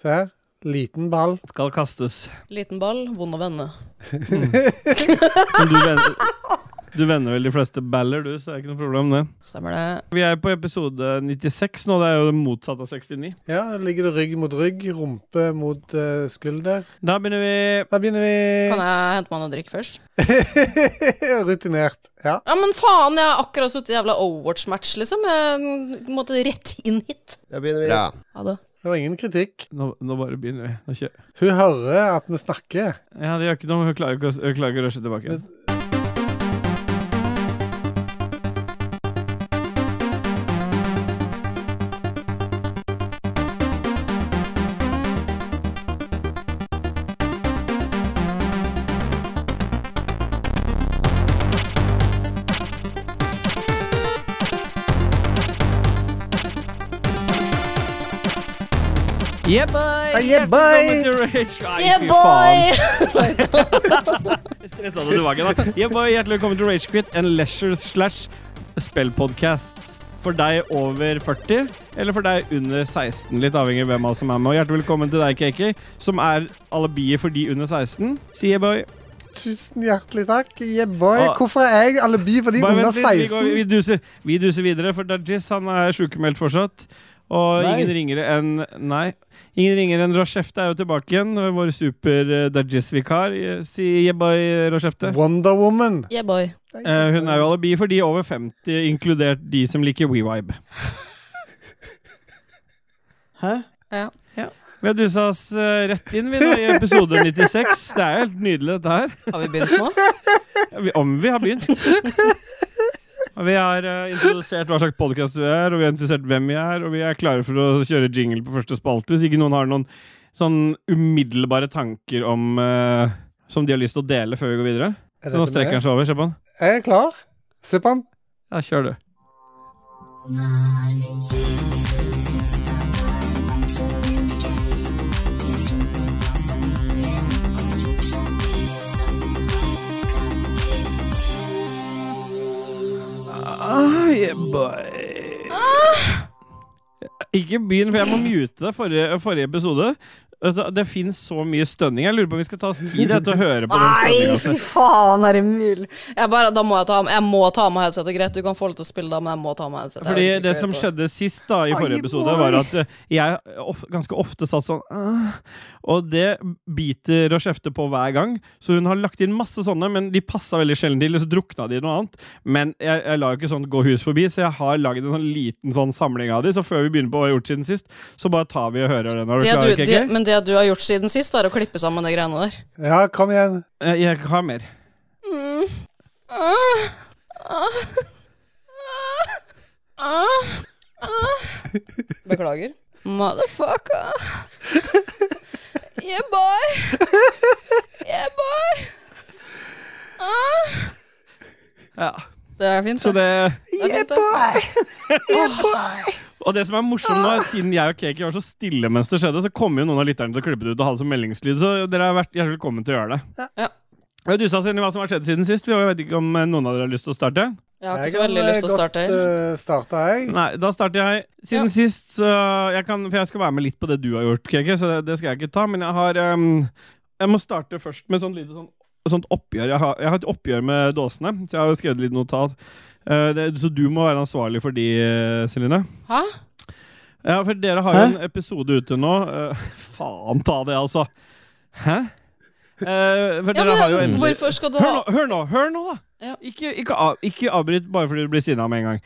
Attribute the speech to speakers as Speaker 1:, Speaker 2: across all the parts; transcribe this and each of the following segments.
Speaker 1: Se her. Liten ball.
Speaker 2: Skal kastes. Mm.
Speaker 3: Liten ball, vond å vende.
Speaker 2: Men du vender, du vender vel de fleste baller, du, så det er ikke noe problem, det.
Speaker 3: Stemmer det.
Speaker 2: Vi er på episode 96 nå. Det er jo det motsatte av 69.
Speaker 1: Ja, der ligger du rygg mot rygg, rumpe mot eh, skulder.
Speaker 2: Da begynner vi
Speaker 1: Da begynner
Speaker 3: Kan
Speaker 1: vi.
Speaker 3: jeg hente meg noe drikk først?
Speaker 1: Rutinert. Ja.
Speaker 3: Ja, men faen, jeg har akkurat sittet i jævla Overwatch-match, liksom. Jeg måtte rett inn hit.
Speaker 4: Da begynner vi.
Speaker 5: Bra.
Speaker 3: Ha det.
Speaker 1: Det var ingen kritikk.
Speaker 2: Nå, nå bare begynner vi. Nå kjører.
Speaker 1: Hun hører at vi snakker.
Speaker 2: Ja, det gjør ikke noe. Hun klarer ikke å, hun klarer ikke å rushe tilbake. igjen. Yeah, boy!
Speaker 1: Ah, yeah, boy!
Speaker 2: Velkommen til Rage. Nei,
Speaker 3: Yeah,
Speaker 2: fy faen.
Speaker 3: boy!
Speaker 2: Stressa du tilbake, da? Jeg bare Hjertelig velkommen til Ragequit, en leisure slash spillpodcast. For deg over 40, eller for deg under 16, litt avhengig av hvem av oss som er med. Og hjertelig velkommen til deg, Kiki, som er alibiet for de under 16. Sier boy.
Speaker 1: Tusen hjertelig takk. Yeah, boy.
Speaker 2: Ah.
Speaker 1: Hvorfor er jeg alibi for de
Speaker 2: Bare
Speaker 1: under
Speaker 2: vent litt, vi, går,
Speaker 1: 16?
Speaker 2: vi, duser, vi duser videre, for Dajis han er sykemeldt fortsatt. Og
Speaker 4: Nei.
Speaker 2: ingen ringere enn Nei. Ingen ringere enn Rochefte er jo tilbake igjen. Vår eh, super-Dajis-vikar. Si yeah, boy, Rochefte.
Speaker 1: Wonder Woman.
Speaker 3: Yeah, boy.
Speaker 2: Eh, hun er jo alibi for de over 50, inkludert de som liker WeVibe.
Speaker 4: Hæ?
Speaker 2: Vi har dusa oss eh, rett inn vi nå i episode 96. Det er jo helt nydelig, dette her.
Speaker 3: Har vi begynt nå?
Speaker 2: Ja, vi- Om vi har begynt. Og vi har eh, introdusert hva slags podkast du er, og vi har introdusert hvem vi er, og vi er klare for å kjøre jingle på første spalte hvis ikke noen har noen sånn umiddelbare tanker om eh, som de har lyst til å dele før vi går videre.
Speaker 1: Er
Speaker 2: Så nå
Speaker 1: dette
Speaker 2: strekker
Speaker 1: med?
Speaker 2: han seg over. Se på han.
Speaker 1: Er jeg klar? Se på han.
Speaker 2: Ja, kjør, du. Ah, yeah, boy.
Speaker 3: Ah!
Speaker 2: Ikke begynn, for jeg må mute deg forrige, forrige episode. Vet du, Det fins så mye stønning. Jeg lurer på om vi skal ta oss tid jeg, til å høre på den
Speaker 3: Nei,
Speaker 2: stønninga.
Speaker 3: fy faen, er det mulig? Jeg bare, da må jeg ta, jeg må ta av meg headsetet. Greit, du kan få lov til å spille, da, men jeg må ta av meg headsetet.
Speaker 2: Fordi det som skjedde sist da i forrige episode, var at eh, jeg of, ganske ofte satt sånn «Åh», Og det biter og kjefter på hver gang. Så hun har lagt inn masse sånne, men de passa veldig sjelden til. eller Så drukna de i noe annet. Men jeg, jeg lar jo ikke sånt gå hus forbi, så jeg har lagd en sånn liten sånn samling av de. Så før vi begynner på hva vi har gjort siden sist, så bare tar vi og hører den. Er du
Speaker 3: Det
Speaker 2: klar,
Speaker 3: du, det,
Speaker 2: Keke?
Speaker 3: men det du har gjort siden sist, er å klippe sammen de greiene der.
Speaker 1: Ja, kom igjen.
Speaker 2: Eh, Jeg har mer.
Speaker 3: Mm. Beklager. Motherfucker. Yeah, boy. Yeah, boy.
Speaker 2: Ja.
Speaker 3: Det er fint.
Speaker 2: Så det
Speaker 3: det er fint, det.
Speaker 2: Og det som er morsomt nå, er at siden jeg og Keki var så stille mens det skjedde, så kom jo noen av lytterne til å klippe det ut og ha det som meldingslyd. Så dere har vært hjertelig velkommen til å gjøre det.
Speaker 3: Ja.
Speaker 2: Vi har dusa oss inn i hva som har skjedd siden sist. for Jeg vet ikke om eh, noen av dere har lyst til å starte.
Speaker 3: Jeg har ikke så veldig lyst til å starte.
Speaker 1: Jeg kan eh, godt, eh, starte, jeg.
Speaker 2: Nei, da starter jeg. Siden
Speaker 3: Ja.
Speaker 2: sist, så jeg kan, for jeg skal være med litt på det du har gjort, Keke, så det, det skal jeg ikke ta. Men jeg har ehm, Jeg må starte først med sånn lite sånn, sånt oppgjør. Jeg har, jeg har et oppgjør med dåsene, så jeg har skrevet litt notat. Eh, det, så du må være ansvarlig for de, eh, Celine.
Speaker 3: Hæ?
Speaker 2: Ja, for dere har jo en episode ute nå. Eh, faen ta det, altså. Hæ? Eh, for
Speaker 3: Ja,
Speaker 2: dere har jo
Speaker 3: men
Speaker 2: endelig
Speaker 3: hvorfor skal du
Speaker 2: Hør
Speaker 3: ha
Speaker 2: nå, hør nå, hør nå da!
Speaker 3: Ja.
Speaker 2: Ikke, ikke, av, ikke avbryt bare fordi du blir sinna med en gang.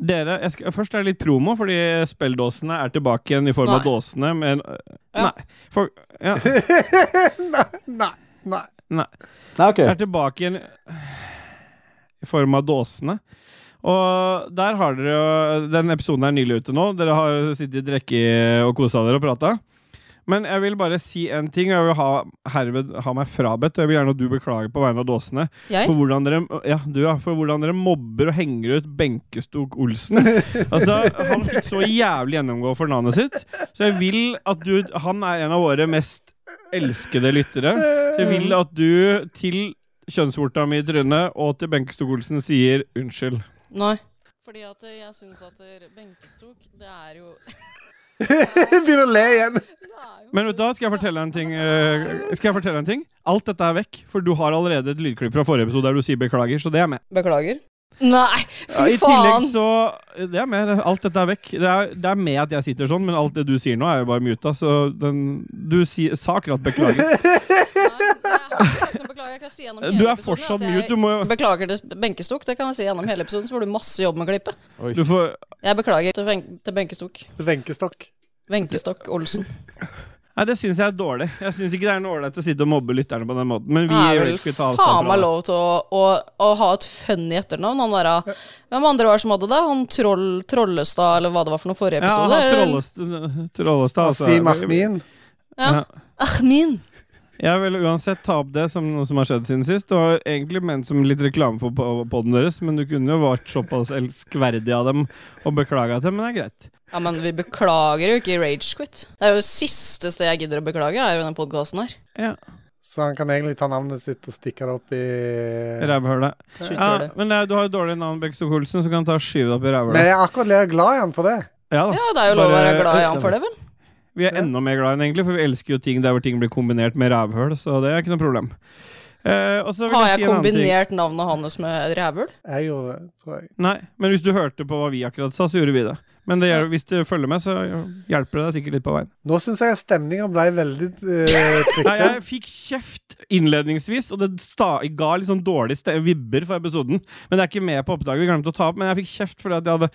Speaker 2: Dere, jeg skal, Først er det litt promo, fordi spelldåsene er tilbake igjen i form av
Speaker 3: Nei.
Speaker 2: dåsene. Men, øh,
Speaker 3: Ja.
Speaker 2: Nei. For, ja,
Speaker 1: Nei, nei.
Speaker 2: nei.
Speaker 4: Nei, ok.
Speaker 2: Er tilbake igjen i form av dåsene. Og der har dere jo Den episoden er nylig ute nå. Dere har sittet og drukket og kosa dere og prata. Men jeg vil bare si en ting, og jeg vil ha, herved ha meg frabedt. Og jeg vil gjerne at du beklager på vegne av dåsene.
Speaker 3: Jeg?
Speaker 2: For hvordan dere, ja, du, ja, for hvordan dere mobber og henger ut Benkestok Olsen. Altså, Han fikk så jævlig gjennomgå for navnet sitt. Så jeg vil at du Han er en av våre mest elskede lyttere. Så jeg vil at du til kjønnsvorta mi i trynet og til Benkestok Olsen sier unnskyld.
Speaker 3: Nei. Fordi at eh, jeg syns at eh, benkestok, det er jo
Speaker 1: Begynner å le igjen.
Speaker 2: Men vet du hva, skal jeg fortelle deg en ting? eh, skal jeg fortelle deg en ting? Alt dette er vekk, for du har allerede et lydklipp fra forrige episode der du sier beklager, så det er med.
Speaker 3: Beklager. Nei,
Speaker 2: Ja,
Speaker 3: fy
Speaker 2: I tillegg
Speaker 3: faen!
Speaker 2: så Det er med. Alt dette er vekk. Det er, det er med at jeg sitter sånn, men alt det du sier nå, er jo bare muta, så den Du si, sa akkurat beklager. Du er fortsatt
Speaker 3: Sånn
Speaker 2: mute. Du må jo
Speaker 3: Beklager til benkestok, det kan jeg si gjennom hele episoden, så får du masse jobb med å klippe.
Speaker 1: Oi.
Speaker 2: du får,
Speaker 3: Jeg beklager til, ven til benkestok.
Speaker 1: Venkestokk.
Speaker 3: Benkestokk Olsen.
Speaker 2: Nei, det syns jeg er dårlig. Jeg syns ikke det er noe ålreit å sitte og mobbe lytterne på den måten, men vi
Speaker 3: Det er
Speaker 2: vil
Speaker 3: vel
Speaker 2: ikke ta
Speaker 3: faen
Speaker 2: avstand
Speaker 3: meg
Speaker 2: fra det.
Speaker 3: lov til å, å, å ha et funny etternavn. Han der, hvem andre var det som hadde det? Han troll, Trollestad, eller hva det var for noen forrige
Speaker 2: Ja, han
Speaker 3: episode?
Speaker 2: har
Speaker 3: eller-
Speaker 2: Trollestad- Trollestad, altså.
Speaker 1: Asim Ahmin.
Speaker 3: Ja. Ah, Ahmin.
Speaker 2: Jeg vil uansett ta opp det som noe som har skjedd siden sist. Det var egentlig ment som litt reklame for poden deres, men du kunne jo vært såpass elskverdig av dem og beklaga dem, men det er greit.
Speaker 3: Ja, men vi beklager jo ikke Ragequit. Det er jo det siste sted jeg gidder å beklage, er jo den podkasten her.
Speaker 2: Ja,
Speaker 1: Så han kan egentlig ta navnet sitt og stikke det opp i
Speaker 2: Rævhølet. Ja,
Speaker 3: Skytthølet.
Speaker 2: men det er, du har jo dårlig navn, Bekstok Olsen, så kan du ta og skyve deg opp i
Speaker 1: Men
Speaker 2: rævhølet.
Speaker 1: jeg er akkurat litt glad i han for det.
Speaker 2: Ja da.
Speaker 3: Ja, det er jo lov å
Speaker 2: Bare-
Speaker 3: være glad i han for det, vel?
Speaker 2: Vi er enda mer glad i den, egentlig, for vi elsker jo ting der hvor ting blir kombinert med rævhøl, så det er ikke noe problem. Eh, og så vil
Speaker 3: Har
Speaker 2: jeg si
Speaker 3: jeg
Speaker 2: en annen ting.
Speaker 3: kombinert navnet hans med et rævhull?
Speaker 1: Jeg gjorde det, tror jeg.
Speaker 2: Nei, men hvis du hørte på hva vi akkurat sa, så gjorde vi det. Men det, gjør- hvis du følger med, så hjelper det deg sikkert litt på veien.
Speaker 1: Nå syns jeg stemninga ble veldig uh,
Speaker 2: Nei, jeg
Speaker 1: trykken.
Speaker 2: fikk kjeft innledningsvis, og det sta ga litt sånn dårlig ste vibber for episoden. Men det er ikke med på oppdraget, vi glemte å ta opp, men jeg fikk kjeft fordi at jeg hadde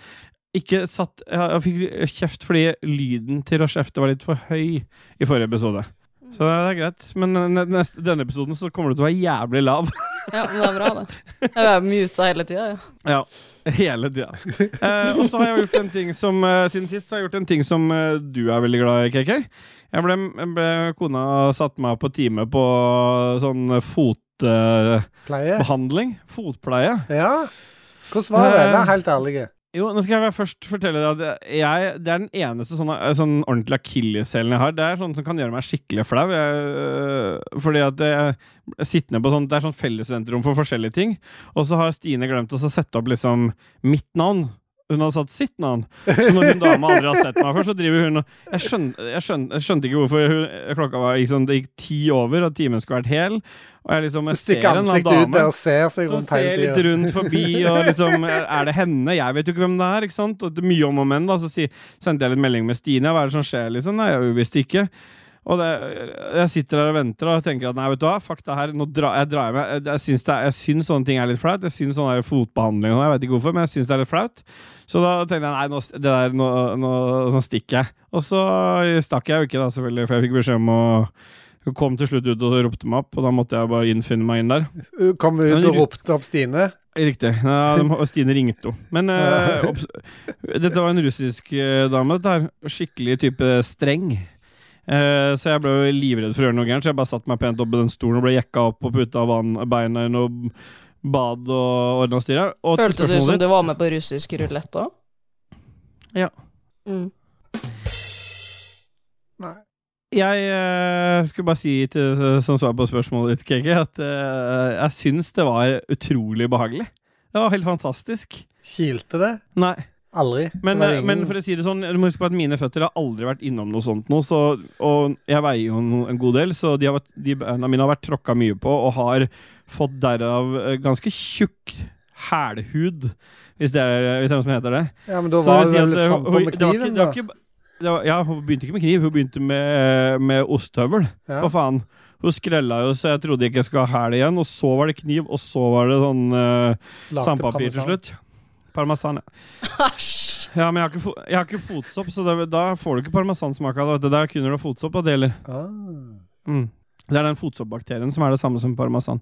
Speaker 2: ikke satt Jeg jeg fikk kjeft fordi lyden til Rashefte var litt for høy i forrige episode. Så det er greit. Men ne- neste, denne episoden så kommer du til å være jævlig lav.
Speaker 3: Ja, men det er bra, det. Jeg er muta hele tida, ja.
Speaker 2: Ja, hele tida. Eh, og så har jeg gjort en ting som eh, Siden sist så har jeg gjort en ting som eh, du er veldig glad i, KK. Jeg ble, jeg ble Kona satte meg på time på sånn eh, fotbehandling.
Speaker 1: Pleie.
Speaker 2: Fotpleie.
Speaker 1: Ja. Hvordan var det? Vær helt ærlig.
Speaker 2: Jo, nå skal Eh, jeg bare først fortelle deg at jeg, det er den eneste sånne, sånn ordentlig akilleshælen jeg har. Det er sånn som kan gjøre meg skikkelig flau. Jeg, øh, fordi at jeg, sittende på sånn, Det er sånn fellesventerom for forskjellige ting. Og så har Stine glemt å så sette opp liksom mitt navn. Hun hadde satt sitt navn. Så når hun dama aldri har sett meg før, så driver hun og Jeg, skjøn, jeg, skjøn, jeg skjønte ikke hvorfor hun, klokka var gikk sånn, Det gikk ti over, og timen skulle vært hel. Og jeg liksom
Speaker 1: Du
Speaker 2: jeg ser
Speaker 1: stikker
Speaker 2: en eller annen
Speaker 1: ansiktet ut
Speaker 2: dame
Speaker 1: der og ser seg
Speaker 2: som
Speaker 1: rundt
Speaker 2: ser
Speaker 1: hele
Speaker 2: litt
Speaker 1: tida.
Speaker 2: rundt forbi og liksom Er det henne? Jeg vet jo ikke hvem det er. ikke sant? Og det er mye om og men, da. Så si, sendte jeg litt melding med Stine. Hva er det som skjer? liksom? Nei, jeg visste ikke. Og det, jeg sitter der og venter og tenker at nei, vet du hva, fuck det her. Nå dra, jeg drar jeg meg. Jeg- Jeg syns, det er, jeg syns sånne ting er litt flaut. Jeg syns sånn der fotbehandling og sånn, jeg vet ikke hvorfor, men jeg syns det er litt flaut. Så da tenkte jeg nei, nå, det der, nå, nå, nå stikker jeg. Og så stakk jeg jo ikke, da, selvfølgelig, for jeg fikk beskjed om å Hun kom til slutt ut og ropte meg opp, og da måtte jeg bare innfinne meg inn der.
Speaker 1: Kom
Speaker 2: Men
Speaker 1: ut og
Speaker 2: du-
Speaker 1: ropte opp Stine.
Speaker 2: Riktig. Ja, de, og Stine ringte henne. Men eh, obs- dette var en russisk eh, dame. Dette her. Skikkelig type streng. Eh, så jeg ble jo livredd for å gjøre noe gærent, så jeg bare satte meg pent opp i den stolen og ble jekka opp og putta vann, beina i noe bad og ordna og styra. Og til
Speaker 3: Følte du
Speaker 2: spørsmålet
Speaker 3: som
Speaker 2: ditt-
Speaker 3: du var med på russisk rulett òg?
Speaker 2: Ja.
Speaker 3: Mm.
Speaker 1: Nei.
Speaker 2: Jeg eh, skulle bare si til, eh, som svar på spørsmålet ditt, KK, at eh, jeg syns det var utrolig behagelig. Det var helt fantastisk.
Speaker 1: Kilte det?
Speaker 2: Nei.
Speaker 1: Aldri.
Speaker 2: Men,
Speaker 1: Det var ingen-
Speaker 2: men for å si det sånn, du må huske på at mine føtter har aldri vært innom noe sånt nå, så, og jeg veier jo en, en god del, så de, har, vært- de beina mine har vært tråkka mye på, og har fått derav eh, ganske tjukk hælhud, hvis det er, hvis det er noe som heter det.
Speaker 1: ja, men da
Speaker 2: Så
Speaker 1: var du
Speaker 2: det vil si at,
Speaker 1: vel
Speaker 2: eh,
Speaker 1: frampå
Speaker 2: hun-
Speaker 1: med
Speaker 2: det var ikke-
Speaker 1: kniven,
Speaker 2: det
Speaker 1: da.
Speaker 2: var ikke- det var- Ja, hun begynte ikke med kniv, hun begynte med, med osthøvel.
Speaker 1: Ja.
Speaker 2: For faen. Hun skrella jo, så jeg trodde ikke jeg skulle ha hæl igjen. Og så var det kniv, og så var det sånn eh,
Speaker 1: Lagde
Speaker 2: sandpapir til
Speaker 1: parmesan.
Speaker 2: slutt. Parmesan, ja.
Speaker 3: Æsj!
Speaker 2: Ja, men jeg har ikke, fo- jeg har ikke fotsopp, så det, da får du ikke parmesansmak av det. vet du. Der kunne du ha fotsopp av det gjelder.
Speaker 1: Ah.
Speaker 2: Mm. Det er den fotsoppbakterien som er det samme som parmesan.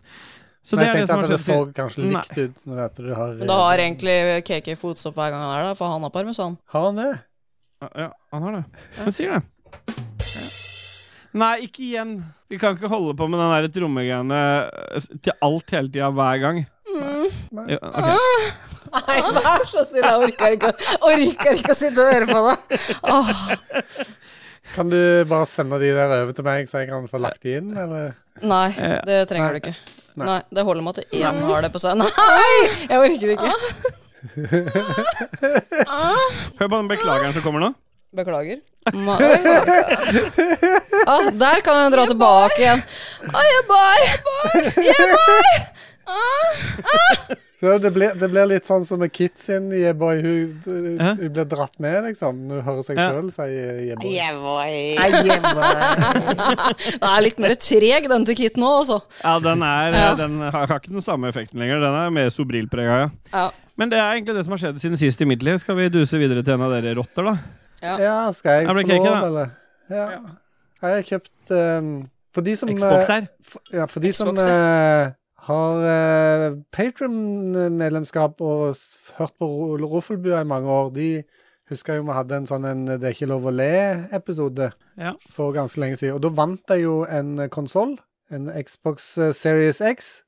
Speaker 2: Så
Speaker 1: Men
Speaker 2: det
Speaker 1: jeg
Speaker 2: er
Speaker 1: tenkte
Speaker 2: det
Speaker 1: at
Speaker 2: som har
Speaker 1: det
Speaker 2: skjedd.
Speaker 1: så
Speaker 2: siden-
Speaker 1: kanskje
Speaker 2: Nei.
Speaker 1: likt ut når at du har eh,
Speaker 3: Men da har egentlig KK fotsopp hver gang han er der, for han har parmesan.
Speaker 1: Har han det?
Speaker 2: Ja, han har det. Han sier det. Ja. Nei, ikke igjen. Vi kan ikke holde på med den der trommegreiene eh, til alt hele tida, hver gang. Ja, ok.
Speaker 3: Nei, vær så snill, jeg orker ikke, orker ikke å sitte og høre på det. Åh,
Speaker 1: Kan du bare sende de der over til meg, så jeg kan få lagt de inn, eller?
Speaker 3: nei,
Speaker 2: Eh,
Speaker 3: det trenger du ikke. Nei, det holder med at én har det på seg. Nei, jeg orker ikke.
Speaker 2: Hør på den beklageren som kommer nå.
Speaker 3: Beklager. Ma ah, der kan jeg dra tilbake igjen. Ah, jeg bare, jeg bare, jeg bare. Ah.
Speaker 1: Ja, Det blir, det blir litt sånn som med Kit sin yeah boy. Hun,
Speaker 2: Hæ?
Speaker 1: hun eh, blir dratt med, liksom. Hun hører seg
Speaker 2: Ja.
Speaker 1: selv si yeah boy.
Speaker 4: Yeah, boy.
Speaker 3: Den er litt mer treg, den til Kit nå, altså.
Speaker 2: Ja, den, er, eh,
Speaker 3: Ja.
Speaker 2: den har, har ikke den samme effekten lenger. Den er mer sobrilprega, ja.
Speaker 3: Ja.
Speaker 2: Men det er egentlig det som har skjedd siden sist i mitt liv. Skal vi duse videre til en av dere rotter, da?
Speaker 1: Ja, skal jeg
Speaker 2: Ja,
Speaker 1: få
Speaker 2: men det er
Speaker 1: lov,
Speaker 2: cake, da.
Speaker 1: eller? Ja.
Speaker 2: Ja.
Speaker 1: Jeg har kjøpt eh, For de som eh,
Speaker 2: Xbox her.
Speaker 1: for, Ja, for de som
Speaker 3: Xbox,
Speaker 1: eh, har uh, Patron-medlemskap og s- hørt på Ro- Roffelbua i mange år, de husker jo vi hadde en sånn en 'Det er ikke lov å le'-episode
Speaker 2: Ja.
Speaker 1: for ganske lenge siden. Og da vant jeg jo en konsoll, en Xbox eh, Series X.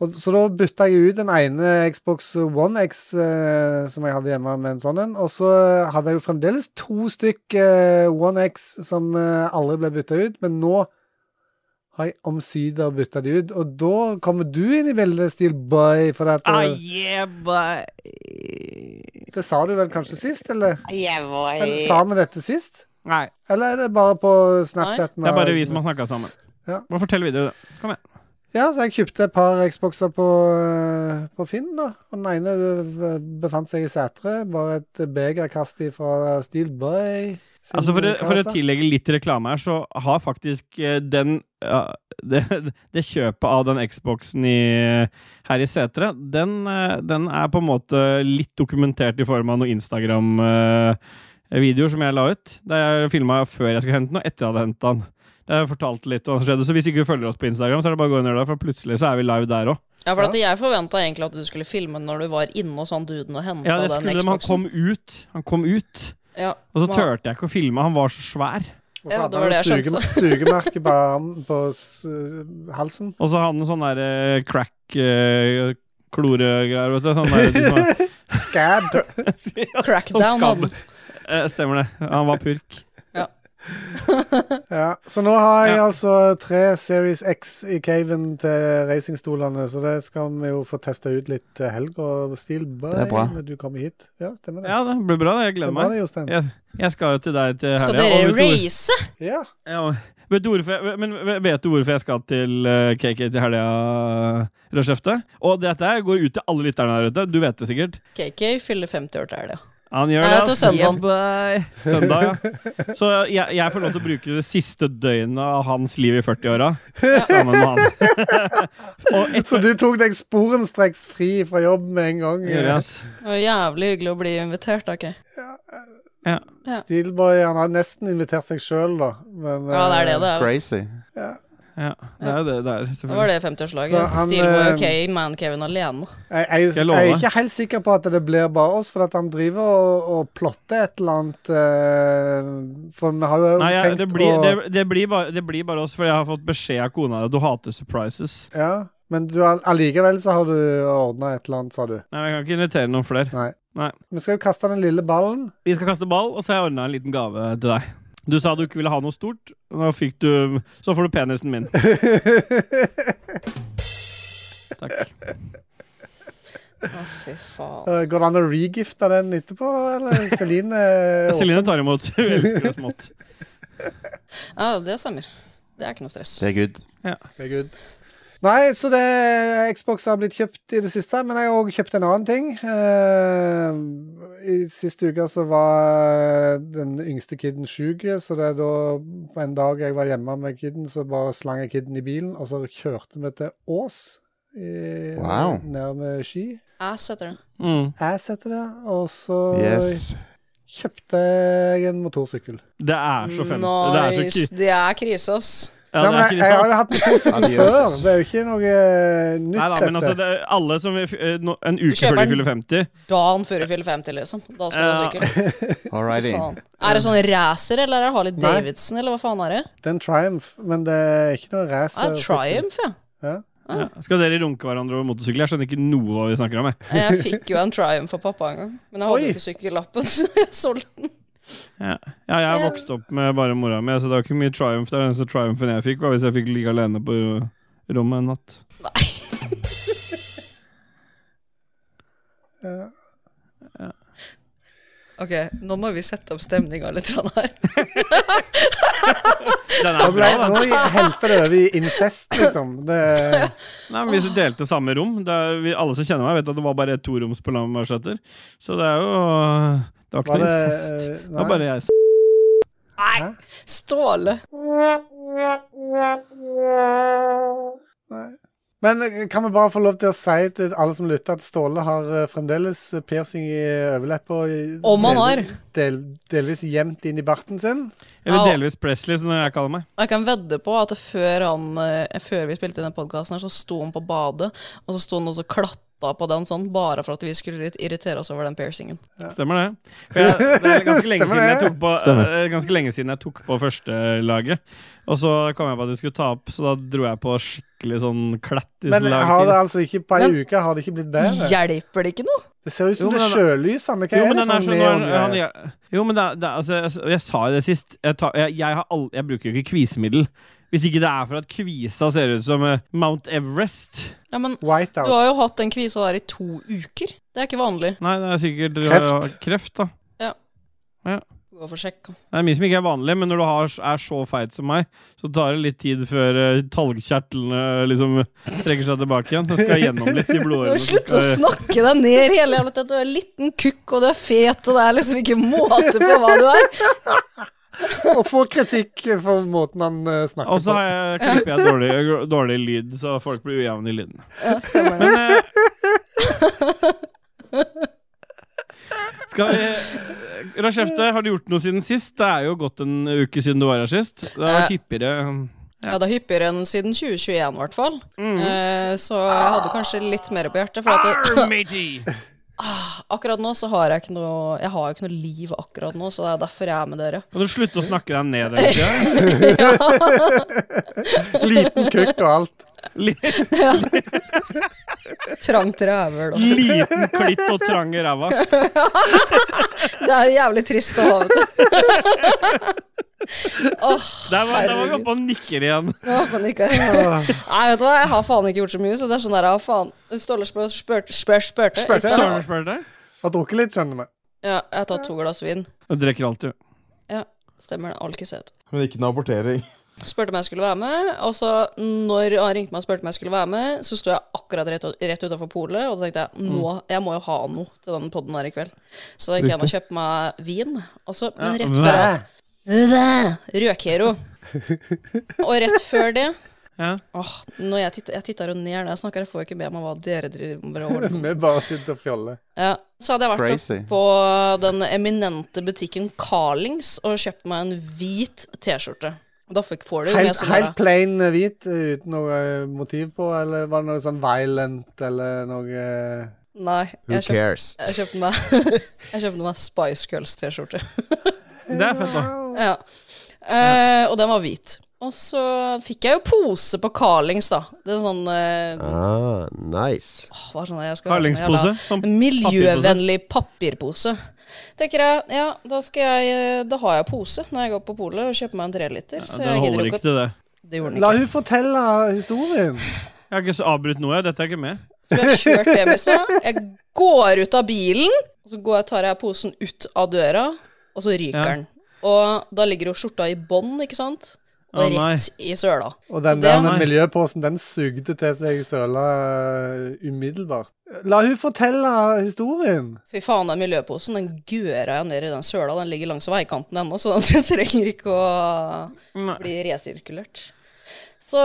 Speaker 1: Og, så da bytta jeg ut den ene Xbox One X eh, som jeg hadde hjemme med en sånn en. Og så hadde jeg jo fremdeles to stykk eh, One X som eh, aldri ble bytta ut, men nå har jeg omsider bytta de ut. Og da kommer du inn i bildet, Steel Boy, for at,
Speaker 2: Ah,
Speaker 1: eh,
Speaker 2: yeah, boy.
Speaker 1: det sa du vel kanskje sist, eller?
Speaker 4: Yeah,
Speaker 1: eller
Speaker 4: boy.
Speaker 1: sa vi dette sist?
Speaker 2: Nei,
Speaker 1: Eller er det bare på Snapchat?
Speaker 2: det er bare vi som har snakka sammen.
Speaker 1: Ja.
Speaker 2: Bare fortell videre, du.
Speaker 1: Ja, så jeg kjøpte et par Xboxer på, eh, på Finn, da. Og den ene eh, befant seg i Sætre. Bare et begerkast fra Steel Boy. sin
Speaker 2: Altså for, å, for å
Speaker 1: kasse.
Speaker 2: tillegge litt reklame her, så har faktisk eh, den ja, det, det kjøpet av den Xboxen i, her i Setre, den, eh, den er på en måte litt dokumentert i form av noen Instagram-videoer som jeg la ut. Der jeg filma før jeg skulle hente den, og etter jeg hadde hentet den. Der jeg fortalte litt hva som skjedde, Så hvis ikke du følger oss på Instagram, så er det bare å gå inn og gjøre det, for plutselig så er vi live der òg.
Speaker 3: Ja, for at jeg forventa egentlig at du skulle filme når du var inne hos han duden og henta
Speaker 2: Ja, det
Speaker 3: den
Speaker 2: skulle de. Han
Speaker 3: Xboxen.
Speaker 2: kom ut. Han kom ut.
Speaker 3: Ja,
Speaker 2: Og så
Speaker 3: man-
Speaker 2: turte jeg ikke å filme. Han var så svær.
Speaker 1: Og
Speaker 3: Ja,
Speaker 1: så hadde
Speaker 3: det var det jeg
Speaker 1: han et suge- Sugemerke på, armen- på s- eh, halsen.
Speaker 2: Og så hadde han sånn der eh, crack eh, kloregreier, vet du. Sånn der, de som er-
Speaker 1: Scab.
Speaker 3: Crackdown
Speaker 2: Sånn
Speaker 3: hadde
Speaker 2: skabb. Eh, Stemmer det. Han var purk.
Speaker 1: Ja, så nå har jeg
Speaker 2: Ja.
Speaker 1: altså tre Series X i caven til racingstolene, så det skal vi jo få testa ut litt til helg. Og Steel Boy,
Speaker 4: Det er bra.
Speaker 1: når du kommer hit. Ja, stemmer det.
Speaker 2: Ja, det blir bra. det. Jeg
Speaker 1: det
Speaker 2: gleder
Speaker 1: var
Speaker 2: meg.
Speaker 1: det, Jostein.
Speaker 2: Jeg, jeg skal jo til deg til
Speaker 3: Skal
Speaker 2: helga,
Speaker 3: dere
Speaker 2: og vet du hvor-
Speaker 3: race?
Speaker 1: Ja.
Speaker 2: Ja, vet du hvorfor jeg, men vet du hvorfor jeg skal til eh, KK til helga, Rødskjefte? Og dette her går ut til alle lytterne der ute. Du vet det sikkert.
Speaker 3: KK fyller 50 år til helga.
Speaker 2: Han gjør
Speaker 3: Nei,
Speaker 2: det.
Speaker 3: til
Speaker 2: altså.
Speaker 3: søndagen.
Speaker 2: Yeah, bye. Søndag, ja. Så jeg, jeg får lov til å bruke det siste døgnet av hans liv i 40-åra sammen med han. Og
Speaker 1: Så
Speaker 2: etter
Speaker 1: du tok deg sporenstreks fri fra jobb med en gang. Eh,
Speaker 2: Gjør jeg, ass.
Speaker 3: Det var Jævlig hyggelig å bli invitert, OK. Ja.
Speaker 1: Steelboy han har nesten invitert seg sjøl, da. Men,
Speaker 3: Ja, det er det
Speaker 1: eh,
Speaker 3: det er. vet du.
Speaker 4: Crazy.
Speaker 2: Ja, det er jo det der,
Speaker 3: Det var
Speaker 2: selvfølgelig.
Speaker 3: det 50-årslaget.
Speaker 1: Så han,
Speaker 3: Steelboy
Speaker 1: eh,
Speaker 3: OK, man-Kevin alene.
Speaker 1: Jeg, jeg,
Speaker 2: Skal jeg
Speaker 1: jeg,
Speaker 2: love?
Speaker 1: er ikke helt sikker på at det blir bare oss, for at han driver og, og plotter et eller annet eh, For vi har jo
Speaker 2: Nei, jeg,
Speaker 1: tenkt
Speaker 2: det, blir,
Speaker 1: å
Speaker 2: det, det, blir bare, det blir bare oss, for jeg har fått beskjed av kona at du hater surprises.
Speaker 1: Ja, Men du, har- allikevel så har du ordna et eller annet, sa du.
Speaker 2: Nei, men Jeg kan ikke invitere noen flere.
Speaker 1: Nei.
Speaker 2: Nei.
Speaker 1: Vi skal jo kaste den lille ballen.
Speaker 2: Vi skal kaste ball, og så har jeg ordna en liten gave til deg. Du sa du ikke ville ha noe stort. Nå fikk du Så får du penisen min. Takk.
Speaker 3: Å, fy faen.
Speaker 1: Eh, Går det an å regifte den etterpå, da? Eller Celine? eh,
Speaker 2: Celine tar imot. Hun elsker oss smått.
Speaker 3: Ja, det stemmer. Det er ikke noe stress.
Speaker 4: Det er good.
Speaker 1: Det er good. Nei, så det Xbox har blitt kjøpt i det siste, men jeg har òg kjøpt en annen ting. Eh, I siste uke så var den yngste kiden sjuk, så det er da på en dag jeg var hjemme med kiden, så bare slang jeg kiden i bilen, og så kjørte vi til Ås. I,
Speaker 4: Wow.
Speaker 1: Nær med Ski.
Speaker 3: Ass heter den.
Speaker 2: Mm.
Speaker 1: Jeg setter det, og så
Speaker 4: Yes.
Speaker 1: kjøpte jeg en motorsykkel.
Speaker 2: Det er så fem. Det er så
Speaker 3: Nice.
Speaker 2: kri-
Speaker 3: Det er krise, ass.
Speaker 1: Nei,
Speaker 2: ja, det
Speaker 1: men
Speaker 2: er
Speaker 1: jeg,
Speaker 2: krise,
Speaker 1: jeg
Speaker 2: ass.
Speaker 1: hadde hatt motorsykkel
Speaker 4: Adios.
Speaker 1: før, det er jo ikke noe nytt,
Speaker 2: Nei da, men altså,
Speaker 1: dette.
Speaker 2: det, er alle som eh, nå- En uke
Speaker 3: Kjøper
Speaker 2: før de
Speaker 3: den.
Speaker 2: fyller 50
Speaker 3: Dagen før du fyller 50, liksom. Da skal du ha
Speaker 2: Ja.
Speaker 3: sykkel. Fy
Speaker 4: Alrighty.
Speaker 3: faen. Er det sånn racer, eller er det Harley
Speaker 1: Nei.
Speaker 3: Davidson, eller hva faen er det?
Speaker 1: Det er en Triumph, men det er ikke noe altså. racer.
Speaker 3: Ja, Triumph, ja.
Speaker 2: ja. Skal dere runke hverandre over motorsykkel? Jeg skjønner ikke noe hva vi snakker om. Jeg.
Speaker 3: Jeg fikk jo en Triumph av pappa en gang, men jeg hadde
Speaker 1: Oi.
Speaker 3: jo ikke sykkellappen, så jeg solgte den.
Speaker 2: Ja. ja, jeg er vokst opp med bare mora mi, så det var ikke mye triumph der. Den eneste triumphen jeg fikk, var hvis jeg fikk ligge alene på rommet en natt.
Speaker 3: Nei.
Speaker 1: Ja.
Speaker 3: Ok, nå må vi sette opp stemninga litt grann her.
Speaker 2: Den
Speaker 1: Da
Speaker 2: er
Speaker 1: ble,
Speaker 2: bra, da.
Speaker 1: nå helper det over i incest, liksom. Det,
Speaker 2: Nei, men Hvis du delte samme rom det er, vi, Alle som kjenner meg, vet at det var bare et toroms på Lambertseter. Så det er jo Det var ikke
Speaker 1: var
Speaker 2: noe
Speaker 1: det
Speaker 2: incest.
Speaker 1: eh,
Speaker 2: Det var
Speaker 1: Nei.
Speaker 2: bare jeg.
Speaker 3: Nei, Ståle.
Speaker 1: Men eh, kan vi bare få lov til å si til alle som lytter, at Ståle har eh, fremdeles piercing i overleppa. i-
Speaker 3: Om han har.
Speaker 1: del- Del, delvis gjemt inn i barten sin.
Speaker 2: Eller
Speaker 3: Ja.
Speaker 2: delvis Presley, som jeg kaller meg.
Speaker 3: Og jeg kan vedde på at før, han, eh, før vi spilte inn den podkasten, så sto han på badet, og så sto han og så klatta på den sånn, bare for at vi skulle litt irritere oss over den piercingen.
Speaker 2: Stemmer det? For jeg, det er ganske lenge,
Speaker 1: Stemmer
Speaker 2: siden jeg
Speaker 1: det.
Speaker 2: tok på,
Speaker 4: Stemmer.
Speaker 2: eh, ganske lenge siden jeg tok på førstelaget. Og så kom jeg på at jeg skulle ta opp, så da dro jeg på skikkelig sånn klatt i
Speaker 1: Men
Speaker 2: sånn lag
Speaker 1: har det
Speaker 2: til.
Speaker 1: altså ikke på ei
Speaker 3: Men-
Speaker 1: uke har det ikke blitt bedre?
Speaker 3: Hjelper det ikke noe?
Speaker 1: Det ser ut som
Speaker 2: Jo, men
Speaker 1: det
Speaker 2: den-
Speaker 1: sjølysende. Hva
Speaker 2: Jo,
Speaker 1: er det
Speaker 2: men den
Speaker 1: for
Speaker 2: er sånn når han,
Speaker 1: neongreier?
Speaker 2: han, Jo, men det, er- det, er- altså, jeg, s- jeg sa jo det sist. Jeg, tar, jeg, jeg, har all, jeg bruker jo ikke kvisemiddel. Hvis ikke det er for at kvisa ser ut som eh, Mount Everest.
Speaker 3: Ja, men du
Speaker 1: eh, Whiteout.
Speaker 3: har jo hatt den kvisa der i to uker. Det er ikke vanlig.
Speaker 2: Nei, det er sikkert
Speaker 1: Kreft.
Speaker 2: kreft da.
Speaker 3: Gå for sjekk.
Speaker 2: Det er mye som ikke er vanlig, men når du har, er så feit som meg, så tar det litt tid før eh, talgkjertlene liksom trekker seg tilbake igjen. Det skal gjennom litt i blodårene. så
Speaker 3: Slutt å
Speaker 2: skal-
Speaker 3: snakke deg ned hele jævla tiden. Du er en liten kukk, og du er fet, og det er liksom ikke måte på hva du er.
Speaker 1: Og får kritikk for måten han eh,
Speaker 2: Og
Speaker 1: snakker
Speaker 2: så
Speaker 1: på.
Speaker 2: har jeg- klipper jeg dårlig, eh, dårlig lyd, så folk blir ujevne i lyden.
Speaker 3: Ja, stemmer det.
Speaker 2: Men eh, Skal vi Rashefte, har du gjort noe siden sist? Det er jo gått en uke siden du var her sist. Det har vært
Speaker 3: Eh.
Speaker 2: hippigere.
Speaker 3: Ja, det er hyppigere enn siden 2021, i hvert fall.
Speaker 2: Mm.
Speaker 3: Eh, Så jeg hadde kanskje litt mer på hjertet. For at det,
Speaker 2: Arr, matey!
Speaker 3: akkurat nå så har jeg ikke noe Jeg har jo ikke noe liv akkurat nå, så det er derfor jeg er med dere.
Speaker 2: Kan du slutte å snakke deg ned? hele tiden?
Speaker 1: Liten kukk og alt.
Speaker 2: Li-
Speaker 3: Trangt rævhøl. da.
Speaker 2: Liten klitt og trang i ræva.
Speaker 3: Det er jævlig trist å ha. vet du. Åh,
Speaker 2: Der var, der var vi
Speaker 3: Herregud.
Speaker 2: oppe og nikker igjen.
Speaker 3: nå håper jeg ikke Nei, vet du hva, jeg har faen ikke gjort så mye, så det er sånn der, jeg har faen Ståle spør, spør, spør, spør,
Speaker 1: Spør-
Speaker 2: Står du og spør deg?
Speaker 1: Har drukket litt, skjønner vi.
Speaker 3: Ja, jeg har tatt to glass vin.
Speaker 2: Du drikker alltid.
Speaker 3: Stemmer det. Alkis het.
Speaker 4: Men ikke noe abortering.
Speaker 3: Spurte om jeg skulle være med, og så når han ringte meg og spurte om jeg skulle være med, så sto jeg akkurat rett, rett utafor polet, og da tenkte jeg nå, jeg må jo ha noe til den podden her i kveld. Så gikk jeg og kjøpte meg vin, og så, men
Speaker 2: Ja,
Speaker 3: rett før
Speaker 1: Hva?
Speaker 3: Røkhero. Og rett før det
Speaker 2: Ja.
Speaker 3: Åh, når jeg, titter, jeg titter jo ned når jeg snakker, jeg får jo ikke med meg hva dere driver med. og holder på med.
Speaker 1: Vi bare sitter og fjoller.
Speaker 3: Ja, så hadde jeg vært
Speaker 4: Crazy.
Speaker 3: opp på den eminente butikken Carlings og kjøpt meg en hvit T-skjorte. Og Da fikk, får du jo med
Speaker 1: Helt,
Speaker 3: sånn der-
Speaker 1: helt plain eh, hvit eh, uten noe eh, motiv på, eller var det noe sånn violent eller noe eh,
Speaker 3: Nei,
Speaker 4: Who
Speaker 3: jeg kjøpte
Speaker 4: cares?
Speaker 3: Jeg kjøpte meg, jeg kjøpte meg Spice Girls-T-skjorte.
Speaker 2: Det er fett, da.
Speaker 3: Ja. Eh, og den var hvit. Og så fikk jeg jo pose på Carlings, da. Det er sånn eh,
Speaker 4: Ah, nice.
Speaker 3: åh, Hva er sånn jeg skal ha sånn jævla-
Speaker 2: Harlingspose. Sånn
Speaker 3: Miljøvennlig papirpose. Tenker jeg, ja, da, skal jeg, eh, da har jeg pose når jeg går på polet og kjøper meg en treliter.
Speaker 2: Ja,
Speaker 3: så
Speaker 2: det
Speaker 3: jeg gidder
Speaker 2: holder ikke
Speaker 3: ikke å
Speaker 2: til det.
Speaker 3: Det gjorde den
Speaker 1: La
Speaker 3: ikke.
Speaker 1: hun fortelle historien.
Speaker 2: Jeg har ikke s- avbrutt noe. Dette er ikke med.
Speaker 3: Skulle jeg kjørt hjem i stad? Jeg går ut av bilen, og så går jeg, tar jeg posen ut av døra, og så ryker
Speaker 2: Ja.
Speaker 3: den. Og da ligger jo skjorta i bånn, ikke sant?
Speaker 2: Å,
Speaker 3: Og
Speaker 2: nei.
Speaker 3: rett i søla.
Speaker 1: Og
Speaker 3: Så
Speaker 1: den
Speaker 3: det-
Speaker 1: der
Speaker 2: Nei.
Speaker 1: miljøposen, den sugde til seg søla eh, umiddelbart. La hun fortelle historien.
Speaker 3: Fy faen, den miljøposen den gøra jeg ned i den søla. Den ligger langs veikanten ennå, så den trenger ikke å
Speaker 2: Nei.
Speaker 3: bli resirkulert. Så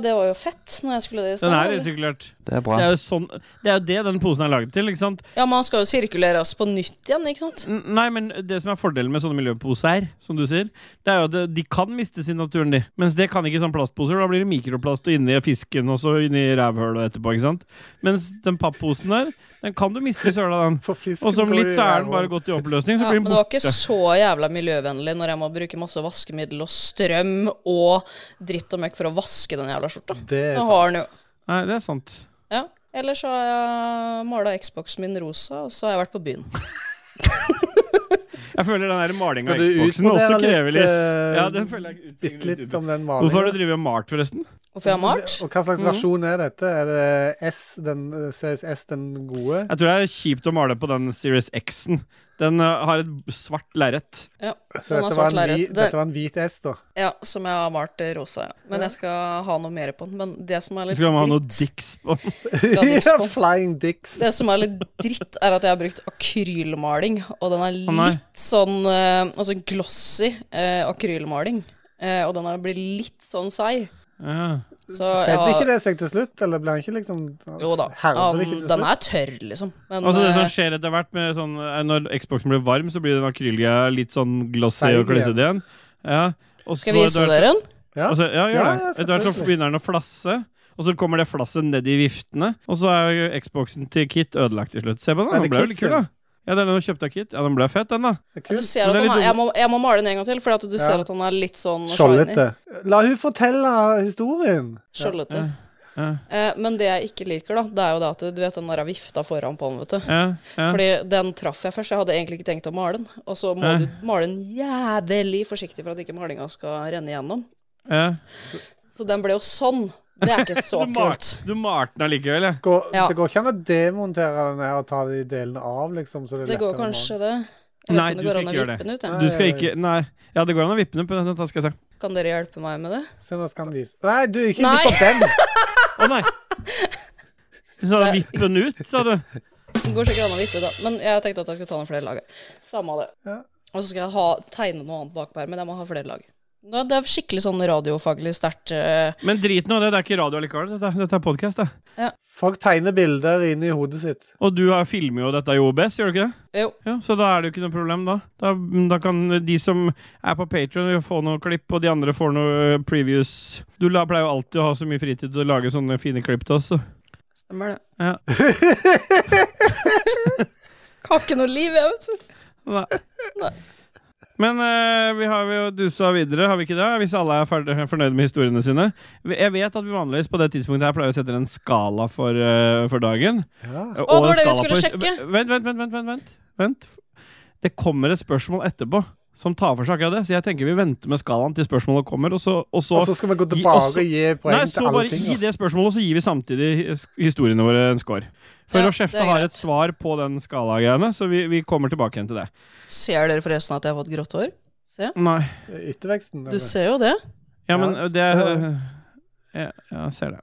Speaker 3: det var jo fett når jeg skulle det i
Speaker 2: Den er
Speaker 3: stad. eller?
Speaker 2: resirkulert.
Speaker 4: Det er
Speaker 2: Det
Speaker 4: bra.
Speaker 2: er jo sånn Det er jo det den posen er laget til, ikke sant?
Speaker 3: Ja, man skal jo sirkuleres på nytt igjen, ikke sant?
Speaker 2: N- Nei, men det som er fordelen med sånne miljøposer, som du sier, det er jo at det- de kan mistes i naturen, de. Mens det kan ikke sånne plastposer. Da blir det mikroplast og inni fisken og så inni rævhølet etterpå, ikke sant? Mens den papposen der, den kan du miste i søla, den.
Speaker 1: For fisken
Speaker 2: Og som
Speaker 1: går
Speaker 2: litt
Speaker 1: i
Speaker 2: så er den
Speaker 1: ræva.
Speaker 2: bare gått i oppløsning, så
Speaker 3: Ja,
Speaker 2: blir
Speaker 3: men
Speaker 2: den
Speaker 3: det var ikke
Speaker 2: borte.
Speaker 3: så jævla miljøvennlig når jeg må bruke masse vaskemiddel og strøm og dritt og møkk for å vaske den jævla skjorta.
Speaker 1: Det er
Speaker 3: Nå
Speaker 1: sant.
Speaker 3: har den jo
Speaker 2: Nei, det er sant.
Speaker 3: Ja. Eller så har jeg mala Xboxen min rosa, og så har jeg vært på byen.
Speaker 2: Jeg føler den der malinga
Speaker 1: Skal
Speaker 2: av
Speaker 1: du
Speaker 2: Xboxen også
Speaker 1: utbrodere
Speaker 2: krever litt
Speaker 1: eh,
Speaker 2: Ja, det føler jeg utbygger
Speaker 1: bitte litt
Speaker 2: litt ut.
Speaker 1: om den
Speaker 2: Hvorfor har
Speaker 1: malingen?
Speaker 2: du drevet og malt, forresten?
Speaker 3: Og før jeg har malt. Mm.
Speaker 1: Og hva slags versjon er dette? Er det S, den, eh, CSS, den gode?
Speaker 2: Jeg tror det er kjipt å male på den Series X-en. Den eh, har et svart lerret.
Speaker 1: Så
Speaker 3: den har
Speaker 1: dette var,
Speaker 3: svart
Speaker 1: en
Speaker 3: lerret.
Speaker 1: hvi-
Speaker 3: Det-
Speaker 1: dette var en hvit S, da.
Speaker 3: Ja, som jeg har malt eh, rosa. Ja. Men jeg skal ha noe mer på den. Men det som
Speaker 2: Så
Speaker 3: er litt
Speaker 2: skal man ha noe
Speaker 3: dritt,
Speaker 2: dicks på den.
Speaker 3: ha dicks
Speaker 1: ja,
Speaker 3: på.
Speaker 1: flying dicks.
Speaker 3: det som er litt dritt, er at jeg har brukt akrylmaling. Og den er
Speaker 2: nei.
Speaker 3: litt sånn eh, Altså glossy eh, akrylmaling. Eh, og den er- blir litt sånn seig.
Speaker 2: Ja.
Speaker 3: Så jeg
Speaker 1: Setter ikke
Speaker 3: har
Speaker 1: det seg til slutt, eller blir han ikke liksom
Speaker 3: Jo da.
Speaker 1: herver
Speaker 3: han-
Speaker 1: ikke til
Speaker 3: den
Speaker 1: slutt?
Speaker 3: er tørr, liksom. Men
Speaker 2: Altså det
Speaker 3: eh,
Speaker 2: som skjer etter hvert med sånn eh, Når Xboxen blir varm, så blir den akrylgreia litt sånn glossy
Speaker 1: Seig
Speaker 2: og klissete igjen. Ja. og så
Speaker 3: skal jeg vise
Speaker 2: etter hvert-
Speaker 3: dere den?
Speaker 1: Ja.
Speaker 2: Altså, ja, gjør
Speaker 1: Ja,
Speaker 2: det.
Speaker 1: ja,
Speaker 2: Etter hvert så
Speaker 1: selvfølgelig.
Speaker 2: begynner den å flasse, og så kommer det flasset ned i viftene, og så er jo Xboxen til Kit ødelagt til slutt. Se på den,
Speaker 1: Er
Speaker 2: den
Speaker 1: det
Speaker 2: ble jo
Speaker 1: Kit
Speaker 2: litt kul,
Speaker 1: sin?
Speaker 2: da. Ja, det er den du kjøpte av Kit. Ja, den ble fett, den, da.
Speaker 1: Det er
Speaker 3: Du
Speaker 1: kult.
Speaker 3: ser
Speaker 2: Men
Speaker 3: at
Speaker 2: det er
Speaker 3: han
Speaker 2: litt sånn-
Speaker 3: er, jeg, må, jeg må male den en gang til, for at du
Speaker 1: Ja.
Speaker 3: ser at han er litt sånn shiny.
Speaker 1: Skjoldete. La hun fortelle historien.
Speaker 3: Skjoldete.
Speaker 2: Ja. Ja,
Speaker 3: Eh, men det jeg ikke liker, da, det er jo det at du vet den der vifta foran på den, vet du.
Speaker 2: ja, ja.
Speaker 3: Fordi den traff jeg først. Jeg hadde egentlig ikke tenkt å male den. Og så må
Speaker 2: Nei.
Speaker 3: du male den jævlig forsiktig for at ikke malinga skal renne igjennom.
Speaker 2: ja.
Speaker 3: Så den ble jo sånn. Det er ikke så
Speaker 2: Du
Speaker 3: kult.
Speaker 2: malte- Du malte den allikevel, ja.
Speaker 1: Går,
Speaker 3: Ja.
Speaker 1: Det går ikke an å demontere den her og ta de delene av, liksom? Så det, er
Speaker 3: Det går
Speaker 1: lettere å
Speaker 3: kanskje, det.
Speaker 2: Nei,
Speaker 3: Jeg vet ikke om det
Speaker 2: du
Speaker 3: går
Speaker 2: skal
Speaker 3: an å
Speaker 2: ikke gjøre
Speaker 3: vippe den ut.
Speaker 1: Nei.
Speaker 3: Jeg.
Speaker 2: Du skal ikke Nei. Ja, det går an å vippe den opp. men Dette skal jeg se.
Speaker 3: Kan dere hjelpe meg med det?
Speaker 1: male. Se, nå skal han vise Nei, du, ikke Nei.
Speaker 3: Nei.
Speaker 1: på den!
Speaker 2: Å, nei! Du sa
Speaker 3: Nei.
Speaker 2: vipp den ut, sa du.
Speaker 3: Det går sikkert an å vippe ut, da. Men jeg tenkte at jeg skulle ta noen flere lag. Samme av det.
Speaker 1: Ja.
Speaker 3: Og så skal jeg ha, tegne noe annet bakpå her, men jeg må ha flere lag. Det er- det er skikkelig sånn radiofaglig sterkt eh,
Speaker 2: Men drit nå i det. Det er ikke radio allikevel. Dette, dette er podkast, det.
Speaker 1: Folk tegner bilder inni hodet sitt.
Speaker 2: Og du har- filmer jo dette i OBS, gjør du ikke det?
Speaker 3: Jo.
Speaker 2: Ja, Så da er det jo ikke noe problem, da. Da, da kan de som er på Patreon få noe klipp, og de andre får noe previous. Du la, pleier jo alltid å ha så mye fritid til å lage sånne fine klipp til oss. så.
Speaker 3: Stemmer det.
Speaker 2: Ja.
Speaker 3: Har ikke noe liv, jeg, vet du.
Speaker 2: Nei.
Speaker 3: Nei.
Speaker 2: Men eh, vi har jo dusa videre, har vi ikke det? Hvis alle er ferdig, fornøyd med historiene sine. Vi- Jeg vet at vi vanligvis på det tidspunktet her pleier å sette en skala for, eh, for dagen.
Speaker 1: Ja.
Speaker 2: Å,
Speaker 3: det var det vi skulle sjekke.
Speaker 2: Vent, vent, vent, vent, vent, vent. vent. Det kommer et spørsmål etterpå som tar for seg akkurat det, så jeg tenker vi venter med skalaen til spørsmålet kommer, og så, og så
Speaker 1: Og så skal vi gå
Speaker 2: gi-
Speaker 1: tilbake
Speaker 2: også-
Speaker 1: og gi poeng
Speaker 2: Nei, så
Speaker 1: til alle
Speaker 2: bare
Speaker 1: ting.
Speaker 2: gi
Speaker 1: da.
Speaker 2: det spørsmålet, og så gir vi samtidig his- historiene våre en score. For
Speaker 3: Ja,
Speaker 2: å skjefte
Speaker 3: det er
Speaker 2: har
Speaker 3: greit.
Speaker 2: et svar på den skala-greiene, så vi, vi kommer tilbake igjen til det.
Speaker 3: Ser dere forresten at jeg har fått grått hår? Se.
Speaker 2: Nei.
Speaker 1: Etterveksten.
Speaker 3: Du
Speaker 1: eller?
Speaker 3: ser jo det.
Speaker 2: Ja,
Speaker 1: Ja,
Speaker 2: men eh, det er
Speaker 1: så-
Speaker 2: ja, ja, ser det.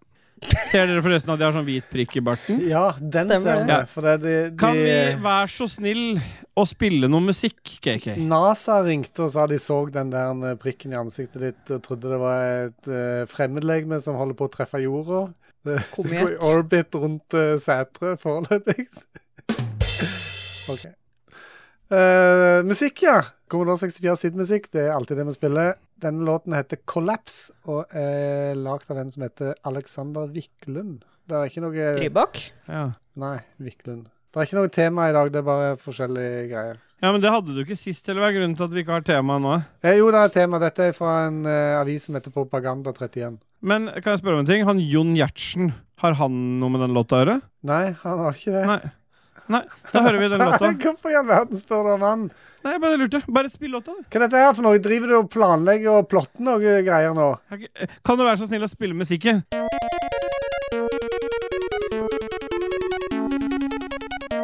Speaker 2: Ser dere forresten at jeg har sånn hvit prikk i barten?
Speaker 1: Ja, den
Speaker 3: Stemmer
Speaker 1: ser
Speaker 3: det.
Speaker 1: vi. For det er de, de
Speaker 2: Kan vi være så snill å spille noe musikk, KK?
Speaker 1: Mm. NASA ringte og sa de så den der eh, prikken i ansiktet ditt og trodde det var et uh, fremmedlegeme som holder på å treffe jorda. Det
Speaker 3: Komet.
Speaker 1: går i orbit rundt uh, seteret foreløpig. OK. Eh, musikk, ja. Commodore 64 sitt musikk, det er alltid det vi spiller. Denne låten heter 'Collapse' og er lagd av en som heter Alexander Wiklund. Det er ikke noe
Speaker 3: Rybak.
Speaker 2: Ja.
Speaker 1: Nei, Wiklund. Det er ikke noe tema i dag, det er bare forskjellige greier.
Speaker 2: ja, men det hadde du ikke sist, eller hva er grunnen til at vi ikke har tema nå?
Speaker 1: Eh, jo, det er et tema. Dette er fra en eh, avis som heter Propaganda 31.
Speaker 2: Men kan jeg spørre om en ting? Han Jon Gjertsen, har han noe med den låta å gjøre?
Speaker 1: Nei, han har ikke det.
Speaker 2: Nei. Nei, da hører vi den låta.
Speaker 1: Hvorfor i all verden spør du om han?
Speaker 2: Nei, jeg bare lurte. Bare spill låta, du.
Speaker 1: Hva er dette her for noe? Driver du og planlegger og plotter noe greier nå?
Speaker 2: Jeg har ikke- eh, Kan du være så snill å spille musikken?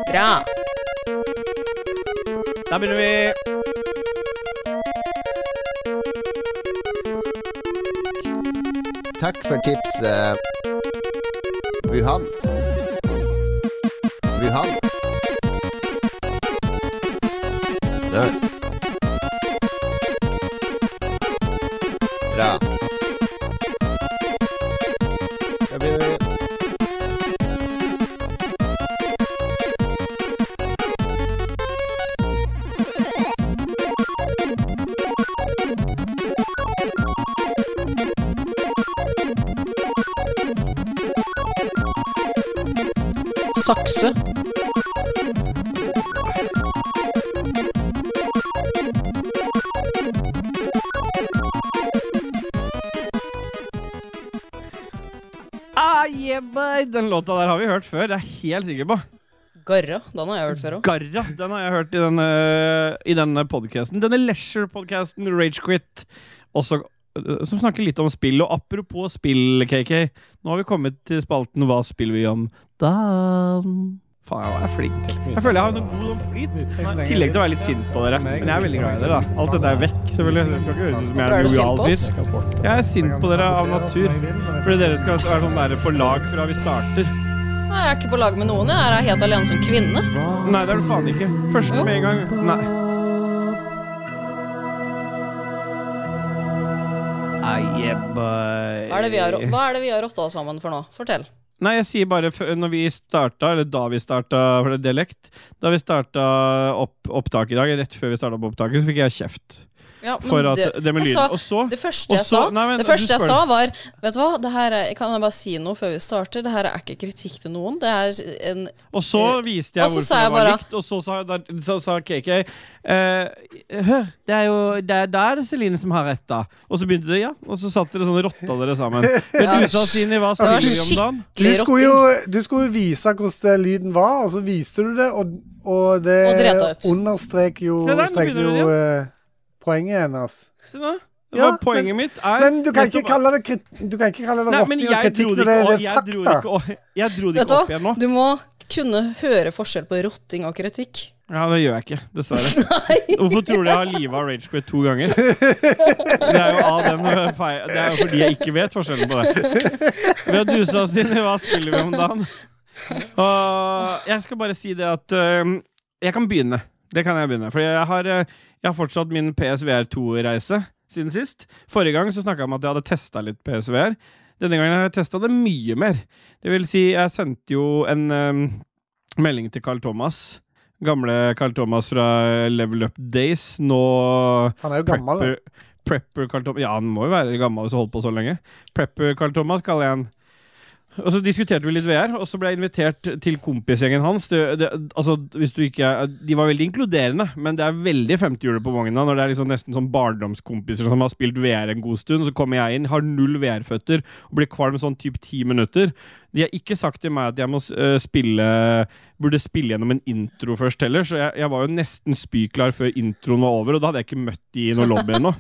Speaker 3: Bra.
Speaker 2: Da begynner vi.
Speaker 4: Takk for tipset. Wuhan. Wuhan. Ja. Bra. Da begynner vi.
Speaker 3: Sakse.
Speaker 2: Ah, yeah, boy. den låta der har vi hørt før, det er jeg helt sikker på.
Speaker 3: Garra. Den har jeg hørt før òg.
Speaker 2: Garra, den har jeg hørt i denne, i denne podcasten. Denne leisure-podcasten Ragequit. Også eh, som snakker litt om spill. Og apropos spill, KK, nå har vi kommet til spalten Hva spiller vi om? Dan. Faen, jeg er flink. Jeg føler jeg har en sånn god flyt. I tillegg til å være litt sint på dere. Men jeg er veldig glad i dere. da Alt dette er vekk, selvfølgelig. Det skal ikke høres ut som jeg
Speaker 3: Hvorfor er
Speaker 2: er
Speaker 3: du
Speaker 2: en
Speaker 3: sint på
Speaker 2: lojal
Speaker 3: oss?
Speaker 2: fyr. Jeg er sint på dere av natur. Fordi dere skal være sånn der på lag fra vi starter.
Speaker 3: Nei, jeg er ikke på lag med noen. Jeg er helt alene som kvinne.
Speaker 2: Nei, det er du faen ikke. Første med en gang. Nei.
Speaker 3: Hva er det vi har, hva er det vi har rotta oss sammen for nå? Fortell.
Speaker 2: Nei, jeg sier bare før- når vi starta, eller da vi starta, for det er dialekt Da vi starta opp, opptaket i dag, rett før vi starta opp opptaket, så fikk jeg kjeft
Speaker 3: Ja, men
Speaker 2: for at
Speaker 3: Mm, det-
Speaker 2: det, med
Speaker 3: jeg
Speaker 2: lyden.
Speaker 3: sa-
Speaker 2: Og så
Speaker 3: Det første
Speaker 2: Og
Speaker 3: jeg
Speaker 2: så-
Speaker 3: sa,
Speaker 2: nei, men
Speaker 3: det
Speaker 2: du
Speaker 3: første jeg
Speaker 2: spør.
Speaker 3: sa var Vet du hva, det her er, kan jeg bare si noe før vi starter? Det her er ikke kritikk til noen. Det er en
Speaker 2: Og så
Speaker 1: Eh,
Speaker 2: viste jeg
Speaker 3: Og så
Speaker 2: hvorfor
Speaker 3: sa
Speaker 2: det
Speaker 3: jeg
Speaker 2: var
Speaker 3: bare-
Speaker 2: likt, og så sa, da, så sa KK eh, Hør, det er jo det er, der Celine som har rett, da. Og så begynte det, ja. Og så satt dere sånn og rotta dere sammen. Men
Speaker 3: Ja,
Speaker 2: du sa, Celine, hva
Speaker 3: var
Speaker 2: spiller vi om dagen?
Speaker 1: Du
Speaker 3: skikkelig
Speaker 1: skulle,
Speaker 3: rotting.
Speaker 1: jo, du skulle jo vise hvordan det lyden var, og så viste du det, og, og det
Speaker 3: Og dreta ut.
Speaker 1: understreker jo,
Speaker 2: Se der, nå
Speaker 1: streker
Speaker 2: begynner
Speaker 1: jo eh, poenget hennes.
Speaker 2: Se nå. Det
Speaker 1: Ja,
Speaker 2: var poenget
Speaker 1: men-
Speaker 2: mitt er
Speaker 1: Men du kan ikke
Speaker 2: nettopp-
Speaker 1: kalle det, krit du kan ikke kalle det
Speaker 2: Nei, men
Speaker 1: rotting og
Speaker 2: jeg
Speaker 1: kritikk
Speaker 2: dro
Speaker 1: når det
Speaker 2: det ikke,
Speaker 1: det
Speaker 2: opp-
Speaker 1: er
Speaker 2: jeg dro det
Speaker 1: fakta.
Speaker 2: ikke, opp- jeg dro det
Speaker 3: Vet du
Speaker 2: ikke opp
Speaker 3: hva,
Speaker 2: igjen nå.
Speaker 3: du må kunne høre forskjell på rotting og kritikk.
Speaker 2: Ja, det gjør jeg ikke, dessverre. Hvorfor tror du jeg har livet av Ragequit to ganger? Det er jo av dem eh, feil Det er jo fordi jeg ikke vet forskjellen på det. Vi har dusa oss inn i hva spiller vi om dagen. Og jeg skal bare si det at eh, Jeg kan begynne. Det kan jeg begynne. For jeg har, eh, jeg har fortsatt min PSVR2-reise siden sist. Forrige gang så snakka jeg om at jeg hadde testa litt PSVR. Denne gangen har jeg testa det mye mer. Det vil si, jeg sendte jo en eh, melding til Carl Thomas. Gamle Carl Thomas fra Level Up Days. Nå
Speaker 1: Han er jo gammel. da.
Speaker 2: Prepper, prepper Carl Thomas Ja, han må jo være gammel hvis han holdt på så lenge. Prepper Carl Thomas kaller jeg han. Og så diskuterte vi litt VR, og så ble jeg invitert til kompisgjengen hans. Det, det, altså, hvis du ikke er, De var veldig inkluderende, men det er veldig 50-hjulet på vogna når det er liksom nesten sånn barndomskompiser som har spilt VR en god stund. Så kommer jeg inn, har null VR-føtter og blir kvalm sånn typ ti minutter. De har ikke sagt til meg at jeg må øh, spille burde spille gjennom en intro først heller, så jeg, jeg var jo nesten spyklar før introen var over, og da hadde jeg ikke møtt de i noen lobby ennå.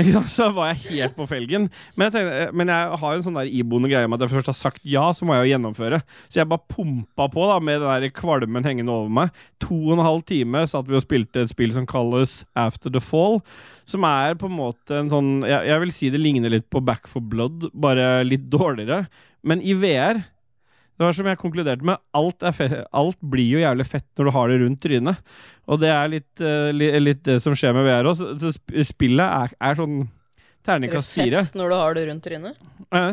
Speaker 2: Ikke sant? Så da var jeg helt på felgen. Men jeg, tenkte, men jeg har jo en sånn der iboende greie med at jeg først har sagt ja, så må jeg jo gjennomføre. Så jeg bare pumpa på da med den der kvalmen hengende over meg. To og en halv time satt vi og spilte et spill som kalles After the Fall, som er på en måte en sånn Jeg, jeg vil si det ligner litt på Back for Blood, bare litt dårligere. Men i VR det var som jeg konkluderte med, alt, er fe alt blir jo jævlig fett når du har det rundt trynet. Og det er litt, eh, li litt det som skjer med VR òg. Spillet er, er sånn terningkast fire.
Speaker 3: Fett når du har det rundt trynet.
Speaker 2: Eh.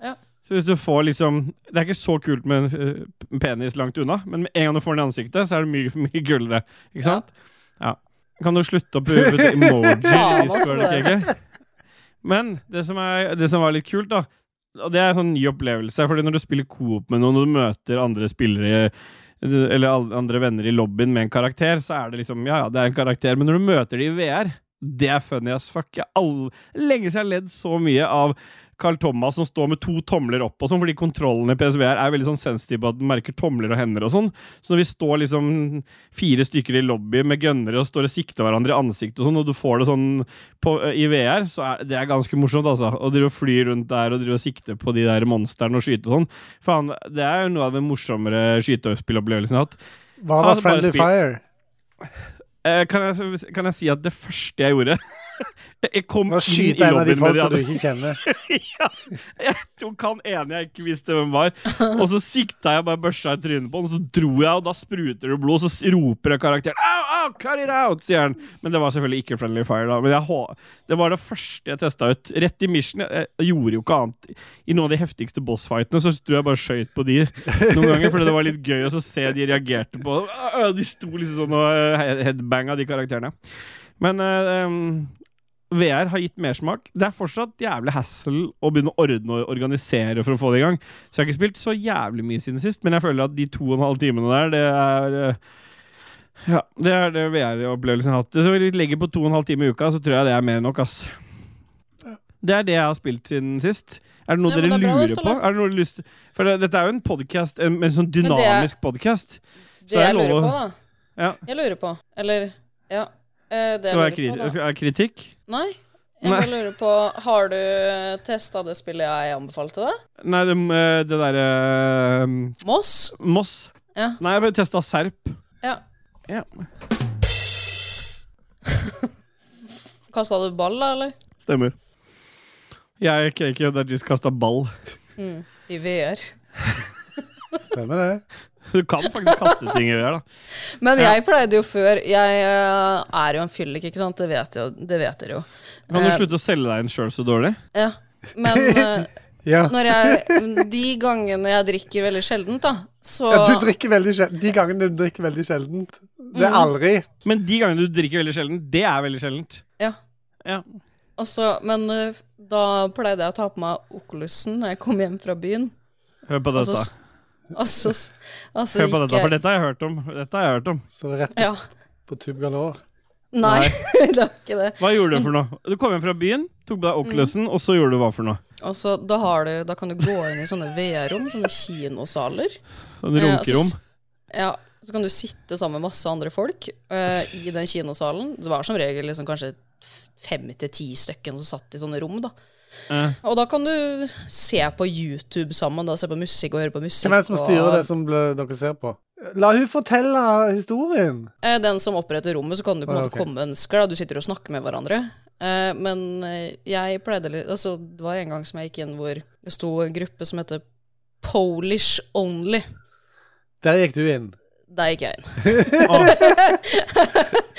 Speaker 3: Ja.
Speaker 2: Så hvis du får liksom Det er ikke så kult med en eh, penis langt unna, men med en gang du får den i ansiktet, så er det mye, mye kulere. Ikke
Speaker 3: Ja.
Speaker 2: sant? Ja. Kan du slutte å bruke emojier
Speaker 3: Faen,
Speaker 2: i
Speaker 3: altså.
Speaker 2: spørrekeket? Men det som, er, det som var litt kult, da Og det er en sånn ny opplevelse, fordi når du spiller coop med noen, og du møter andre spillere eller alle andre venner i lobbyen med en karakter, så er det liksom Ja, ja, det er en karakter, men når du møter de i VR det er funny as fuck. Jeg all... Lenge siden jeg har ledd så mye av Carl Thomas som står med to tomler opp og sånn, fordi kontrollen i PSVR er veldig sånn sensitiv på at den merker tomler og hender og sånn. Så når vi står liksom fire stykker i lobby med gønnere og står og sikter hverandre i ansiktet og sånn, og du får det sånn på, i VR, så er det er ganske morsomt, altså. Å drive og fly rundt der og drive og sikte på de der monstrene og skyte og sånn. Faen, det er jo noe av den morsommere skytespillopplevelsen jeg har hatt.
Speaker 1: Hva
Speaker 2: Han
Speaker 1: var
Speaker 2: hadde bare
Speaker 1: Friendly
Speaker 2: spilt-
Speaker 1: Fire?
Speaker 2: Eh, kan, jeg, kan jeg si at det første jeg gjorde Jeg kom
Speaker 1: Nå
Speaker 2: inn i
Speaker 1: skyter en av de
Speaker 2: lobbyen med de
Speaker 1: folka du
Speaker 2: andre.
Speaker 1: ikke kjenner.
Speaker 2: ja, jeg tok han ene jeg ikke visste hvem var, og så sikta jeg bare børsa i trynet på han, og så dro jeg, og da spruter det blod, og så s- roper jeg karakteren Au, au, cut it out, sier han. Men det var selvfølgelig ikke Friendly Fire, da. Men jeg, hå- det var det første jeg testa ut. Rett i Mission. Jeg, jeg gjorde jo ikke annet. I noen av de heftigste bossfightene så tror jeg bare skøyt på de noen ganger, fordi det var litt gøy å så se de reagerte på Au, au, De sto liksom sånn og eh, he- headbanga de karakterene. Men eh, em, VR har gitt mersmak. Det er fortsatt jævlig hassle å begynne å ordne og organisere for å få det i gang. Så jeg har ikke spilt så jævlig mye siden sist, men jeg føler at de to og en halv timene der, det er eh, Ja, det er det VR-opplevelsen jeg har hatt. Så hvis vi legger på to og en halv time i uka, så tror jeg det er mer enn nok, ass. Det er det jeg har spilt siden sist. Er det noe
Speaker 3: Ja, men
Speaker 2: dere
Speaker 3: det er bra,
Speaker 2: lurer
Speaker 3: det,
Speaker 2: på?
Speaker 3: Ståle.
Speaker 2: Er det noe du har lyst For det, dette er jo en podkast, en, en sånn
Speaker 3: det er-
Speaker 2: dynamisk podkast. Så
Speaker 3: Det
Speaker 2: jeg
Speaker 3: jeg lurer
Speaker 2: lover-
Speaker 3: på, da.
Speaker 2: Ja.
Speaker 3: Jeg lurer på. Eller Ja. eh, Det jeg
Speaker 2: Det var
Speaker 3: lurer på,
Speaker 2: kri-
Speaker 3: da.
Speaker 2: er kritikk.
Speaker 3: Nei. Jeg
Speaker 2: Nei.
Speaker 3: bare lurer på, har du testa det spillet jeg anbefalte deg?
Speaker 2: Nei, det, eh, det derre
Speaker 3: Moss?
Speaker 2: Moss.
Speaker 3: Ja.
Speaker 2: Nei, jeg bare testa Serp.
Speaker 3: ja.
Speaker 2: Ja.
Speaker 3: Kasta du ball, da, eller?
Speaker 2: Stemmer. Jeg er ikke Dajis kasta ball.
Speaker 3: I VR.
Speaker 1: Stemmer det.
Speaker 2: Du kan faktisk kaste ting i VR, da.
Speaker 3: Men
Speaker 2: Ja.
Speaker 3: jeg pleide jo før Jeg eh, er jo en fyllik, ikke sant? Det vet, jo, det vet dere jo.
Speaker 2: Kan du
Speaker 3: Eh,
Speaker 2: slutte å selge deg inn sjøl så dårlig?
Speaker 3: Ja. Men eh,
Speaker 1: Ja.
Speaker 3: når jeg, de gangene jeg drikker veldig sjeldent, da, så
Speaker 1: ja, du drikker veldig sjeldent. De gangene du drikker veldig sjeldent. Det er aldri.
Speaker 2: Men de gangene du drikker veldig sjelden, det er veldig sjeldent.
Speaker 3: Ja.
Speaker 2: Ja.
Speaker 3: Og så- men eh, da pleide jeg å ta på meg okulusen når jeg kom hjem fra byen.
Speaker 2: Hør på
Speaker 3: Og
Speaker 2: dette.
Speaker 3: så, og så, og så
Speaker 2: Hør på
Speaker 3: gikk
Speaker 2: dette, for
Speaker 3: Altså, jeg
Speaker 2: dette har jeg hørt om. Dette har jeg hørt om.
Speaker 1: Så det er rett
Speaker 3: Ja.
Speaker 1: på tube galore.
Speaker 3: Nei, det var ikke det.
Speaker 2: Hva gjorde du for noe? Du kom hjem fra byen, tok på deg Oculusen, og så gjorde du hva for noe?
Speaker 3: Og så da, har du, da kan du gå inn i sånne VR-rom, sånne kinosaler.
Speaker 2: En
Speaker 3: Eh, og så
Speaker 2: Sånn runkerom?
Speaker 3: s- Ja, så kan du sitte sammen med masse andre folk eh, i den kinosalen. Det var som regel liksom kanskje f- fem til ti stykken som satt i sånne rom, da.
Speaker 2: Eh.
Speaker 3: Og da kan du se på YouTube sammen, da, se på musikk og høre på musikk.
Speaker 1: Hvem er det som styrer
Speaker 3: og,
Speaker 1: det som ble, dere ser på? La hun fortelle historien!
Speaker 3: Eh, Den som oppretter rommet, så kan du på en
Speaker 1: Ah,
Speaker 3: måte
Speaker 1: ok.
Speaker 3: komme med ønsker. Da. Du sitter og snakker med hverandre. Eh, men eh, jeg pleide litt altså, Det var en gang som jeg gikk inn hvor det sto en gruppe som heter Polish Only.
Speaker 1: Der gikk du inn.
Speaker 3: Der gikk jeg inn.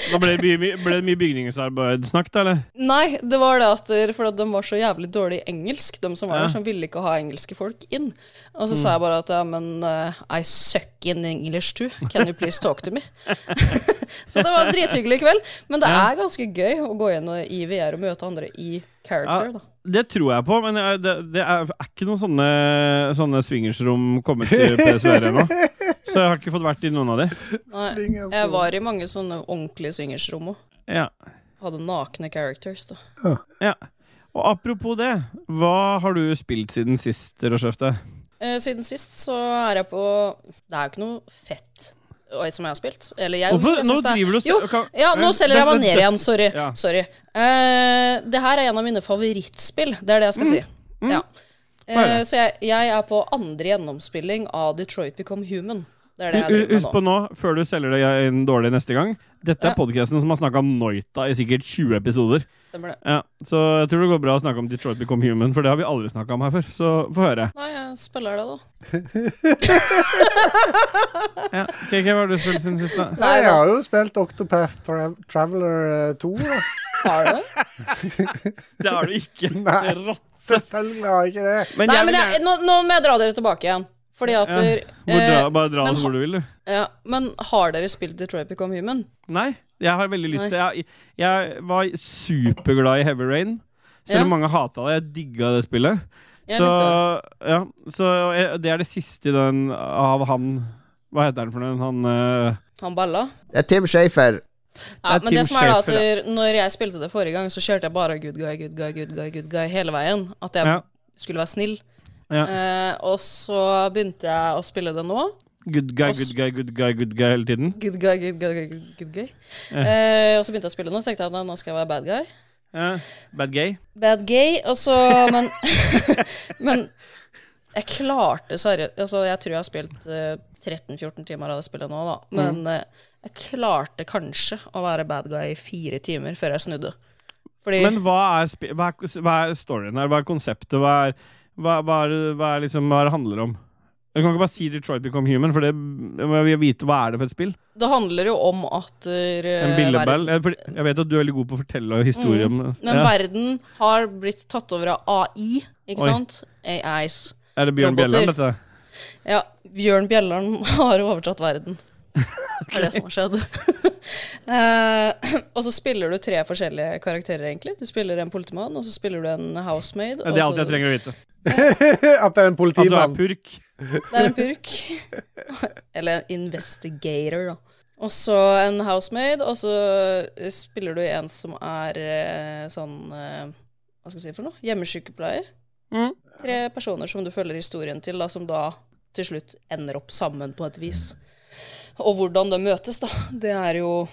Speaker 2: Da ble det mye, mye- ble det mye bygningsarbeidssnakk, da, eller?
Speaker 3: Nei, det var det at eh, For at de var så jævlig dårlig i engelsk, de som var
Speaker 2: Ja. Mm.
Speaker 3: der, som ville ikke ha engelske folk inn. Og så sa jeg bare at ja, men eh, I suck in English too. Can you please talk to me? så det var en drithyggelig kveld. Men det er ganske gøy å gå inn i VR og møte andre i character, da.
Speaker 2: Det tror jeg på, men jeg, det, det er, er ikke noen sånne, sånne swingersrom kommet til PSVR ennå. Så jeg har ikke fått vært i noen av de.
Speaker 3: Nei,
Speaker 1: Swingers,
Speaker 3: jeg var i mange sånne ordentlige swingersrom òg.
Speaker 2: Ja.
Speaker 3: Hadde nakne characters, da.
Speaker 2: ja. Og apropos det, hva har du spilt siden sist, Roshefte?
Speaker 3: Eh, siden sist så er jeg på Det er jo ikke noe fett oi, som jeg har spilt. Eller jeg,
Speaker 2: Hvorfor?
Speaker 3: jeg
Speaker 2: Nå
Speaker 3: synes det er-
Speaker 2: driver du og
Speaker 3: Jo,
Speaker 2: se- kan-
Speaker 3: ja, nå
Speaker 2: Vent,
Speaker 3: selger jeg
Speaker 2: vent,
Speaker 3: meg ned
Speaker 2: vent.
Speaker 3: igjen. Sorry.
Speaker 2: Ja.
Speaker 3: Sorry. Eh, det her er en av mine favorittspill. Det er det jeg skal si. Ja.
Speaker 2: Mm. Hva er
Speaker 3: Eh, så jeg, jeg er på andre gjennomspilling av Detroit Become Human. Det er det jeg
Speaker 2: Hu-
Speaker 3: driver med
Speaker 2: Husk
Speaker 3: nå.
Speaker 2: på nå, før du selger deg inn dårlig neste gang Dette er
Speaker 3: Ja.
Speaker 2: podcasten som har snakket om Noita i sikkert 20 episoder
Speaker 3: Stemmer det.
Speaker 2: ja, Så jeg tror det går bra å snakke om Detroit Become Human For det har vi aldri snakket om her før Så få høre
Speaker 3: Nei, jeg spiller det, da.
Speaker 2: ja. KK, hva har du spilt siden sist da?
Speaker 1: Nei,
Speaker 3: Nei,
Speaker 1: jeg
Speaker 3: da.
Speaker 1: har jo spilt Octopath Tra Traveler eh, 2. Da.
Speaker 3: Har du det?
Speaker 2: Det har du ikke
Speaker 1: Nei.
Speaker 2: Det er rått
Speaker 1: Selvfølgelig har jeg ikke det.
Speaker 2: Men
Speaker 3: Nei,
Speaker 2: jeg
Speaker 3: men
Speaker 2: vil
Speaker 3: jeg, nå, nå må jeg dra dere tilbake igjen. Fordi at
Speaker 2: Ja.
Speaker 3: dere,
Speaker 2: gjerne- Hvor
Speaker 3: eh,
Speaker 2: dra, Bare dra
Speaker 3: men
Speaker 2: oss
Speaker 3: ha-
Speaker 2: hvor du vil du
Speaker 3: ja, Men har dere spilt Detroit Become Human?
Speaker 2: Nei, jeg har veldig lyst til jeg, jeg var superglad i Heavy Rain Selv om
Speaker 3: Ja.
Speaker 2: mange hatet det, jeg digget det spillet
Speaker 3: Jeg
Speaker 2: så,
Speaker 3: likte det.
Speaker 2: ja, så jeg- det er det siste i den av han Hva heter han for noen? Han eh,
Speaker 3: Han balla.
Speaker 4: Det er Tim Shafer.
Speaker 3: Ja,
Speaker 2: Det er
Speaker 3: men det
Speaker 2: Tim
Speaker 3: som er da at
Speaker 2: Schafer,
Speaker 3: dere- Når jeg spilte det forrige gang, så kjørte jeg bare good guy, good guy, good guy good guy hele veien. At jeg
Speaker 2: Ja.
Speaker 3: skulle være snill.
Speaker 2: Ja.
Speaker 3: Eh, og så begynte jeg å spille det nå.
Speaker 2: Good guy,
Speaker 3: Og s-
Speaker 2: good guy, good guy, good guy hele tiden.
Speaker 3: Good guy, good guy, good guy. Good guy. Eh, og så begynte jeg å spille det nå, så tenkte jeg at nei, nå skal jeg være bad guy.
Speaker 2: Ja. Bad gay.
Speaker 3: Bad gay, og så Men, men jeg klarte seriøst altså, Jeg tror jeg har spilt eh, 13-14 timer av det spillet nå, da. Men
Speaker 2: Mm.
Speaker 3: eh, jeg klarte kanskje å være bad guy i fire timer før jeg snudde. Fordi
Speaker 2: Men hva er, spi- hva, er, hva er storyen her? Hva er konseptet? Hva er, hva, hva er, hva er liksom, hva det handler om? Du kan ikke bare si Detroit Become Human, for det jeg vil vite hva er det for et spill.
Speaker 3: det handler jo om at eh,
Speaker 2: En
Speaker 3: verden-
Speaker 2: billeball. Jeg, fordi- jeg vet at du er veldig god på å fortelle historier om det.
Speaker 3: Mm. Men
Speaker 2: ja.
Speaker 3: verden har blitt tatt over av AI, ikke
Speaker 2: Oi.
Speaker 3: sant? AIs.
Speaker 2: Er det Bjørn
Speaker 3: roboter.
Speaker 2: Bjelland, dette?
Speaker 3: Ja, Bjørn Bjelland har overtatt verden. Det er det som har skjedd. Eh, og så spiller du tre forskjellige karakterer, egentlig. Du spiller en politimann, og så spiller du en housemaid.
Speaker 2: Ja, det er
Speaker 3: og
Speaker 2: alt
Speaker 3: så-
Speaker 2: jeg trenger å vite.
Speaker 1: At det er en
Speaker 2: At du er
Speaker 1: politimann.
Speaker 2: purk.
Speaker 3: Det er en purk. Eller en investigator, da. Og så en housemaid, og så spiller du en som er eh, sånn eh, Hva skal jeg si for noe? Hjemmesykepleier.
Speaker 2: Mm.
Speaker 3: Tre personer som du følger historien til, da, som da til slutt ender opp sammen på et vis. Og hvordan det møtes, da, det er jo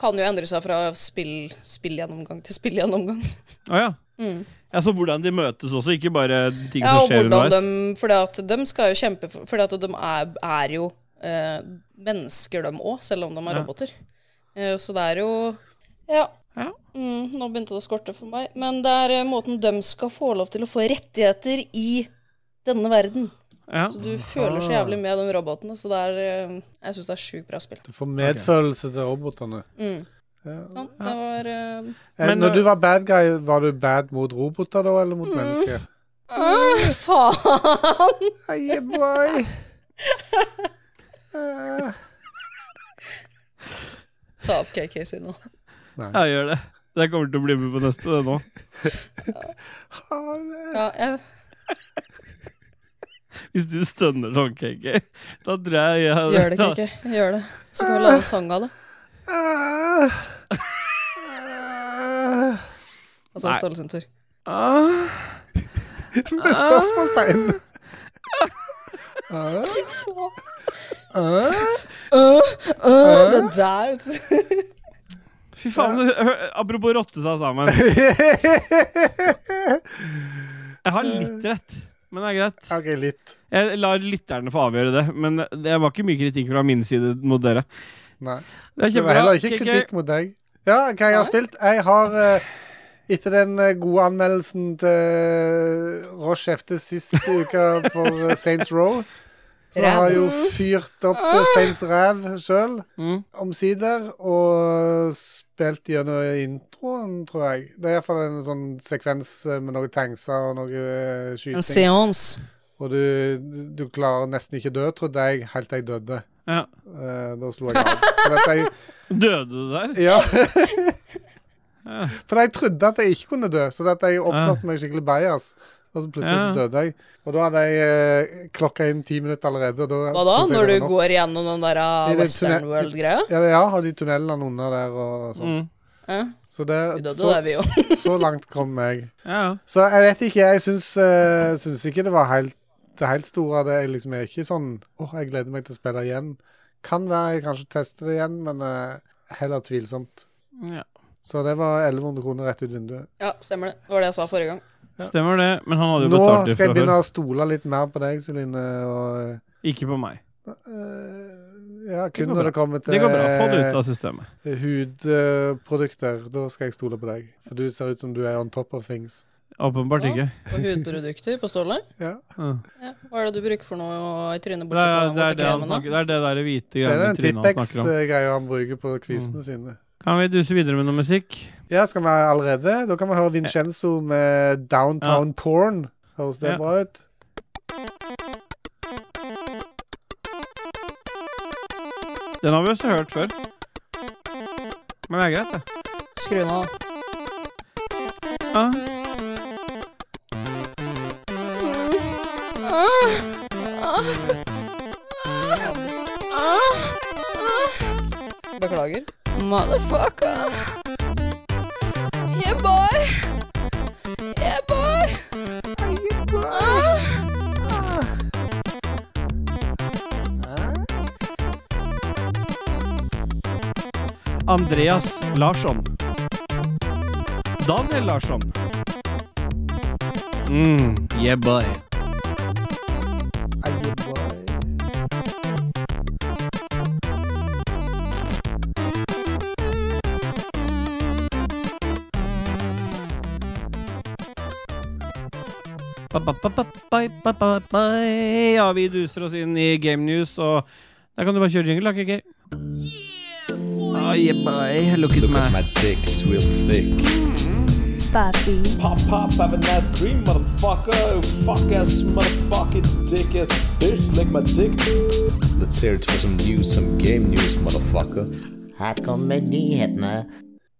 Speaker 3: kan jo endre seg fra spill, spillgjennomgang til spillgjennomgang.
Speaker 2: Å ja.
Speaker 3: Mm.
Speaker 2: ja. Så hvordan de møtes også, ikke bare ting som
Speaker 3: Ja, og
Speaker 2: skjer
Speaker 3: hvordan
Speaker 2: underveis.
Speaker 3: de Fordi at de skal jo kjempe for Fordi at de er, er jo eh, mennesker, de òg, selv om de er
Speaker 2: Ja.
Speaker 3: roboter. Eh, så det er jo Ja.
Speaker 2: Ja.
Speaker 3: Mm, nå begynte det å skorte for meg. Men det er eh, måten de skal få lov til å få rettigheter i denne verden.
Speaker 2: Ja.
Speaker 3: Så du føler så jævlig med de robotene, så det er eh, Jeg syns det er sjukt bra spill.
Speaker 1: Du får medfølelse til robotene.
Speaker 3: Mm.
Speaker 1: Ja.
Speaker 3: Ja, det var eh,
Speaker 1: Eh,
Speaker 2: Men,
Speaker 1: Når
Speaker 2: eh,
Speaker 1: du var bad guy, var du bad mot roboter da, eller mot mennesker?
Speaker 3: ah, Faen!
Speaker 1: Hey, boy. Eh,
Speaker 3: Ta opp KK sin nå.
Speaker 2: ja, gjør det. Det kommer til å bli med på neste, det nå.
Speaker 1: ha det.
Speaker 3: Ja, jeg,
Speaker 2: Hvis du stønner sånn, KK, da tror jeg jeg
Speaker 3: gjør det, KK. Gjør det. Så kan vi lage en sang av det.
Speaker 1: Eh, eh,
Speaker 3: Altså
Speaker 2: Nei.
Speaker 3: Ståle sin tur.
Speaker 2: Ah.
Speaker 1: Med spørsmålstegn. Eh, eh,
Speaker 3: det der
Speaker 2: Fy faen, det- hør, apropos rotte seg sammen. Jeg har litt rett, men det er greit.
Speaker 1: OK, litt.
Speaker 2: Jeg lar lytterne få avgjøre det, men det var ikke mye kritikk fra min side mot dere.
Speaker 1: Nei. Det
Speaker 2: Det er
Speaker 1: var
Speaker 2: kjempebra.
Speaker 1: heller ikke
Speaker 2: KK.
Speaker 1: kritikk mot deg. Ja, hva jeg har
Speaker 3: Nei.
Speaker 1: spilt? Jeg har eh, etter den eh, gode anmeldelsen til Roche Hefte sist uke for eh, Saints Row, så har jeg jo fyrt opp eh, Saints Ræv sjøl,
Speaker 2: Ah. Mm.
Speaker 1: omsider, og eh, spilt gjennom introen, tror jeg. Det er iallfall en sånn sekvens eh, med noen tankser og noe eh,
Speaker 3: En
Speaker 1: skyting.
Speaker 3: seanse.
Speaker 1: Og du, du klarer nesten ikke dø, trodde jeg, helt til jeg døde.
Speaker 2: Ja.
Speaker 1: Eh, da slo jeg av. Så dette er jo
Speaker 2: Døde du der?
Speaker 1: Ja.
Speaker 2: Ja.
Speaker 1: For jeg trodde at jeg ikke kunne dø, så at jeg oppførte meg skikkelig bajas. Og så plutselig
Speaker 2: Ah. Ja.
Speaker 1: så døde jeg. Og da hadde jeg eh, klokka inn ti minutter allerede. Og da,
Speaker 3: Hva
Speaker 1: syntes
Speaker 3: da,
Speaker 1: jeg
Speaker 3: når
Speaker 1: det
Speaker 3: du
Speaker 1: var nok.
Speaker 3: går gjennom den der
Speaker 1: I
Speaker 3: uh,
Speaker 1: det
Speaker 3: Western
Speaker 1: tunne-
Speaker 3: World-greia?
Speaker 1: Ja, ja, har de tunnelene under der og sånn.
Speaker 2: Mm.
Speaker 3: Ja.
Speaker 1: Så, det,
Speaker 3: Vi døde
Speaker 1: så,
Speaker 3: der, vi
Speaker 1: så langt kom jeg.
Speaker 2: Ja, ja.
Speaker 1: Så jeg vet ikke, jeg syns, eh, syns ikke det var helt, det helt store av det. Jeg liksom er ikke sånn åh, jeg gleder meg til å spille igjen. Kan være jeg kanskje tester det igjen, men eh, heller tvilsomt.
Speaker 2: ja.
Speaker 1: Så det var 1100 kroner rett ut vinduet.
Speaker 3: ja, stemmer det. Det var det jeg sa forrige gang.
Speaker 2: Stemmer det, men han hadde jo
Speaker 1: Nå
Speaker 2: betalt det
Speaker 1: skal jeg
Speaker 2: fra
Speaker 1: begynne
Speaker 2: før.
Speaker 1: å stole litt mer på deg, Celine. Og,
Speaker 2: Ikke på meg.
Speaker 1: øh, ja,
Speaker 2: går
Speaker 1: kun
Speaker 2: bra.
Speaker 1: når det kommer til
Speaker 2: Det går bra. Få det ut av systemet.
Speaker 1: hudprodukter. Da skal jeg stole på deg. For du ser ut som du er on top of things.
Speaker 2: Åpenbart
Speaker 3: Ja.
Speaker 2: ikke.
Speaker 3: Og hudprodukter på Ståle.
Speaker 1: Ja.
Speaker 2: Ja.
Speaker 3: Ja. Hva er det du bruker for noe i trynet,
Speaker 2: Det er det,
Speaker 3: bortsett
Speaker 2: er
Speaker 3: fra
Speaker 2: det, han snakker,
Speaker 3: den
Speaker 2: det
Speaker 3: bortekremen?
Speaker 2: er det der hvite
Speaker 1: Det er eh,
Speaker 2: greiene i
Speaker 1: den
Speaker 2: trynet han snakker om. Mm.
Speaker 1: Tippex-greia han bruker på kvisene sine.
Speaker 2: Kan vi duse videre med noe musikk?
Speaker 1: Ja, skal vi allerede? Da kan vi høre Vincenzo med Downtown Porn. Høres det
Speaker 2: Ja.
Speaker 1: bra ut?
Speaker 2: Den har vi også hørt før. Men det er greit, det.
Speaker 3: Skru den av.
Speaker 2: Ja.
Speaker 3: Beklager. Motherfucker. Yeah, boy. Yeah, boy.
Speaker 2: Andreas Larsson. Daniel Larsson. Mm, yeah, boy. Ba, ba, ba, ba, ba, ba, ba, ba. Ja, vi duser oss inn i Game News, og der kan du bare kjøre jingle, da, KK. Ah, yeah, boy. Look at meg.
Speaker 5: My dick's real thick. Pop pop, have a nice dream, motherfucker. Fuck ass, motherfucking dick ass bitch, lick my dick. Let's hear it for some news, some game news, motherfucker.
Speaker 6: Her kommer nyhetene.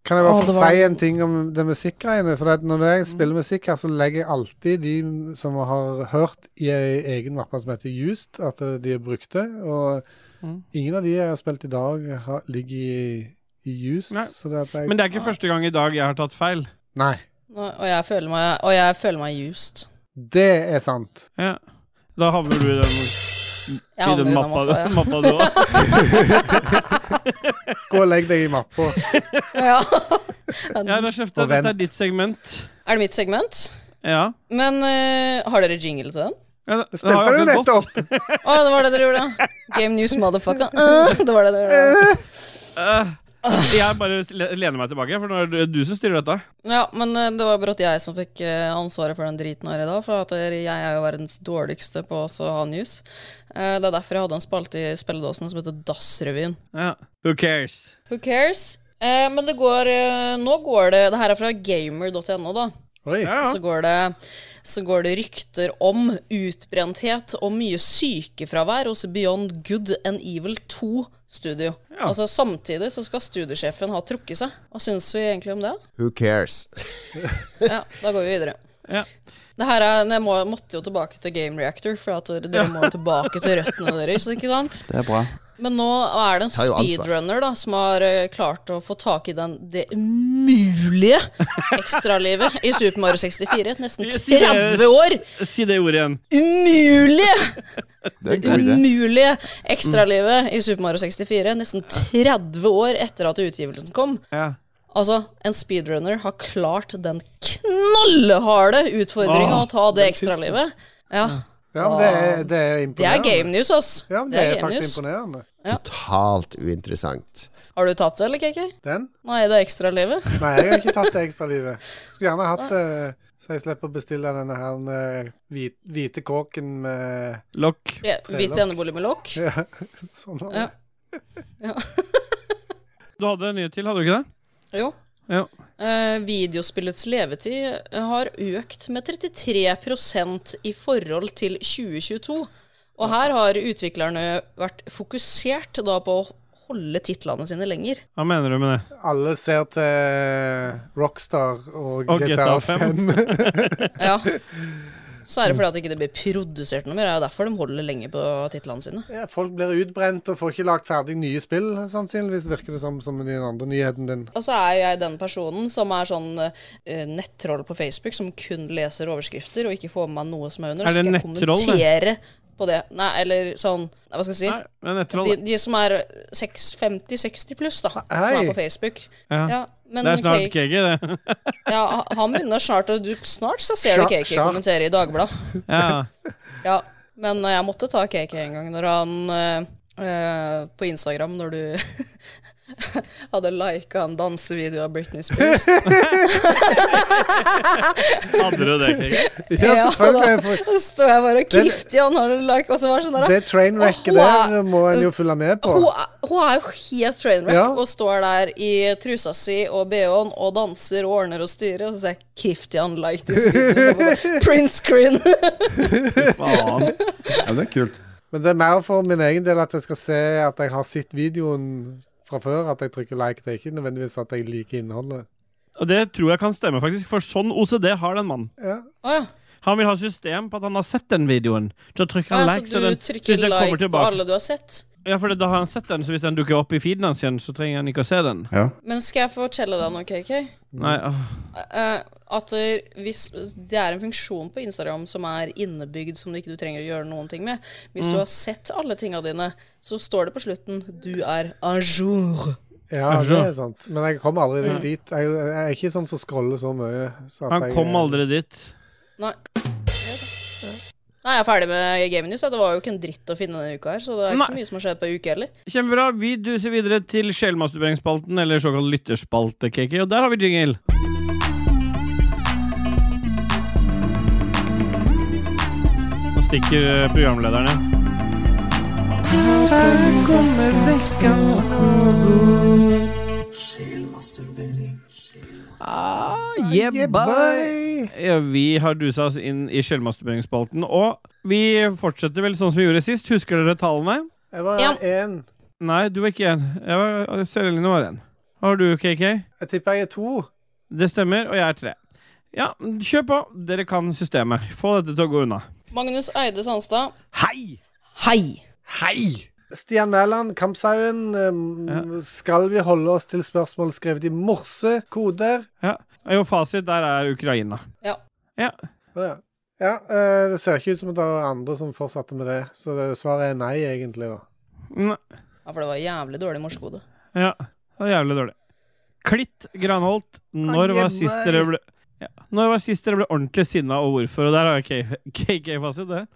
Speaker 1: Kan jeg bare
Speaker 3: Å,
Speaker 1: få
Speaker 3: det var-
Speaker 1: si en ting om det musikkgreiene? For at når
Speaker 2: Mm.
Speaker 1: jeg spiller musikk her, så legger jeg alltid de som har hørt i ei egen mappe som heter Used, at eh, de er brukte. Og
Speaker 2: Mm.
Speaker 1: ingen av de jeg har spilt i dag, har, ligger i, i Used.
Speaker 2: Nei.
Speaker 1: Så det at jeg
Speaker 2: Men det er ikke første gang i dag jeg har tatt feil.
Speaker 1: Nei.
Speaker 3: Nå, og, jeg føler meg, og jeg føler meg used.
Speaker 1: Det er sant.
Speaker 2: Ja. Da havner du i den
Speaker 3: Jeg
Speaker 2: I den
Speaker 3: havner i den
Speaker 2: mappa,
Speaker 3: mappa. ja.
Speaker 2: mappa du har.
Speaker 1: Gå og legg deg i mappa.
Speaker 3: Ja.
Speaker 2: Ja, Rashefte,
Speaker 1: Og vent.
Speaker 2: dette er ditt segment.
Speaker 3: Er det mitt segment?
Speaker 2: Ja.
Speaker 3: Men eh, har dere jingle til den?
Speaker 2: ja det-
Speaker 1: Det
Speaker 2: det
Speaker 1: spilte
Speaker 2: har
Speaker 1: du
Speaker 2: akkurat gått.
Speaker 1: nettopp!
Speaker 3: Å, det var det dere gjorde, ja. Game news motherfucker. Eh, det var det dere gjorde.
Speaker 2: Eh, jeg bare le- lener meg tilbake, for nå er det du som styrer dette.
Speaker 3: Ja, men eh, det var jo brått jeg som fikk eh, ansvaret for den driten her i dag, for at eh, jeg er jo verdens dårligste på også å ha news. Eh, det er derfor jeg hadde en spalte i spilledåsen som heter Dassrevyen.
Speaker 2: Ja. Who cares?
Speaker 3: Who cares? Eh, men det går eh, Nå går det Det her er fra gamer.no, da.
Speaker 1: Oi.
Speaker 2: Ja,
Speaker 3: Så,
Speaker 2: ja.
Speaker 3: går det, så går det rykter om utbrenthet og mye sykefravær hos Beyond Good and Evil 2 studio.
Speaker 2: Ja.
Speaker 3: Altså Samtidig så skal studiosjefen ha trukket seg. Hva syns vi egentlig om det?
Speaker 4: Who cares?
Speaker 3: Ja, Da går vi videre.
Speaker 2: Ja.
Speaker 3: Det her er, jeg må, måtte jo tilbake til Game Reactor, for at dere, dere må jo tilbake til røttene deres. ikke sant?
Speaker 4: Det er bra.
Speaker 3: Men nå er det en
Speaker 4: Tar jo ansvar.
Speaker 3: speedrunner da, som har eh, klart å få tak i den, det umulige ekstralivet i Super Mario 64. Nesten
Speaker 2: Jeg sier-
Speaker 3: 30 år!
Speaker 2: Si det ordet igjen.
Speaker 3: Umulige!
Speaker 4: Det er en god idé.
Speaker 3: Umulige ekstralivet i Super Mario 64. Nesten 30 år etter at utgivelsen kom.
Speaker 2: Ja.
Speaker 3: Altså, en speedrunner har klart den knallharde utfordringa
Speaker 2: Ah,
Speaker 3: å ta det
Speaker 1: den tissen.
Speaker 3: ekstralivet. Ja,
Speaker 1: Ja, men det er, det er
Speaker 3: det er
Speaker 1: imponerende.
Speaker 3: game news, ass.
Speaker 1: Ja, men det er faktisk imponerende.
Speaker 4: Totalt uinteressant.
Speaker 3: Har du tatt det, eller, KK?
Speaker 1: Den?
Speaker 3: Nei, det er ekstralivet.
Speaker 1: Nei, jeg har ikke tatt det ekstralivet. Skulle gjerne hatt det, så jeg slipper å bestille denne her eh, hvit, hvite kåken med
Speaker 2: Lokk.
Speaker 3: Ja, Hvit
Speaker 1: Trelokk.
Speaker 3: enebolig med lokk.
Speaker 1: ja, sånn.
Speaker 3: Ja.
Speaker 2: Du hadde en nyhet til, hadde du ikke det?
Speaker 3: Jo.
Speaker 2: Ja.
Speaker 3: Eh, videospillets levetid eh, har økt med 33 i forhold til 2022. Og her har utviklerne vært fokusert da på å holde titlene sine lenger.
Speaker 2: Hva mener du med det?
Speaker 1: Alle ser til Rockstar og,
Speaker 2: Og
Speaker 1: GTA
Speaker 2: GTA
Speaker 1: 5.
Speaker 3: Ja. Så er det fordi at det ikke blir produsert noe mer. Det er jo derfor de holder lenge på titlene sine.
Speaker 1: ja, folk blir utbrent og får ikke lagt ferdig nye spill, sannsynligvis, virker det som, som i den andre nyheten din.
Speaker 3: Og så er jeg den personen som er sånn eh, nettroll på Facebook, som kun leser overskrifter og ikke får med meg noe som er under.
Speaker 2: Er det
Speaker 3: så skal jeg
Speaker 2: nettroll, det?
Speaker 3: kommentere på det. Nei, eller sånn Nei, hva skal jeg si?
Speaker 2: Nei, men etter
Speaker 3: De,
Speaker 2: alle.
Speaker 3: de som er 50-60 pluss, da, som
Speaker 1: Hei.
Speaker 3: er på Facebook.
Speaker 2: Ja.
Speaker 3: Ja, men
Speaker 2: Det er snart
Speaker 3: Kay-
Speaker 2: KG, det.
Speaker 3: ja, ha- han begynner snart, og du, snart så ser
Speaker 1: Sja-
Speaker 3: du KK
Speaker 1: sjart.
Speaker 3: kommentere i Dagbladet.
Speaker 2: Ja.
Speaker 3: Ja, men eh, jeg måtte ta KK en gang når han eh, eh, på Instagram, når du hadde lika en dansevideo av Britney Spears.
Speaker 2: Hadde du det, KG?
Speaker 1: Ja,
Speaker 3: Ja,
Speaker 1: selvfølgelig. For
Speaker 3: Så står jeg bare og krifter i han har en like, og så var det sånn der
Speaker 1: det trainwrecket
Speaker 3: Og hun er-
Speaker 1: der må en jo følge med på.
Speaker 3: hun, er- hun er jo helt trainwreck
Speaker 1: Ja.
Speaker 3: og står der i trusa si og BH-en og danser og ordner og styrer, og så sier jeg 'Kriftian like this video'. Bare, Print screen.
Speaker 2: Faen.
Speaker 5: Ja, det er kult.
Speaker 1: Men det er mer for min egen del at jeg skal se at jeg har sett videoen fra før, at jeg trykker like. Det er ikke nødvendigvis at jeg liker innholdet.
Speaker 2: Og det tror jeg kan stemme, faktisk, for sånn OCD har den mannen.
Speaker 1: Ja.
Speaker 3: Å ja.
Speaker 2: Han vil ha system på at han har sett den videoen. Så trykker
Speaker 3: Å
Speaker 2: han
Speaker 3: ja,
Speaker 2: like.
Speaker 3: så
Speaker 2: den-
Speaker 3: du trykker
Speaker 2: hvis den kommer
Speaker 3: like på
Speaker 2: tilbake-
Speaker 3: alle du har sett?
Speaker 2: Ja, for da har han sett den, så hvis den dukker opp i feeden hans igjen, så trenger han ikke å se den.
Speaker 5: Ja.
Speaker 3: Men skal jeg fortelle deg noe, KK?
Speaker 2: Nei, åh.
Speaker 3: Eh, at der, hvis, det er en funksjon på Instagram som er innebygd, som du ikke du trenger å gjøre noen ting med. Hvis du har sett alle tinga dine, så står det på slutten 'du er à jour'.
Speaker 1: ja, det er sant. Men jeg kommer aldri litt dit. Jeg, jeg er ikke sånn som scroller så mye. Så at
Speaker 2: Han
Speaker 1: jeg,
Speaker 2: kom aldri dit.
Speaker 3: Nei. Nei, jeg er ferdig med Game News. ja. Det var jo ikke en dritt å finne denne uka her, så det er ikke
Speaker 2: Nei.
Speaker 3: så mye som har skjedd på ei uke heller.
Speaker 2: Kjempebra. Vi duser videre til sjelmasturberingsspalten, eller såkalt lytterspalte, KK. Og der har vi jingle. Nå stikker eh, programlederne. Ah, yeah,
Speaker 1: Yeah,
Speaker 2: bye.
Speaker 1: bye.
Speaker 2: Ja, vi har dusa oss inn i sjelmasturberingsspalten, og vi fortsetter vel sånn som vi gjorde sist. Husker dere tallene?
Speaker 1: Jeg var
Speaker 3: Ja.
Speaker 1: én.
Speaker 2: Nei, du var ikke en. Jeg var, Sørline var en. Har du, KK?
Speaker 1: Jeg tipper jeg er to.
Speaker 2: Det stemmer, og jeg er tre. Ja, kjør på. Dere kan systemet. Få dette til å gå unna.
Speaker 3: Magnus Eide Sandstad.
Speaker 1: Hei!
Speaker 3: Hei!
Speaker 1: Hei! Stian Mæland, Kampshaugen, um, skal vi holde oss til spørsmål skrevet i morse? Koder?
Speaker 2: Ja. Jo, fasit der er Ukraina.
Speaker 3: Ja.
Speaker 2: Ja.
Speaker 1: Å ja. Ja, eh, det ser ikke ut som at det er andre som fortsatte med det, så det, svaret er nei, egentlig. da.
Speaker 2: Nei.
Speaker 3: Ja, for det var jævlig dårlig morsekode.
Speaker 2: Mm, Ja, det var jævlig dårlig. Klitt Granholt, når var sist dere ble ja. Når var sist dere ble ordentlig sinna, og hvorfor? Og der har jeg KK-fasit, det.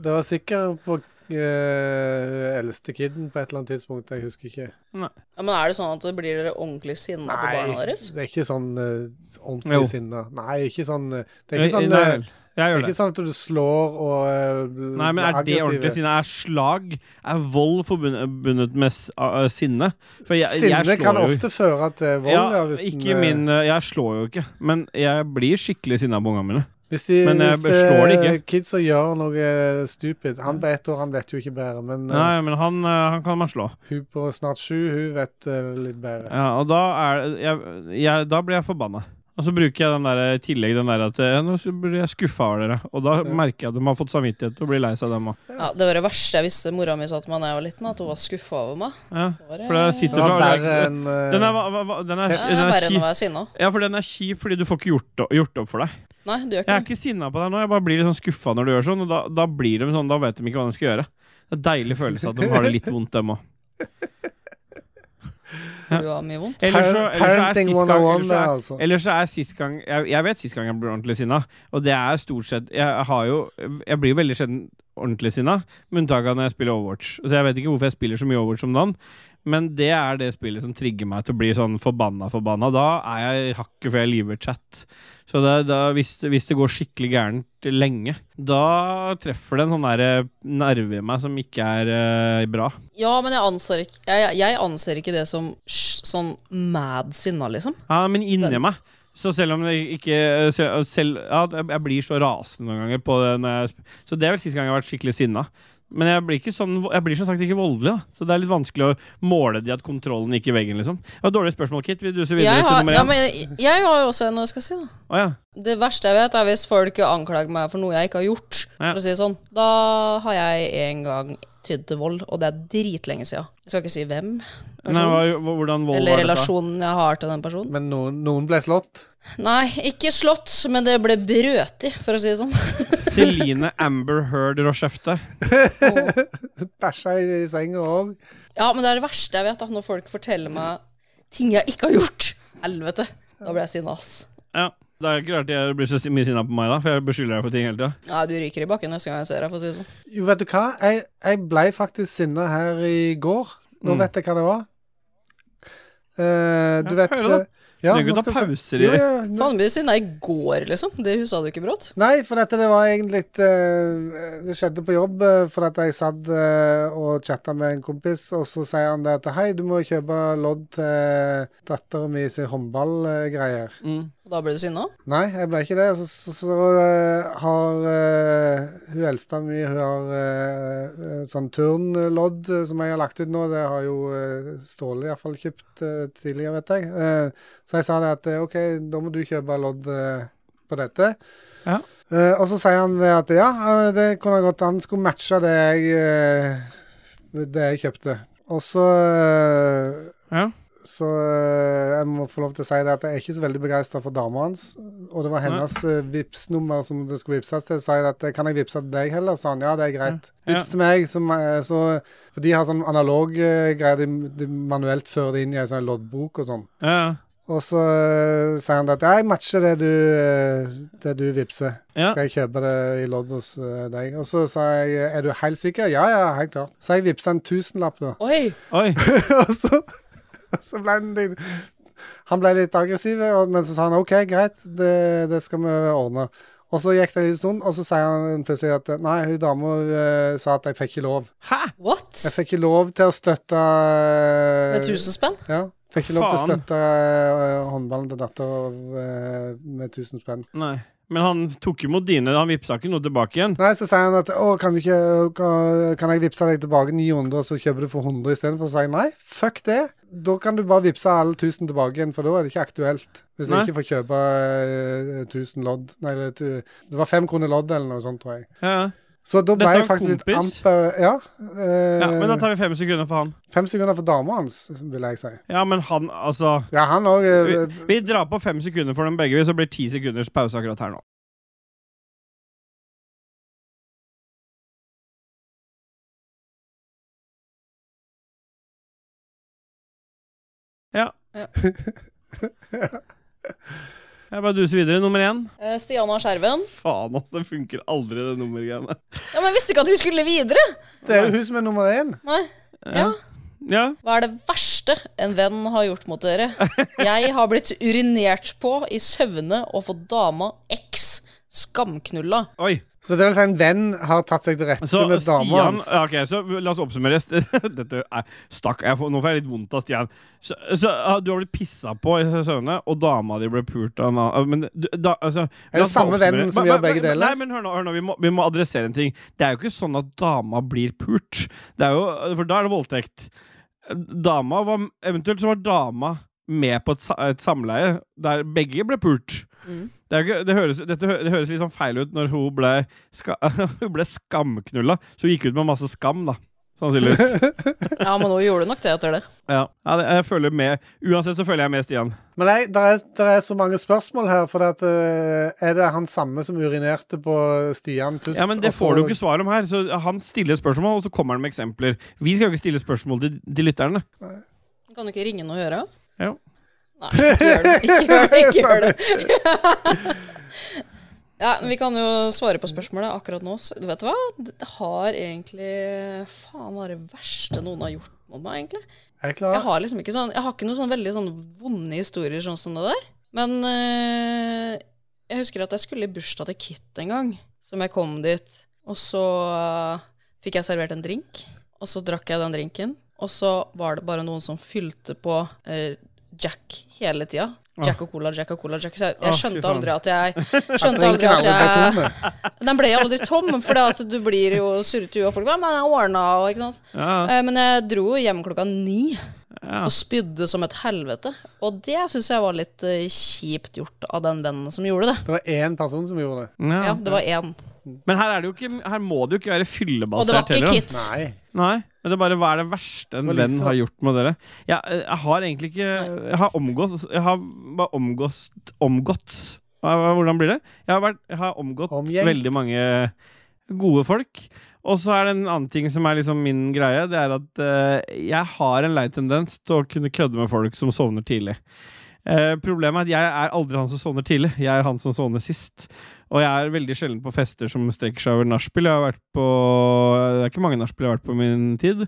Speaker 1: Det var sikkert på eh, eldste kiden på et eller annet tidspunkt, jeg husker ikke.
Speaker 3: Ja, men er det sånn at det blir dere ordentlig sinna på barna deres?
Speaker 1: det er ikke sånn eh,
Speaker 2: Jo.
Speaker 1: ordentlig sinne. Nei, ikke sånn eh, Det er ikke
Speaker 2: Nei,
Speaker 1: sånn,
Speaker 2: nei
Speaker 1: eh,
Speaker 2: vel. Jeg
Speaker 1: det
Speaker 2: gjør
Speaker 1: er
Speaker 2: det.
Speaker 1: ikke sånn at du slår og eh, bl-
Speaker 2: Nei, men
Speaker 1: blir
Speaker 2: er det ordentlig
Speaker 1: aggressive.
Speaker 2: sinne? Er slag, er vold forbundet med s- a- a- sinne? For jeg,
Speaker 1: Sinne
Speaker 2: jeg
Speaker 1: kan
Speaker 2: slår jo-
Speaker 1: ofte føre til vold, ja,
Speaker 2: ja,
Speaker 1: hvis, den,
Speaker 2: ikke
Speaker 1: eh,
Speaker 2: min eh, Jeg slår jo ikke, men jeg blir skikkelig sinna på ungene mine.
Speaker 1: Hvis de,
Speaker 2: Men jeg
Speaker 1: hvis
Speaker 2: slår det
Speaker 1: det er
Speaker 2: ikke.
Speaker 1: kids som gjør noe eh, stupid Han på ett år, han vet jo ikke bedre, men eh,
Speaker 2: Nei, men han, eh, han kan man slå.
Speaker 1: hun på snart sju, hun vet eh, litt bedre.
Speaker 2: Ja, og da, er, jeg, jeg, da blir jeg forbanna. Og så bruker jeg den der, i tillegg den der at eh, Nå så blir jeg skuffa over dere. Og da
Speaker 1: Ja.
Speaker 2: merker jeg at de har fått samvittighet og blir lei seg, dem òg.
Speaker 3: Ja, Det var det verste jeg visste mora mi sa til meg da jeg var liten, at hun var skuffa over meg.
Speaker 2: Ja.
Speaker 3: Det var,
Speaker 2: For da
Speaker 3: eh,
Speaker 2: sitter
Speaker 1: Det var
Speaker 2: så
Speaker 1: verre enn eh,
Speaker 2: Den er, hva- hva- hva- den er,
Speaker 3: ja, det
Speaker 2: den
Speaker 3: er
Speaker 2: er
Speaker 3: verre enn å
Speaker 2: kjip.
Speaker 3: være sinna.
Speaker 2: Ja, for den er kjip fordi du får ikke gjort, o- gjort opp for deg.
Speaker 3: Nei, du
Speaker 2: Jeg
Speaker 3: gjør ikke
Speaker 2: er
Speaker 3: det.
Speaker 2: ikke sinna på deg nå, jeg bare blir litt sånn skuffa når du gjør sånn. Og da, da blir de sånn, da vet de ikke hva de skal gjøre. Det er en deilig følelse at de har det litt vondt, dem òg.
Speaker 3: for Du har mye vondt.
Speaker 2: Ellers så, ellers så er
Speaker 1: Parenting
Speaker 2: sist gang,
Speaker 1: 101,
Speaker 2: ellers så
Speaker 1: det,
Speaker 2: er,
Speaker 1: altså.
Speaker 2: Ellers så er sist gang jeg, jeg vet sist gang jeg ble ordentlig sinna, og det er stort sett Jeg har jo Jeg blir jo veldig sjelden ordentlig sinna, med unntak av når jeg spiller Overwatch. Så jeg vet ikke hvorfor jeg spiller så mye Overwatch om dagen, men det er det spillet som trigger meg til å bli sånn forbanna, forbanna. Da er jeg hakket før jeg liver chat. Så det, da, hvis, det- hvis det går skikkelig gærent lenge, da treffer det en sånn derre nerve i meg som ikke er eh, bra.
Speaker 3: Ja, men jeg anser ikke, jeg, jeg anser ikke det som sj- sånn mad sinna, liksom.
Speaker 2: Ja, men inni
Speaker 3: Den-
Speaker 2: meg. Så selv om det ikke selv, selv, ja, Jeg jeg blir så rasende noen ganger. På det når jeg, sp- så det er vel siste gang jeg har vært skikkelig sinna. Men jeg blir, ikke sånn, jeg blir som sagt ikke voldelig, da. så det er litt vanskelig å måle det at kontrollen gikk i veggen. liksom Det var et Dårlig spørsmål, Kit. Vil du se videre
Speaker 3: Jeg
Speaker 2: til
Speaker 3: har,
Speaker 2: nummer
Speaker 3: ja,
Speaker 2: én?
Speaker 3: men jeg, jeg har jo også noe jeg skal si, da.
Speaker 2: Å, ja.
Speaker 3: Det verste jeg vet, er hvis folk anklager meg for noe jeg ikke har gjort.
Speaker 2: Ja.
Speaker 3: For å si det sånn. Da har jeg en gang tydd til vold, og det er dritlenge siden. Jeg skal ikke si hvem,
Speaker 2: Nei, hva, hvordan vold
Speaker 3: eller
Speaker 2: var dette?
Speaker 3: relasjonen jeg har til den personen.
Speaker 1: Men noen, noen ble slått.
Speaker 3: Nei, ikke slått, men det ble brøt i, for å si det sånn.
Speaker 2: Celine Amber Heard Rochefte.
Speaker 1: Bæsja i, i senga òg.
Speaker 3: Ja, men det er det verste jeg vet, da, når folk forteller meg ting jeg ikke har gjort. Helvete. Da blir jeg sinna, ass.
Speaker 2: Ja. Det er ikke rart jeg blir så si- mye sinna på meg, da, for jeg beskylder deg for ting hele tida.
Speaker 3: Nei, du ryker i bakken neste gang jeg ser deg, for å si det sånn.
Speaker 1: Jo, vet du hva? Jeg, jeg ble faktisk sinna her i går. Nå
Speaker 2: Mm.
Speaker 1: vet jeg hva det var. Eh, du
Speaker 2: Ja,
Speaker 1: vet
Speaker 2: hører da.
Speaker 1: eh, ja,
Speaker 2: du kan
Speaker 1: nå
Speaker 2: ikke
Speaker 1: skal
Speaker 2: ta
Speaker 1: vi-
Speaker 2: pauser i
Speaker 1: Jo, ja, nå-
Speaker 3: Faen, du ble sinna i går, liksom. Det husa du ikke brått.
Speaker 1: Nei, for dette det var egentlig litt eh, Det skjedde på jobb, eh, for at jeg satt eh, og chatta med en kompis, og så sier han det at hei, du må kjøpe lodd til dattera mi sin håndballgreier.
Speaker 2: Mm.
Speaker 3: Og da ble du sinna?
Speaker 1: Nei, jeg ble ikke det. Så, så, så eh, har eh, hun eldste mi Hun har eh, eh, sånn turnlodd eh, som jeg har lagt ut nå. Det har jo uh, Ståle iallfall kjøpt eh, tidligere, vet jeg. Eh, så jeg sa det at eh, OK, da må du kjøpe lodd eh, på dette.
Speaker 2: Ja.
Speaker 1: Eh, og så sier han det at ja, eh, det kunne godt Han skulle matche det jeg, eh, det jeg kjøpte. Og så eh,
Speaker 2: Ja.
Speaker 1: så eh, jeg må få lov til å si det at jeg er ikke så veldig begeistra for dama hans. Og det var hennes eh, Vipps-nummer som det skulle vipses til. Så sa jeg at eh, kan jeg vippse til deg heller? Sa han ja, det er greit.
Speaker 2: Ja.
Speaker 1: Vips til meg. Som, eh, så, for de har sånn analog eh, greie, de, de manuelt fører det inn i en sånn loddbok og sånn.
Speaker 2: Ja, ja.
Speaker 1: Og så eh, sier han at ja, jeg matcher det du, eh, det du vippser.
Speaker 2: Ja.
Speaker 1: Skal jeg kjøpe det i lodd hos eh, deg? Og så sa jeg er du helt sikker? Ja, ja, helt klart. Så jeg vippsa en tusenlapp, da.
Speaker 3: Oi!
Speaker 2: Oi.
Speaker 1: Og så, og så ble han litt Han ble litt aggressiv, og- men så sa han OK, greit, det, det skal vi ordne. Og så gikk det en liten stund, og så sier han plutselig at nei, hun dama eh, sa at jeg fikk ikke lov.
Speaker 2: Hæ?
Speaker 3: What?
Speaker 1: Jeg fikk ikke lov til å støtte eh,
Speaker 3: Med 1000 spenn?
Speaker 1: Ja. Fikk ikke lov til å
Speaker 2: Faen.
Speaker 1: støtte eh, håndballen til datter eh, med 1000 spenn.
Speaker 2: Nei. Men han tok imot dine. Han vippsa ikke noe tilbake igjen.
Speaker 1: Nei, så sier han at å, kan, du ikke, kan- kan jeg vippse deg tilbake 900, og så kjøper du for 100 istedenfor? Så sier jeg nei, fuck det. Da kan du bare vippse alle 1000 tilbake igjen, for da er det ikke aktuelt. Hvis
Speaker 2: Nei.
Speaker 1: jeg ikke får kjøpe eh, 1000 lodd. Nei, eller tu, det var fem kroner lodd eller noe sånt, tror jeg.
Speaker 2: Ja, ja.
Speaker 1: Så da ble
Speaker 2: Dette er
Speaker 1: jeg
Speaker 2: en
Speaker 1: faktisk litt
Speaker 2: kompis.
Speaker 1: amper Ja. Eh,
Speaker 2: Ja, men da tar vi fem sekunder for han.
Speaker 1: Fem sekunder for dama hans, vil jeg si.
Speaker 2: Ja, men han, altså
Speaker 1: Ja, han eh, òg
Speaker 2: vi, vi drar på fem sekunder for dem begge, så blir det ti sekunders pause akkurat her nå. Jeg bare duser videre. Nummer én.
Speaker 3: Eh, Stiana og skjerven.
Speaker 2: Faen, altså. Det funker aldri, det nummergreiene.
Speaker 3: Ja, men Jeg visste ikke at vi skulle videre!
Speaker 1: Det er jo hun som er nummer én.
Speaker 3: Nei. Ja.
Speaker 2: Ja.
Speaker 3: Hva er det verste en venn har gjort mot dere? Jeg har blitt urinert på i søvne og fått dama X skamknulla.
Speaker 2: Oi.
Speaker 1: Så det vil si en venn har tatt seg til rette
Speaker 2: Så
Speaker 1: med dama
Speaker 2: Stian
Speaker 1: hans.
Speaker 2: ja, Ok, så La oss oppsummere. St- Dette er Stakk. Jeg får, nå får jeg litt vondt av Stian. Så, så ah, Du har blitt pissa på i søvne, og dama di ble pult av en annen ah, men, du- da, altså,
Speaker 1: Er det
Speaker 2: la oss
Speaker 1: samme
Speaker 2: oppsummere.
Speaker 1: vennen som
Speaker 2: Men-
Speaker 1: gjør begge
Speaker 2: men-
Speaker 1: deler?
Speaker 2: Nei, men hør nå, hør nå vi, må, vi må adressere en ting. Det er jo ikke sånn at dama blir pult. Det er jo, for da er det voldtekt. Dama var Eventuelt så var dama med på et, sa- et samleie der begge ble pult.
Speaker 3: Mm.
Speaker 2: Det, er jo ikke, det, høres, dette, hø- det høres litt sånn feil ut når hun ble, ska, hun ble skamknulla. Så hun gikk ut med masse skam, da. Sannsynligvis.
Speaker 3: Ja, men nå gjorde du nok det etter det.
Speaker 2: Ja, ja det, jeg føler med Uansett så føler jeg med Stian.
Speaker 1: Men nei, det er, der er så mange spørsmål her, for at, eh, er det han samme som urinerte på Stian først?
Speaker 2: Ja, men Det
Speaker 1: og så-
Speaker 2: får du jo ikke svar om her. Så Han stiller spørsmål, og så kommer han med eksempler. Vi skal jo ikke stille spørsmål til, til lytterne.
Speaker 3: Kan du ikke ringe noe og gjøre?
Speaker 2: Jo.
Speaker 3: Nei, ikke gjør det. Ikke gjør det. Ikke gjør det. Ja, men Vi kan jo svare på spørsmålet akkurat nå. så- Vet du hva? Det har egentlig Faen, hva er det verste noen har gjort mot meg, egentlig?
Speaker 1: Er jeg klar?
Speaker 3: Jeg har liksom ikke sånn Jeg har ikke noen sånn veldig sånn vonde historier sånn som det der. Men eh, jeg husker at jeg skulle i bursdag til Kit en gang, som jeg kom dit. Og så eh, fikk jeg servert en drink, og så drakk jeg den drinken. Og så var det bare noen som fylte på eh, Jack hele tida. Jack og cola, Jack og cola, Jack. Så jeg,
Speaker 2: Åh,
Speaker 3: jeg
Speaker 2: fy
Speaker 3: skjønte
Speaker 2: faen.
Speaker 3: aldri at jeg Skjønte aldri
Speaker 1: Drinken
Speaker 3: at
Speaker 1: aldri ble
Speaker 3: jeg
Speaker 1: tom,
Speaker 3: Den ble aldri tom, for det at du blir jo surrete i huet, og folk bare Men jeg ordna, og ikke sant.
Speaker 2: Ja,
Speaker 3: Eh, Men jeg dro jo hjem klokka ni
Speaker 2: ja.
Speaker 3: og spydde som et helvete. Og det syns jeg var litt eh, kjipt gjort av den vennen som gjorde det.
Speaker 1: Det var én person som gjorde det.
Speaker 2: Ja.
Speaker 3: Ja, det var én.
Speaker 2: Men her, er det jo ikke, her må det jo ikke være
Speaker 3: Og det var
Speaker 2: fyllebasert
Speaker 3: ikke
Speaker 2: da.
Speaker 3: Kit.
Speaker 1: Nei.
Speaker 2: Nei, men det er bare hva er det verste en
Speaker 1: Det var
Speaker 2: venn
Speaker 1: Lisa.
Speaker 2: har gjort med dere? Jeg, jeg har egentlig ikke Jeg har omgått Jeg har bare omgått Omgått Hva- hva- Hvordan blir det? Jeg har, vært, jeg har omgått
Speaker 1: Omgjengt.
Speaker 2: veldig mange gode folk. Og så er det en annen ting som er liksom min greie. Det er at eh, jeg har en lei tendens til å kunne kødde med folk som sovner tidlig. Eh, problemet er at jeg er aldri han som sovner tidlig. Jeg er han som sovner sist. Og jeg er veldig sjelden på fester som strekker seg over nachspiel. Jeg har vært på Det er ikke mange nachspiel jeg har vært på i min tid.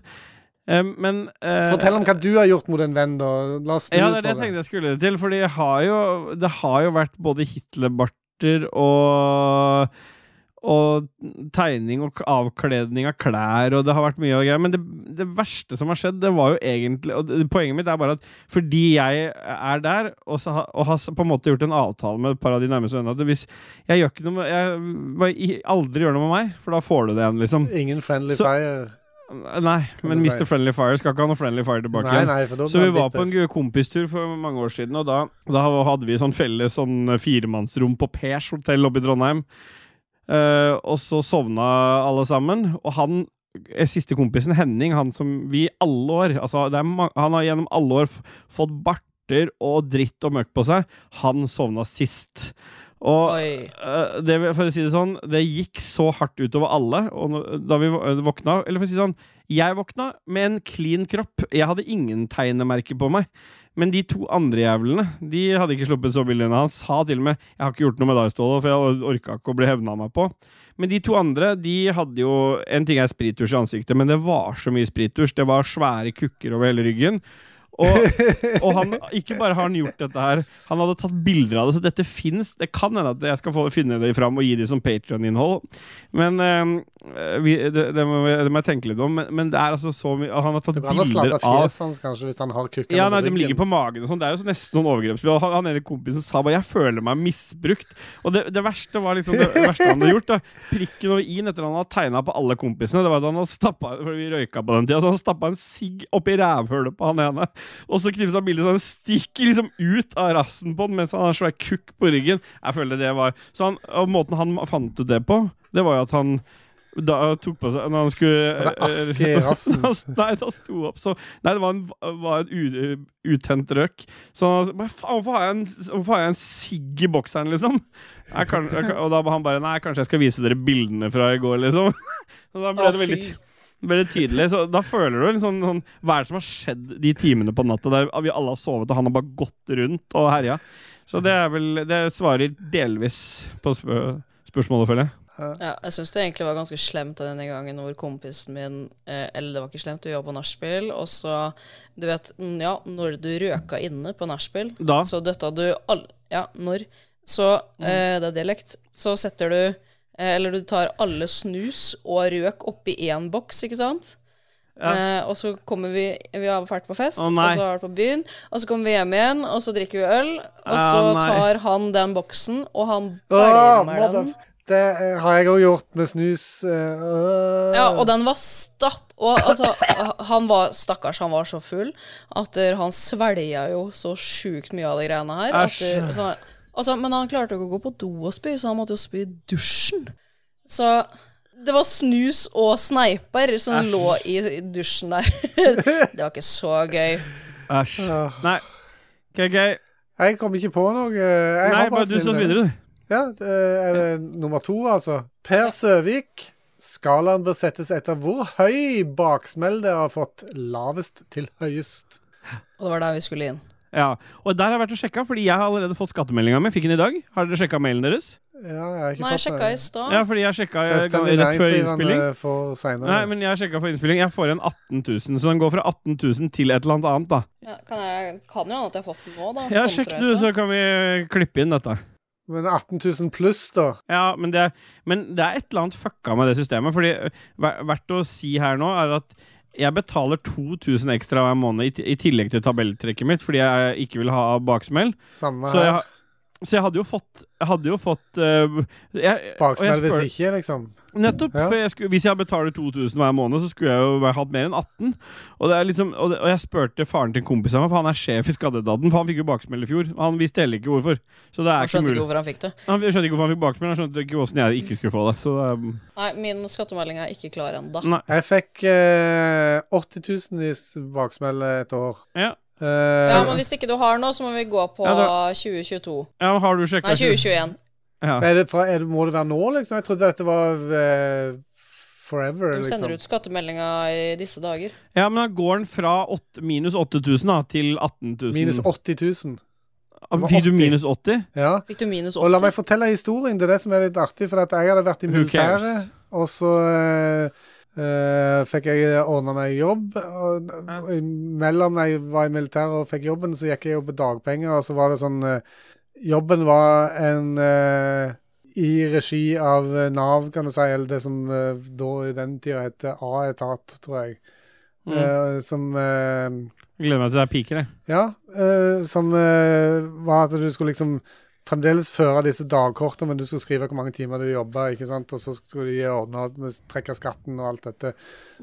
Speaker 2: Eh, men eh,
Speaker 1: Fortell om hva du har gjort mot en venn, da. La oss snu
Speaker 2: ja, det er det
Speaker 1: på
Speaker 2: jeg
Speaker 1: det.
Speaker 2: tenkte jeg skulle til. Fordi jeg har jo, det har jo vært både Hitlerbarter og og tegning og avkledning av klær, og det har vært mye og greier. Men det, det verste som har skjedd, det var jo egentlig Og det, poenget mitt er bare at fordi jeg er der, og, så, ha- og har s- på en måte gjort en avtale med et par av de nærmeste vennene at hvis jeg gjør ikke noe med Jeg bare i- aldri gjør noe med meg, for da får du det igjen, liksom.
Speaker 1: Ingen friendly
Speaker 2: Så-
Speaker 1: fire.
Speaker 2: Nei,
Speaker 1: Kan
Speaker 2: men
Speaker 1: du si.
Speaker 2: Mr. Friendly Fire skal ikke ha noe Friendly Fire tilbake.
Speaker 1: Nei,
Speaker 2: igjen.
Speaker 1: nei, for da
Speaker 2: Så
Speaker 1: blir
Speaker 2: vi
Speaker 1: han
Speaker 2: var
Speaker 1: bitter.
Speaker 2: på en gu- kompistur for mange år siden, og da, da hadde vi sånn felles sånn firemannsrom på Pers hotell oppe i Trondheim. Eh, og så sovna alle sammen, og han eh, siste kompisen Henning, han som vi i alle år altså det er ma Han har gjennom alle år f fått barter og dritt og møkk på seg. Han sovna sist. Og
Speaker 3: Oi.
Speaker 2: Eh, det, for å si det sånn, det gikk så hardt utover alle og nå- da vi vå- eh, våkna. Eller for å si det sånn, jeg våkna med en clean kropp. Jeg hadde ingen tegnemerker på meg. Men de to andre jævlene De hadde ikke sluppet så billig unna. Han sa til og med 'Jeg har ikke gjort noe med deg, Ståle', for jeg orka ikke å bli hevna meg på. Men de to andre de hadde jo En ting er sprittusj i ansiktet, men det var så mye sprittusj. Det var svære kukker over hele ryggen. Og, og han, ikke bare har han gjort dette her, han hadde tatt bilder av det, så dette fins. Det kan hende at jeg skal få finne det fram og gi det som Patrion-innhold. Men eh, vi, det, det, må, det må jeg tenke litt om. Men, men det er altså så mye og Han har tatt
Speaker 1: Du kan ha
Speaker 2: bilder
Speaker 1: sladda
Speaker 2: av
Speaker 1: fjeset hans kanskje hvis han har kukken
Speaker 2: ja,
Speaker 1: på
Speaker 2: nei, de
Speaker 1: ryggen.
Speaker 2: ligger på magen og sånn. Det er jo så nesten noen overgrepsspill. Og han, han ene kompisen sa bare 'jeg føler meg misbrukt'. Og det, det verste var liksom det verste han hadde gjort. Da. Prikken over i-en etter at han hadde tegna på alle kompisene. Det var at han hadde stappa, for vi røyka på den tida, så han stappa en sigg oppi rævhølet på han ene. Og så knipsa bildet så han stikker liksom ut av rassen på den mens han har en svær kukk på ryggen. Jeg føler det var Så han, og måten han fant ut det på, det var jo at han da tok på seg Når han skulle eh,
Speaker 1: Var det aske i rassen?
Speaker 2: Da- Nei, da sto opp så Nei, det var en, var en u, utent røk. Så han sa "Hva faen, hvorfor har jeg en, hvorfor har jeg en sigg i bokseren, liksom? Jeg kan, jeg kan, og da var han bare Nei, kanskje jeg skal vise dere bildene fra i går, liksom. Så da ble
Speaker 3: Å,
Speaker 2: det veldig
Speaker 3: fy.
Speaker 2: Veldig tydelig. Så da føler du en sånn, sånn Hva er det som har skjedd de timene på natta der vi alle har sovet, og han har bare gått rundt og herja? Så det er vel Det svarer delvis på spø spørsmålet, føler jeg.
Speaker 3: Ja, jeg syns det egentlig var ganske slemt denne gangen hvor kompisen min eh, Eller det var ikke slemt, vi var på nachspiel, og så Du vet, mm, ja, når du røka inne på nachspiel,
Speaker 2: Da?
Speaker 3: så døtta du all... Ja, når? Så
Speaker 2: Mm.
Speaker 3: eh, Det er dialekt. Så setter du eh, Eller du tar alle snus og røk oppi én boks, ikke sant?
Speaker 2: Ja.
Speaker 3: Eh, og så kommer vi Vi har vært på fest,
Speaker 2: Å,
Speaker 3: og
Speaker 2: nei.
Speaker 3: så har vært på byen, og så kommer vi hjem igjen, og så drikker vi øl, og
Speaker 2: Ja,
Speaker 3: så
Speaker 2: nei.
Speaker 3: tar han den boksen, og han
Speaker 1: Ah, Åh,
Speaker 3: bælmer den.
Speaker 1: motherf- det eh, har jeg òg gjort med snus. eh, øh.
Speaker 3: Ja, og den var stapp. Og altså, han var, stakkars, han var så full at eh, han svelga jo så sjukt mye av de greiene her. At,
Speaker 2: Æsj.
Speaker 3: eh, så, altså, men han klarte jo ikke å gå på do og spy, så han måtte jo spy i dusjen. Så det var snus og sneiper som lå i i dusjen der. det var ikke så gøy.
Speaker 2: Æsj.
Speaker 1: Åh.
Speaker 2: Nei. Ok, ok.
Speaker 1: Jeg kom ikke på noe. eh, Jeg
Speaker 2: Nei,
Speaker 1: har
Speaker 2: bare du
Speaker 1: snille.
Speaker 2: slåss videre, du.
Speaker 1: Ja, det er det nummer to, altså. Per Søvik. Skalaen bør settes etter hvor høy baksmell det har fått. Lavest til høyest.
Speaker 3: Og det var der vi skulle inn.
Speaker 2: Ja. Og der har jeg vært og sjekka, fordi jeg har allerede fått skattemeldinga mi. Fikk den i dag. Har dere sjekka mailen deres?
Speaker 1: Ja, jeg har ikke
Speaker 3: Nei, jeg
Speaker 1: fått
Speaker 3: sjekka i stad.
Speaker 2: Ja, fordi jeg sjekka eh,
Speaker 1: Selvstendig
Speaker 2: rett før innspilling.
Speaker 1: næringsdrivende får
Speaker 2: Nei,
Speaker 1: seinere.
Speaker 2: men jeg sjekka for innspilling. Jeg får igjen 18 000, så den går fra 18 000 til et eller annet annet, da.
Speaker 3: Ja, kan, jeg, kan jo hende at jeg har fått den nå, da.
Speaker 2: Ja,
Speaker 3: Kontra
Speaker 2: sjekk
Speaker 3: i
Speaker 2: du,
Speaker 3: stad.
Speaker 2: så kan vi eh, klippe inn dette.
Speaker 1: Men 18 000 pluss, da.
Speaker 2: Ja, men det, men det er et eller annet fucka med det systemet. Fordi eh, ver- verdt å si her nå er at jeg betaler 2000 ekstra hver måned i, t- i tillegg til tabelltrekket mitt fordi jeg ikke vil ha baksmell.
Speaker 1: Samme
Speaker 2: Så jeg,
Speaker 1: her.
Speaker 2: ha- så jeg hadde jo fått, jeg hadde jo fått eh, jeg,
Speaker 1: Baksmell hvis
Speaker 2: ikke
Speaker 1: ikke, liksom.
Speaker 2: Nettopp.
Speaker 1: Ja.
Speaker 2: For jeg skulle, hvis jeg betaler 2000 hver måned, så skulle jeg jo vært- hatt mer enn 18. Og, det er liksom, og, det, og jeg spurte faren til kompisen min, for han er sjef i Skadedaden. For han fikk jo baksmell i fjor. Han visste heller ikke hvorfor. Så det er
Speaker 3: Han
Speaker 2: ikke
Speaker 3: skjønte ikke
Speaker 2: mulig.
Speaker 3: hvorfor han fikk det.
Speaker 2: Han skjønte ikke hvorfor han fikk baksmell, han skjønte ikke åssen jeg ikke skulle få det. Så det er,
Speaker 3: Nei, min skattemelding er ikke klar ennå.
Speaker 2: Nei.
Speaker 1: Jeg fikk eh, 80 000 i s- baksmell et år.
Speaker 2: Ja.
Speaker 1: Eh,
Speaker 3: Ja, men hvis ikke du har noe, så må vi gå på
Speaker 2: Ja,
Speaker 3: 2022.
Speaker 2: ja, har du sjekka
Speaker 3: Nei, 2021.
Speaker 2: Ja.
Speaker 1: er det fra, er det, må det være nå, liksom? Jeg trodde dette var eh, forever,
Speaker 3: De
Speaker 1: liksom.
Speaker 3: sender ut skattemeldinga i disse dager.
Speaker 2: ja, men da går den fra åtte- minus 8000 da, til 18 000.
Speaker 1: Minus 80 000.
Speaker 2: Ah,
Speaker 1: det var
Speaker 2: Fikk du
Speaker 1: 80.
Speaker 2: minus 80?
Speaker 1: Ja.
Speaker 3: Fikk du minus
Speaker 1: Og la meg
Speaker 3: 80?
Speaker 1: fortelle historien. Det er det som er litt artig. For at jeg hadde vært i
Speaker 2: Who cares?
Speaker 1: militæret, og så eh, eh, fikk jeg ordna meg jobb. Og, og mellom jeg var i militæret og fikk jobben, så gikk jeg jo på dagpenger, og så var det sånn eh, Jobben var en eh, i regi av eh, Nav, kan du si, eller det som eh, da i den tida het A-etat, tror jeg.
Speaker 2: Mm.
Speaker 1: Eh, som eh,
Speaker 2: Gleder meg til det er piker, jeg.
Speaker 1: ja, eh, som eh, var at du skulle liksom fremdeles føre disse dagkortene, men du skulle skrive hvor mange timer du jobba, ikke sant, og så skulle de ordne alt med trekke skatten og alt dette.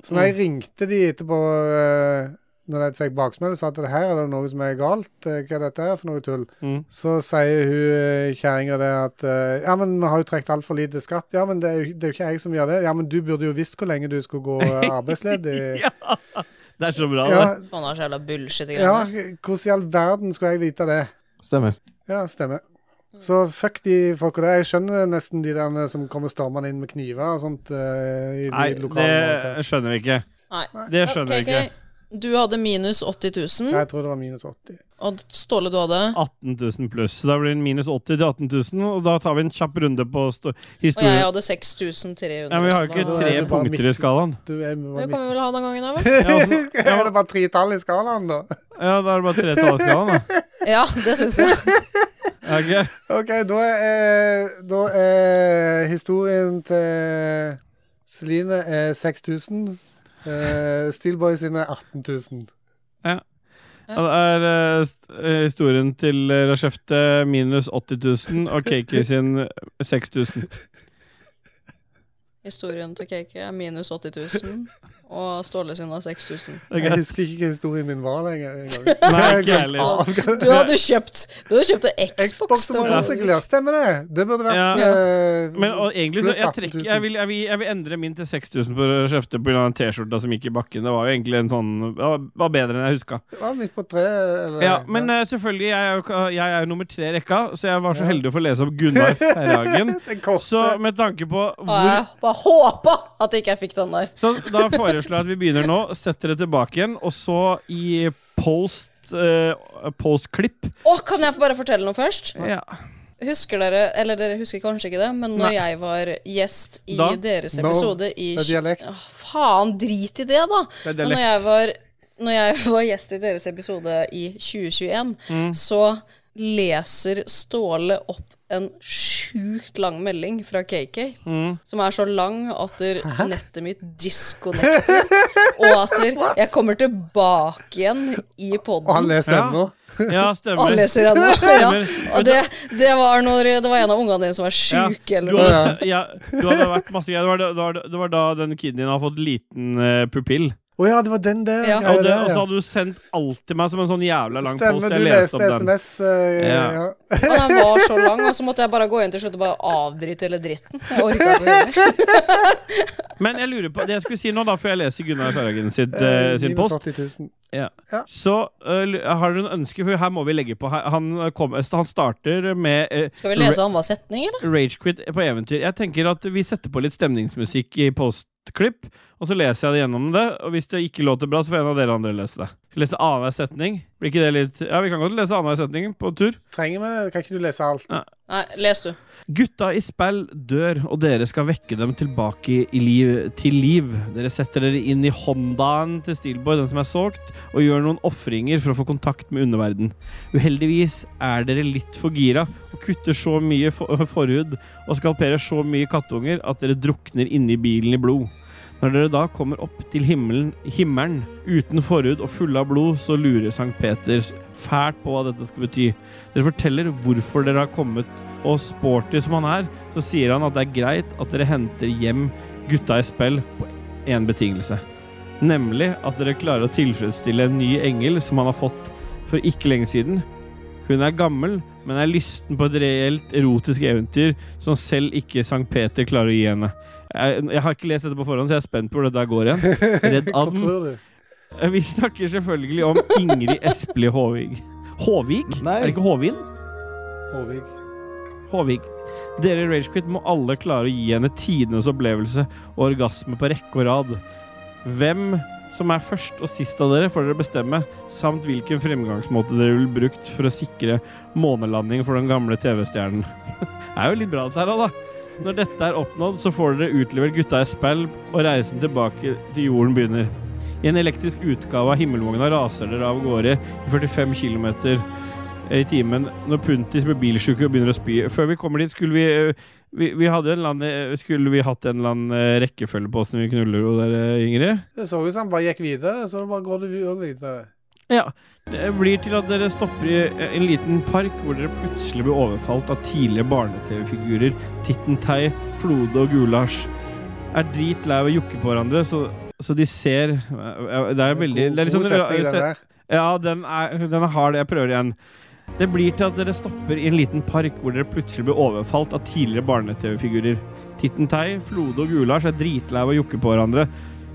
Speaker 1: Så når jeg ringte de etterpå, eh, når jeg fikk baksmell, og sa at det her er det noe som er galt, eh, hva er dette her for noe tull,
Speaker 2: Mm.
Speaker 1: så sier hun eh, kjerringa det at eh, ja, men vi har jo trukket altfor lite skatt. Ja, men det er, jo, det er jo ikke jeg som gjør det. Ja, men du burde jo visst hvor lenge du skulle gå eh, arbeidsledig.
Speaker 2: Det er så bra,
Speaker 1: ja,
Speaker 2: det.
Speaker 3: Faen, det er så jævla bullshit i
Speaker 1: ja,
Speaker 3: greiene.
Speaker 1: hvordan i all verden skulle jeg vite det?
Speaker 5: Stemmer.
Speaker 1: Ja, stemmer. Så fuck de folka der. Jeg skjønner nesten de der som kommer stormende inn med kniver og sånt. eh, i
Speaker 2: Nei,
Speaker 1: de lokale
Speaker 2: det skjønner vi ikke.
Speaker 3: Nei.
Speaker 2: Det skjønner vi
Speaker 3: Ok,
Speaker 2: ikke.
Speaker 3: ok. Du hadde minus 80
Speaker 1: Nei,
Speaker 3: 000,
Speaker 1: jeg tror det var minus 80.
Speaker 3: og Ståle, du hadde
Speaker 2: 18 000 pluss. Så da blir det minus 80 til 18 000, og da tar vi en kjapp runde på sto-
Speaker 3: Og jeg
Speaker 2: historie.
Speaker 3: hadde 6300.
Speaker 2: Ja, men vi har jo ikke
Speaker 1: da-
Speaker 2: tre
Speaker 1: Da er det bare
Speaker 2: punkter i
Speaker 1: midt-
Speaker 2: skalaen.
Speaker 1: Du er med
Speaker 3: Det kan vi vel ha den gangen her, vel?
Speaker 2: Ja, altså, ja,
Speaker 1: Er det bare tre tall i skalaen, da?
Speaker 2: ja, da er det bare tre tall i skalaen, da.
Speaker 3: Ja, det syns jeg.
Speaker 2: Ja, ok.
Speaker 1: OK, da er, da er historien til Celine er 6000. Uh, Steelboy sine er 18 000.
Speaker 2: Ja, Det er eh, st- eh, historien til eh, Rashefte minus 80 000 og Kaki sin 6000.
Speaker 3: Historien til Kake er minus 80 000, og Ståle sin var 6000.
Speaker 1: Jeg husker ikke hva historien min var lenger. engang. Jeg
Speaker 2: Nei, ikke
Speaker 1: har glemt
Speaker 2: heller.
Speaker 1: av-
Speaker 3: Du hadde kjøpt Du hadde kjøpt en Xbox.
Speaker 1: Xbox og motorsykkel, ja. Stemmer det? Det burde vært
Speaker 2: Ja.
Speaker 1: eh,
Speaker 2: Men og egentlig så
Speaker 1: pluss
Speaker 2: jeg,
Speaker 1: 18
Speaker 2: trekker,
Speaker 1: 000.
Speaker 2: jeg, vil, jeg, vil, jeg vil endre min til 6000 på Rashefte pga. den T-skjorta som gikk i bakken. Det var jo egentlig en sånn det var- var bedre enn jeg huska.
Speaker 1: Det var midt på treet. eller-
Speaker 2: Ja, men eh, selvfølgelig, jeg er, jo, ka- jeg er jo nummer tre i rekka, eh, så jeg var så heldig å få lese opp Gunnar Ferhagen.
Speaker 1: Den korte.
Speaker 2: Så med tanke på
Speaker 3: Og
Speaker 2: hvor
Speaker 3: jeg bare bare håpa at ikke jeg fikk den der.
Speaker 2: Så da foreslår jeg at vi begynner nå, setter det tilbake igjen, og så i post eh, Post-klipp.
Speaker 3: Å, kan jeg bare fortelle noe først?
Speaker 2: Ja.
Speaker 3: Husker dere, eller dere husker kanskje ikke det, men når jeg var gjest i
Speaker 2: Da?
Speaker 3: deres
Speaker 1: No,
Speaker 3: episode i
Speaker 1: det er dialekt.
Speaker 3: Åh, faen, drit i det, da!
Speaker 2: Det er
Speaker 3: Men når
Speaker 2: dialekt.
Speaker 3: jeg var, når jeg var gjest i deres episode i 2021, så leser Ståle opp en sjukt lang melding fra KK, som er så lang at der nettet mitt disconnecter, og at der jeg kommer tilbake igjen i
Speaker 1: Og han
Speaker 3: poden.
Speaker 1: leser
Speaker 2: Ja.
Speaker 1: ennå.
Speaker 2: Ja,
Speaker 3: Og han
Speaker 2: stemmer.
Speaker 3: leser ennå. Ja.
Speaker 2: Stemmer.
Speaker 3: Og det, det var når det var en av ungene dine som var
Speaker 2: Ja,
Speaker 3: sjuk,
Speaker 2: du,
Speaker 3: eller noe.
Speaker 2: hadde, ja, du hadde vært masse greier. Det var da, det var da, det var da den kiden din har fått liten eh, pupill.
Speaker 1: Å ja, det var den der.
Speaker 3: Ja.
Speaker 2: Ja,
Speaker 1: greia
Speaker 2: og, det,
Speaker 1: der,
Speaker 2: og så
Speaker 1: ja.
Speaker 2: hadde du sendt alt til meg som en sånn jævla lang post.
Speaker 1: Stemmer,
Speaker 2: Jeg
Speaker 1: du
Speaker 2: leste
Speaker 1: leste
Speaker 2: opp den.
Speaker 1: SMS. eh,
Speaker 2: Ja.
Speaker 1: ja.
Speaker 3: Og den var så lang, og så måtte jeg bare gå inn til slutt og bare avbryte hele dritten. Jeg orket ikke å gjøre det.
Speaker 2: Men jeg lurer på det jeg skulle si nå, da, før jeg leser Gunnar Førhagen sitt, eh, sin
Speaker 1: Minus
Speaker 2: post.
Speaker 1: 80 000.
Speaker 2: Ja.
Speaker 1: Ja.
Speaker 2: Så eh, l- har dere noen ønsker? For her må vi legge på. Her- Han, kom, eh, han starter med eh,
Speaker 3: Skal vi lese annenhver setning, eller?
Speaker 2: Ra- Ragequit på eventyr. Jeg tenker at vi setter på litt stemningsmusikk i postklipp, og så leser jeg det gjennom det. Og hvis det ikke låter bra, så får en av dere andre lese det. Skal vi Lese annenhver setning. Blir ikke det litt Ja, vi kan godt lese annenhver setning på tur.
Speaker 1: Trenger vi Kan ikke du lese alt?
Speaker 3: Nei, les du.
Speaker 2: Gutta i spill dør, og dere skal vekke dem tilbake i liv, til liv. Dere setter dere inn i Hondaen til Steelboy, den som er solgt, og gjør noen ofringer for å få kontakt med underverden. Uheldigvis er dere litt for gira og kutter så mye for forhud og skalperer så mye kattunger at dere drukner inni bilen i blod. Når dere da kommer opp til himmelen, himmelen uten forhud og fulle av blod, så lurer Sankt Peters fælt på hva dette skal bety. Dere forteller hvorfor dere har kommet og sporty som han er, så sier han at det er greit at dere henter hjem gutta i spill på én betingelse. Nemlig at dere klarer å tilfredsstille en ny engel som han har fått for ikke lenge siden. Hun er gammel, men er lysten på et reelt erotisk eventyr som selv ikke Sankt Peter klarer å gi henne. Jeg, jeg har ikke lest dette på forhånd, så jeg er spent på hvor det der går igjen. Redd
Speaker 1: Hva
Speaker 2: anden.
Speaker 1: tror du?
Speaker 2: Vi snakker selvfølgelig om Ingrid Espelid Håvig. Håvig?
Speaker 4: Nei.
Speaker 2: Er det ikke Håvin?
Speaker 1: Håvig.
Speaker 2: Håvig. Dere i Ragequit må alle klare å gi henne tidenes opplevelse og orgasme på rekke og rad. Hvem som er først og sist av dere, får dere bestemme, samt hvilken fremgangsmåte dere vil brukt for å sikre månelanding for den gamle TV-stjernen. det er jo litt bra dette her, da. Når dette er oppnådd, så får dere utlevert gutta i spill, og reisen tilbake til jorden begynner. I en elektrisk utgave av himmelvogna raser dere av gårde i 45 km i timen når Puntis blir bilsjuk og begynner å spy. Før vi kommer dit, skulle vi øh, vi, vi hadde en eller annen, øh, Skulle vi hatt en eller annen øh, rekkefølge på åssen vi knuller og der, øh, Ingrid?
Speaker 1: Det så ut som han bare gikk videre, så da bare går du òg videre.
Speaker 2: Ja. Det blir til at dere stopper i øh, en liten park hvor dere plutselig blir overfalt av tidligere barne-TV-figurer. Tittentei, Flode og Gulasj. Er drit lei av å jukke på hverandre, så, så de ser øh, øh, Det er veldig
Speaker 1: God-
Speaker 2: det er
Speaker 1: god
Speaker 2: litt sånn,
Speaker 1: setning,
Speaker 2: øh,
Speaker 1: den der.
Speaker 2: Ja, den er, den er hard. Jeg prøver igjen. Det blir til at dere stopper i en liten park hvor dere plutselig blir overfalt av tidligere barne-TV-figurer. Tittentei, Flode og Gulasj er dritlei av å jukke på hverandre,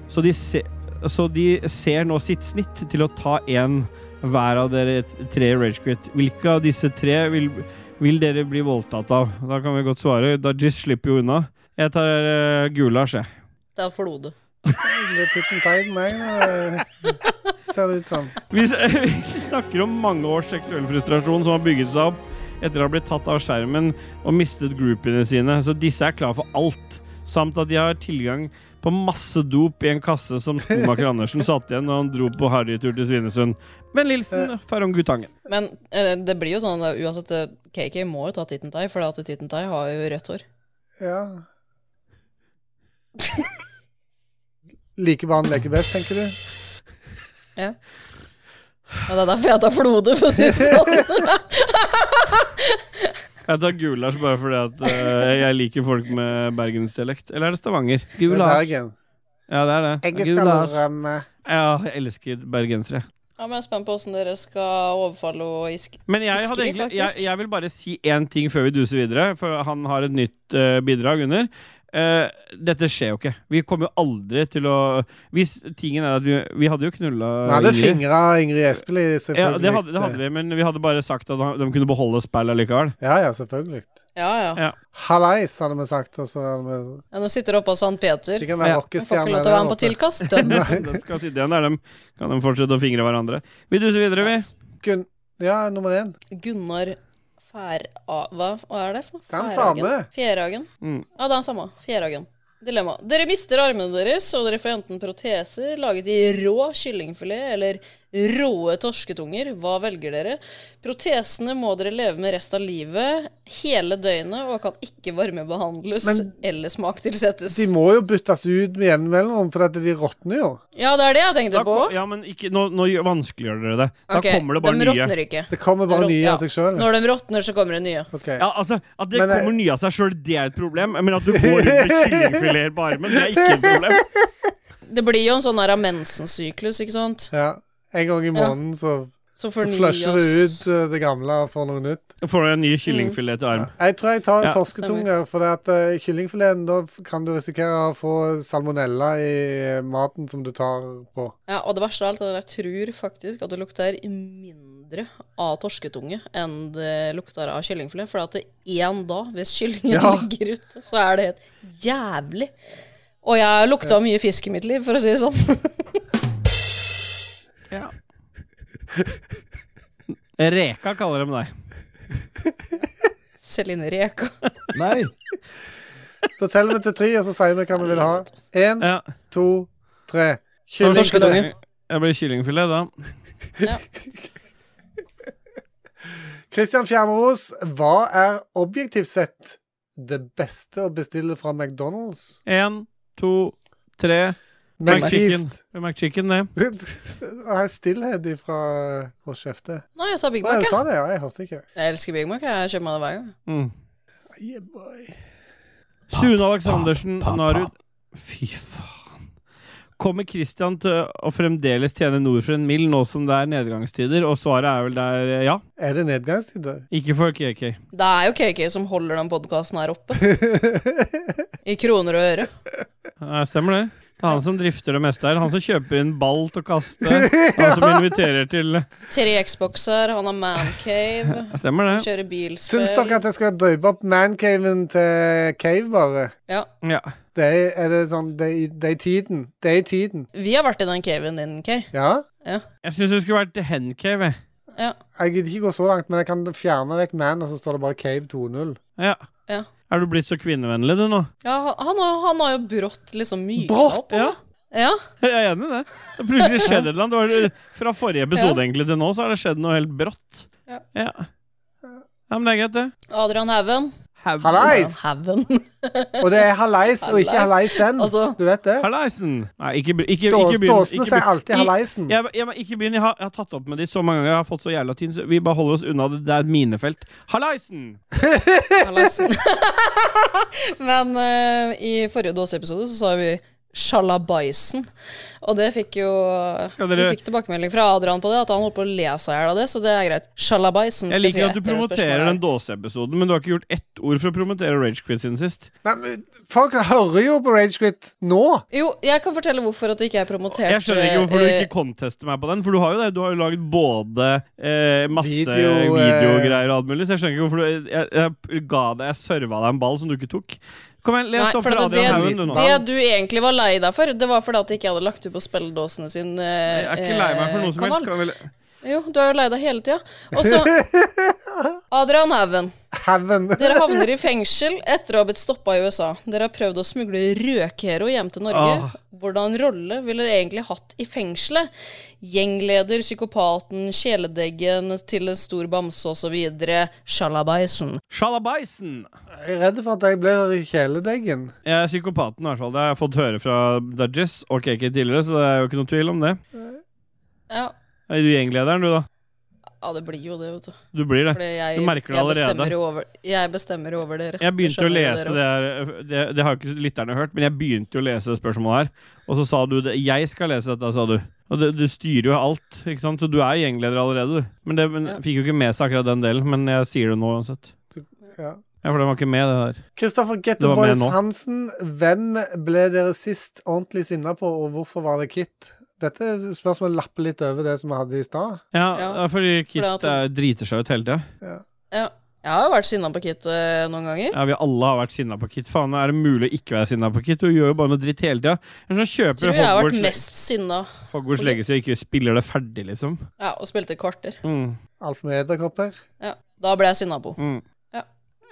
Speaker 2: så de, se, så de ser nå sitt snitt til å ta én hver av dere t- tre Ragequit. Hvilke av disse tre vil, vil dere bli voldtatt av? Da kan vi godt svare. Dajis slipper jo unna. Jeg tar eh, Gulasj, jeg.
Speaker 3: Det er Flode.
Speaker 1: Det er titten tegn meg, eh, ser det ut som.
Speaker 2: Vi, vi snakker om mange års seksuell frustrasjon som har bygget seg opp etter å ha blitt tatt av skjermen og mistet groupiene sine, så disse er klar for alt. Samt at de har tilgang på masse dop i en kasse som skomaker Andersen satte igjen da han dro på harrytur til Svinesund. Men Lilsen, Farong Guttangen.
Speaker 3: Men eh, det blir jo sånn at uansett eh, KK må jo ta Tittentai, for at Tittentai har jo rødt hår.
Speaker 1: Ja. Like banen leker best, tenker du?
Speaker 3: Ja, det er derfor jeg tar Flode, for å si det sånn.
Speaker 2: Jeg tar Gulasj bare fordi at eh, jeg liker folk med bergensdialekt. Eller er det Stavanger?
Speaker 1: Det er
Speaker 2: Gulasj.
Speaker 1: Bergen.
Speaker 2: Ja, det er det.
Speaker 1: Jeg skal um,
Speaker 2: Gulasj.
Speaker 1: rømme.
Speaker 2: Ja, jeg elsker bergensere.
Speaker 3: Ja, men jeg er spent på åssen dere skal overfalle og isk...
Speaker 2: Men jeg, hadde
Speaker 3: Husker de
Speaker 2: egentlig, jeg,
Speaker 3: faktisk?
Speaker 2: jeg vil bare si én ting før vi duser videre, for han har et nytt eh, bidrag under. eh, dette skjer jo ikke. Vi kommer jo aldri til å Hvis tingen er at vi, vi hadde jo knulla
Speaker 1: Vi hadde fingra Ingrid Espelid,
Speaker 2: Ja,
Speaker 1: selvfølgelig.
Speaker 2: det hadde, det hadde vi, men vi hadde bare sagt at de kunne beholde spillet likevel.
Speaker 1: Ja, ja, selvfølgelig.
Speaker 3: Ja, ja.
Speaker 2: Ja.
Speaker 1: Hallais, hadde vi sagt. Og så hadde vi...
Speaker 3: ja nå sitter det oppe hos han Peter.
Speaker 1: De kan være
Speaker 2: Ja.
Speaker 3: Han får ikke
Speaker 1: rockestjerner
Speaker 3: lov til å
Speaker 1: der
Speaker 3: være med på
Speaker 1: oppe.
Speaker 3: tilkast. Døm.
Speaker 2: Den skal sitte igjen der, dem. Kan de fortsette å fingre hverandre? Vi duser videre, vi.
Speaker 1: Gunn- Ja, nummer én.
Speaker 3: Gunnar Fær... Hva, hva er det for noe?
Speaker 1: Det er den
Speaker 3: Færhagen?
Speaker 1: samme.
Speaker 3: Fjærhagen.
Speaker 2: Mm.
Speaker 3: Ja, det er den samme. Fjærhagen. Dilemma. Dere mister armene deres, og dere får enten proteser laget i rå kyllingfilet eller råe torsketunger. Hva velger dere? Protesene må dere leve med resten av livet, hele døgnet, og kan ikke varmebehandles
Speaker 1: Men-
Speaker 3: eller smaktilsettes.
Speaker 1: De må jo byttes ut med jevn mellomrom, for at de råtner jo.
Speaker 3: Ja, det er det jeg tenkte
Speaker 2: Da
Speaker 3: på.
Speaker 2: kom- ja, men ikke, nå, nå gjør- vanskeliggjør dere det. Da
Speaker 3: Ok,
Speaker 2: kommer det bare
Speaker 3: de
Speaker 2: nye.
Speaker 3: råtner ikke.
Speaker 1: Det kommer bare
Speaker 3: Rot-
Speaker 1: nye
Speaker 3: ja.
Speaker 1: av seg sjøl.
Speaker 3: Når de råtner, så kommer det nye.
Speaker 2: Ja, altså, At det
Speaker 1: Men, eh,
Speaker 2: kommer nye av seg sjøl, det er et problem. Men at du går rundt med kyllingfileter på armen, det er ikke et problem.
Speaker 3: Det blir jo en sånn her mensensyklus, ikke sant?
Speaker 1: Ja. En gang i
Speaker 3: Ja.
Speaker 1: måneden så,
Speaker 3: Så
Speaker 1: så
Speaker 3: fornyer
Speaker 1: flusher du
Speaker 3: oss.
Speaker 1: ut eh, det gamle og får noe nytt.
Speaker 2: Får du en ny kyllingfilet til arm.
Speaker 1: Jeg tror jeg tar
Speaker 2: Ja,
Speaker 1: torsketunger, for det at eh, kyllingfileten da f- kan du risikere å få salmonella i eh, maten som du tar på.
Speaker 3: Ja, og det verste av alt er at jeg tror faktisk at det lukter mindre av torsketunge enn det lukter av kyllingfilet. For at det én da, hvis kyllingen
Speaker 1: Ja.
Speaker 3: ligger ute, så er det helt jævlig. Og jeg lukta mye fisk i mitt liv, for å si det sånn.
Speaker 2: Reka kaller de deg.
Speaker 3: Celine Reka.
Speaker 5: Nei.
Speaker 1: Da teller vi til tre, og så sier vi hva vi vil ha. Én,
Speaker 2: Ja.
Speaker 1: to, tre.
Speaker 3: Torsketunge.
Speaker 1: Kyllingfilet.
Speaker 2: Jeg blir kyllingfilet, da.
Speaker 1: Christian Fjermeros, hva er objektivt sett det beste å bestille fra McDonald's?
Speaker 2: Én, to, tre. McChicken.
Speaker 1: McFeast.
Speaker 2: McChicken, det.
Speaker 1: Det er stillhet ifra vårt kjefte.
Speaker 3: Nei, jeg sa Big
Speaker 1: Nei,
Speaker 3: Mac.
Speaker 1: du
Speaker 3: Jeg,
Speaker 1: sa det, ja. Jeg hørte ikke.
Speaker 3: jeg elsker Big Mac. Jeg kjøper meg det hver gang.
Speaker 2: Mm.
Speaker 1: Yeah, boy.
Speaker 2: Sune Aleksandersen
Speaker 5: pop, pop.
Speaker 2: Narud. Fy faen. Kommer Christian til å fremdeles tjene nord for en mil nå som det er nedgangstider? Og svaret er vel der eh, ja.
Speaker 1: Er det nedgangstider?
Speaker 2: Ikke for KK.
Speaker 3: Det er jo KK som holder den podkasten her oppe. I kroner og øre.
Speaker 2: Ja, stemmer det. Det er han som drifter det meste her. Han som kjøper inn ball til å kaste. Han som inviterer til
Speaker 3: Tre Xboxer, han har Mancave,
Speaker 2: Stemmer det.
Speaker 3: kjører bilspill.
Speaker 1: Syns dere at jeg skal døype opp mancaven til cave, bare?
Speaker 3: Ja.
Speaker 2: Ja.
Speaker 1: Det er, er det sånn Det er i- det er i tiden. Det er i tiden.
Speaker 3: Vi har vært i den caven din, Kay.
Speaker 1: Ja?
Speaker 3: Ja.
Speaker 2: Jeg syns det skulle vært Hencave. jeg.
Speaker 3: ja.
Speaker 1: Jeg gidder ikke gå så langt, men jeg kan fjerne vekk man, og så står det bare Cave 2.0.
Speaker 2: Ja.
Speaker 3: Ja.
Speaker 2: Er du blitt så kvinnevennlig, du, nå?
Speaker 3: Ja, han- han, har- han har jo brått liksom myka
Speaker 1: Brått?
Speaker 3: opp. Ja.
Speaker 2: Jeg er enig i det. Det har plutselig skjedd et eller annet. Det var, fra forrige episode egentlig til nå, så har det skjedd noe helt brått.
Speaker 3: Ja.
Speaker 2: Ja, ja men det er greit, det.
Speaker 3: Adrian Haugen.
Speaker 1: Hallais!
Speaker 3: Haugen.
Speaker 1: Og det er hallais og ikke halleisen.
Speaker 3: Altså-
Speaker 1: Du vet det?
Speaker 2: Hallaisen! Nei, ikke, be- ikke,
Speaker 1: Dås-
Speaker 2: ikke begynn.
Speaker 1: Dåsene
Speaker 2: ikke
Speaker 1: sier
Speaker 2: begynn.
Speaker 1: alltid halleisen.
Speaker 2: I- Jeg, jeg, ikke begynn. Jeg har, jeg har tatt opp med ditt så mange ganger. Jeg har fått så jævla tynn, så vi bare holder oss unna det. Det er et minefelt. Hallaisen!
Speaker 3: Hallaisen. Men eh, i forrige Dåse-episode så sa vi Sjalabaisen. Og det fikk jo
Speaker 2: Skal
Speaker 3: Vi
Speaker 2: dere-
Speaker 3: fikk tilbakemelding fra Adrian på det, at han holdt på å le seg i hjel av det, så det er greit. Sjalabaisen.
Speaker 2: Jeg
Speaker 3: skal si
Speaker 2: liker at du
Speaker 3: etter det
Speaker 2: promoterer
Speaker 3: spørsmålet her.
Speaker 2: den Dåse-episoden, men du har ikke gjort ett ord for å promotere Ragequit siden sist.
Speaker 1: Nei, men folk hører jo på Ragequit nå.
Speaker 3: Jo, jeg kan fortelle hvorfor at det ikke er promotert.
Speaker 2: Jeg skjønner ikke hvorfor du
Speaker 3: eh,
Speaker 2: ikke contester meg på den, for du har jo det. Du har jo lagd både eh, masse
Speaker 1: Video, eh,
Speaker 2: videogreier og alt mulig, så jeg skjønner ikke hvorfor du Jeg, jeg ga deg Jeg serva deg en ball som du ikke tok. Kom igjen, les
Speaker 3: Nei,
Speaker 2: opp
Speaker 3: for
Speaker 2: for
Speaker 3: at det,
Speaker 2: Adrian Haugen, du nå.
Speaker 3: det du egentlig var lei deg for, det var fordi at jeg ikke hadde lagt ut på spilledåsene sin eh,
Speaker 2: Jeg er ikke lei meg for noe som
Speaker 3: kanal.
Speaker 2: helst. Kan vel...
Speaker 3: Jo, du er jo lei deg hele tida. Og så Adrian Haugen.
Speaker 1: Heaven.
Speaker 3: Dere havner i fengsel etter å ha blitt stoppa i USA. Dere har prøvd å smugle røkhero hjem til Norge.
Speaker 2: Ah.
Speaker 3: Hvordan rolle ville dere egentlig hatt i fengselet? Gjengleder, psykopaten, kjæledeggen til en stor bamse osv. Sjalabaisen.
Speaker 2: Shalabaisen!
Speaker 1: Jeg er redd for at jeg blir kjæledeggen.
Speaker 2: Jeg er psykopaten, i hvert fall. Det har jeg fått høre fra Dudges og KK tidligere, så det er jo ikke noe tvil om det.
Speaker 3: Ja.
Speaker 2: Er du gjenglederen, du, da?
Speaker 3: ja, det blir jo det, vet du.
Speaker 2: Du blir det.
Speaker 3: Fordi jeg,
Speaker 2: Du merker det
Speaker 3: jeg
Speaker 2: allerede.
Speaker 3: Bestemmer jo over, jeg bestemmer jo over dere.
Speaker 2: Jeg begynte å
Speaker 3: skjønner jo
Speaker 2: lese det
Speaker 3: dere
Speaker 2: her det, det har jo ikke lytterne hørt, men jeg begynte jo å lese det spørsmålet her. Og så sa du det. 'Jeg skal lese dette', sa du. Og det, du styrer jo alt, ikke sant? så du er gjengleder allerede, du. Men det men,
Speaker 3: Ja.
Speaker 2: fikk jo ikke med seg akkurat den delen, men jeg sier det nå uansett.
Speaker 1: Ja.
Speaker 2: Ja. Ja, for den var ikke med, det der.
Speaker 1: Kristoffer Get the
Speaker 2: Det var med
Speaker 1: Boys
Speaker 2: nå.
Speaker 1: Hansen, hvem ble dere sist ordentlig sinna på, og hvorfor var det Kit? Dette spørsmålet lapper litt over det som vi hadde i stad.
Speaker 2: Ja,
Speaker 3: Ja.
Speaker 2: ja, fordi Kit
Speaker 3: at-
Speaker 2: eh, driter seg ut hele tida.
Speaker 3: Ja. Jeg har jo vært sinna på Kit eh, noen ganger.
Speaker 2: Ja, vi alle har vært sinna på Kit. Faen, er det mulig å ikke være sinna på Kit? Hun gjør jo bare noe dritt hele tida. Hun kjøper
Speaker 3: Tror jeg har vært
Speaker 2: Hogwarts,
Speaker 3: mest sinna.
Speaker 2: Hogwarts
Speaker 3: på
Speaker 2: Legacy og ikke spiller det ferdig, liksom.
Speaker 3: Ja, og spilte kvarter.
Speaker 2: Mm.
Speaker 1: Alt med edderkopper.
Speaker 3: Ja. Da ble jeg sinna på.
Speaker 2: Mm.
Speaker 3: Ja.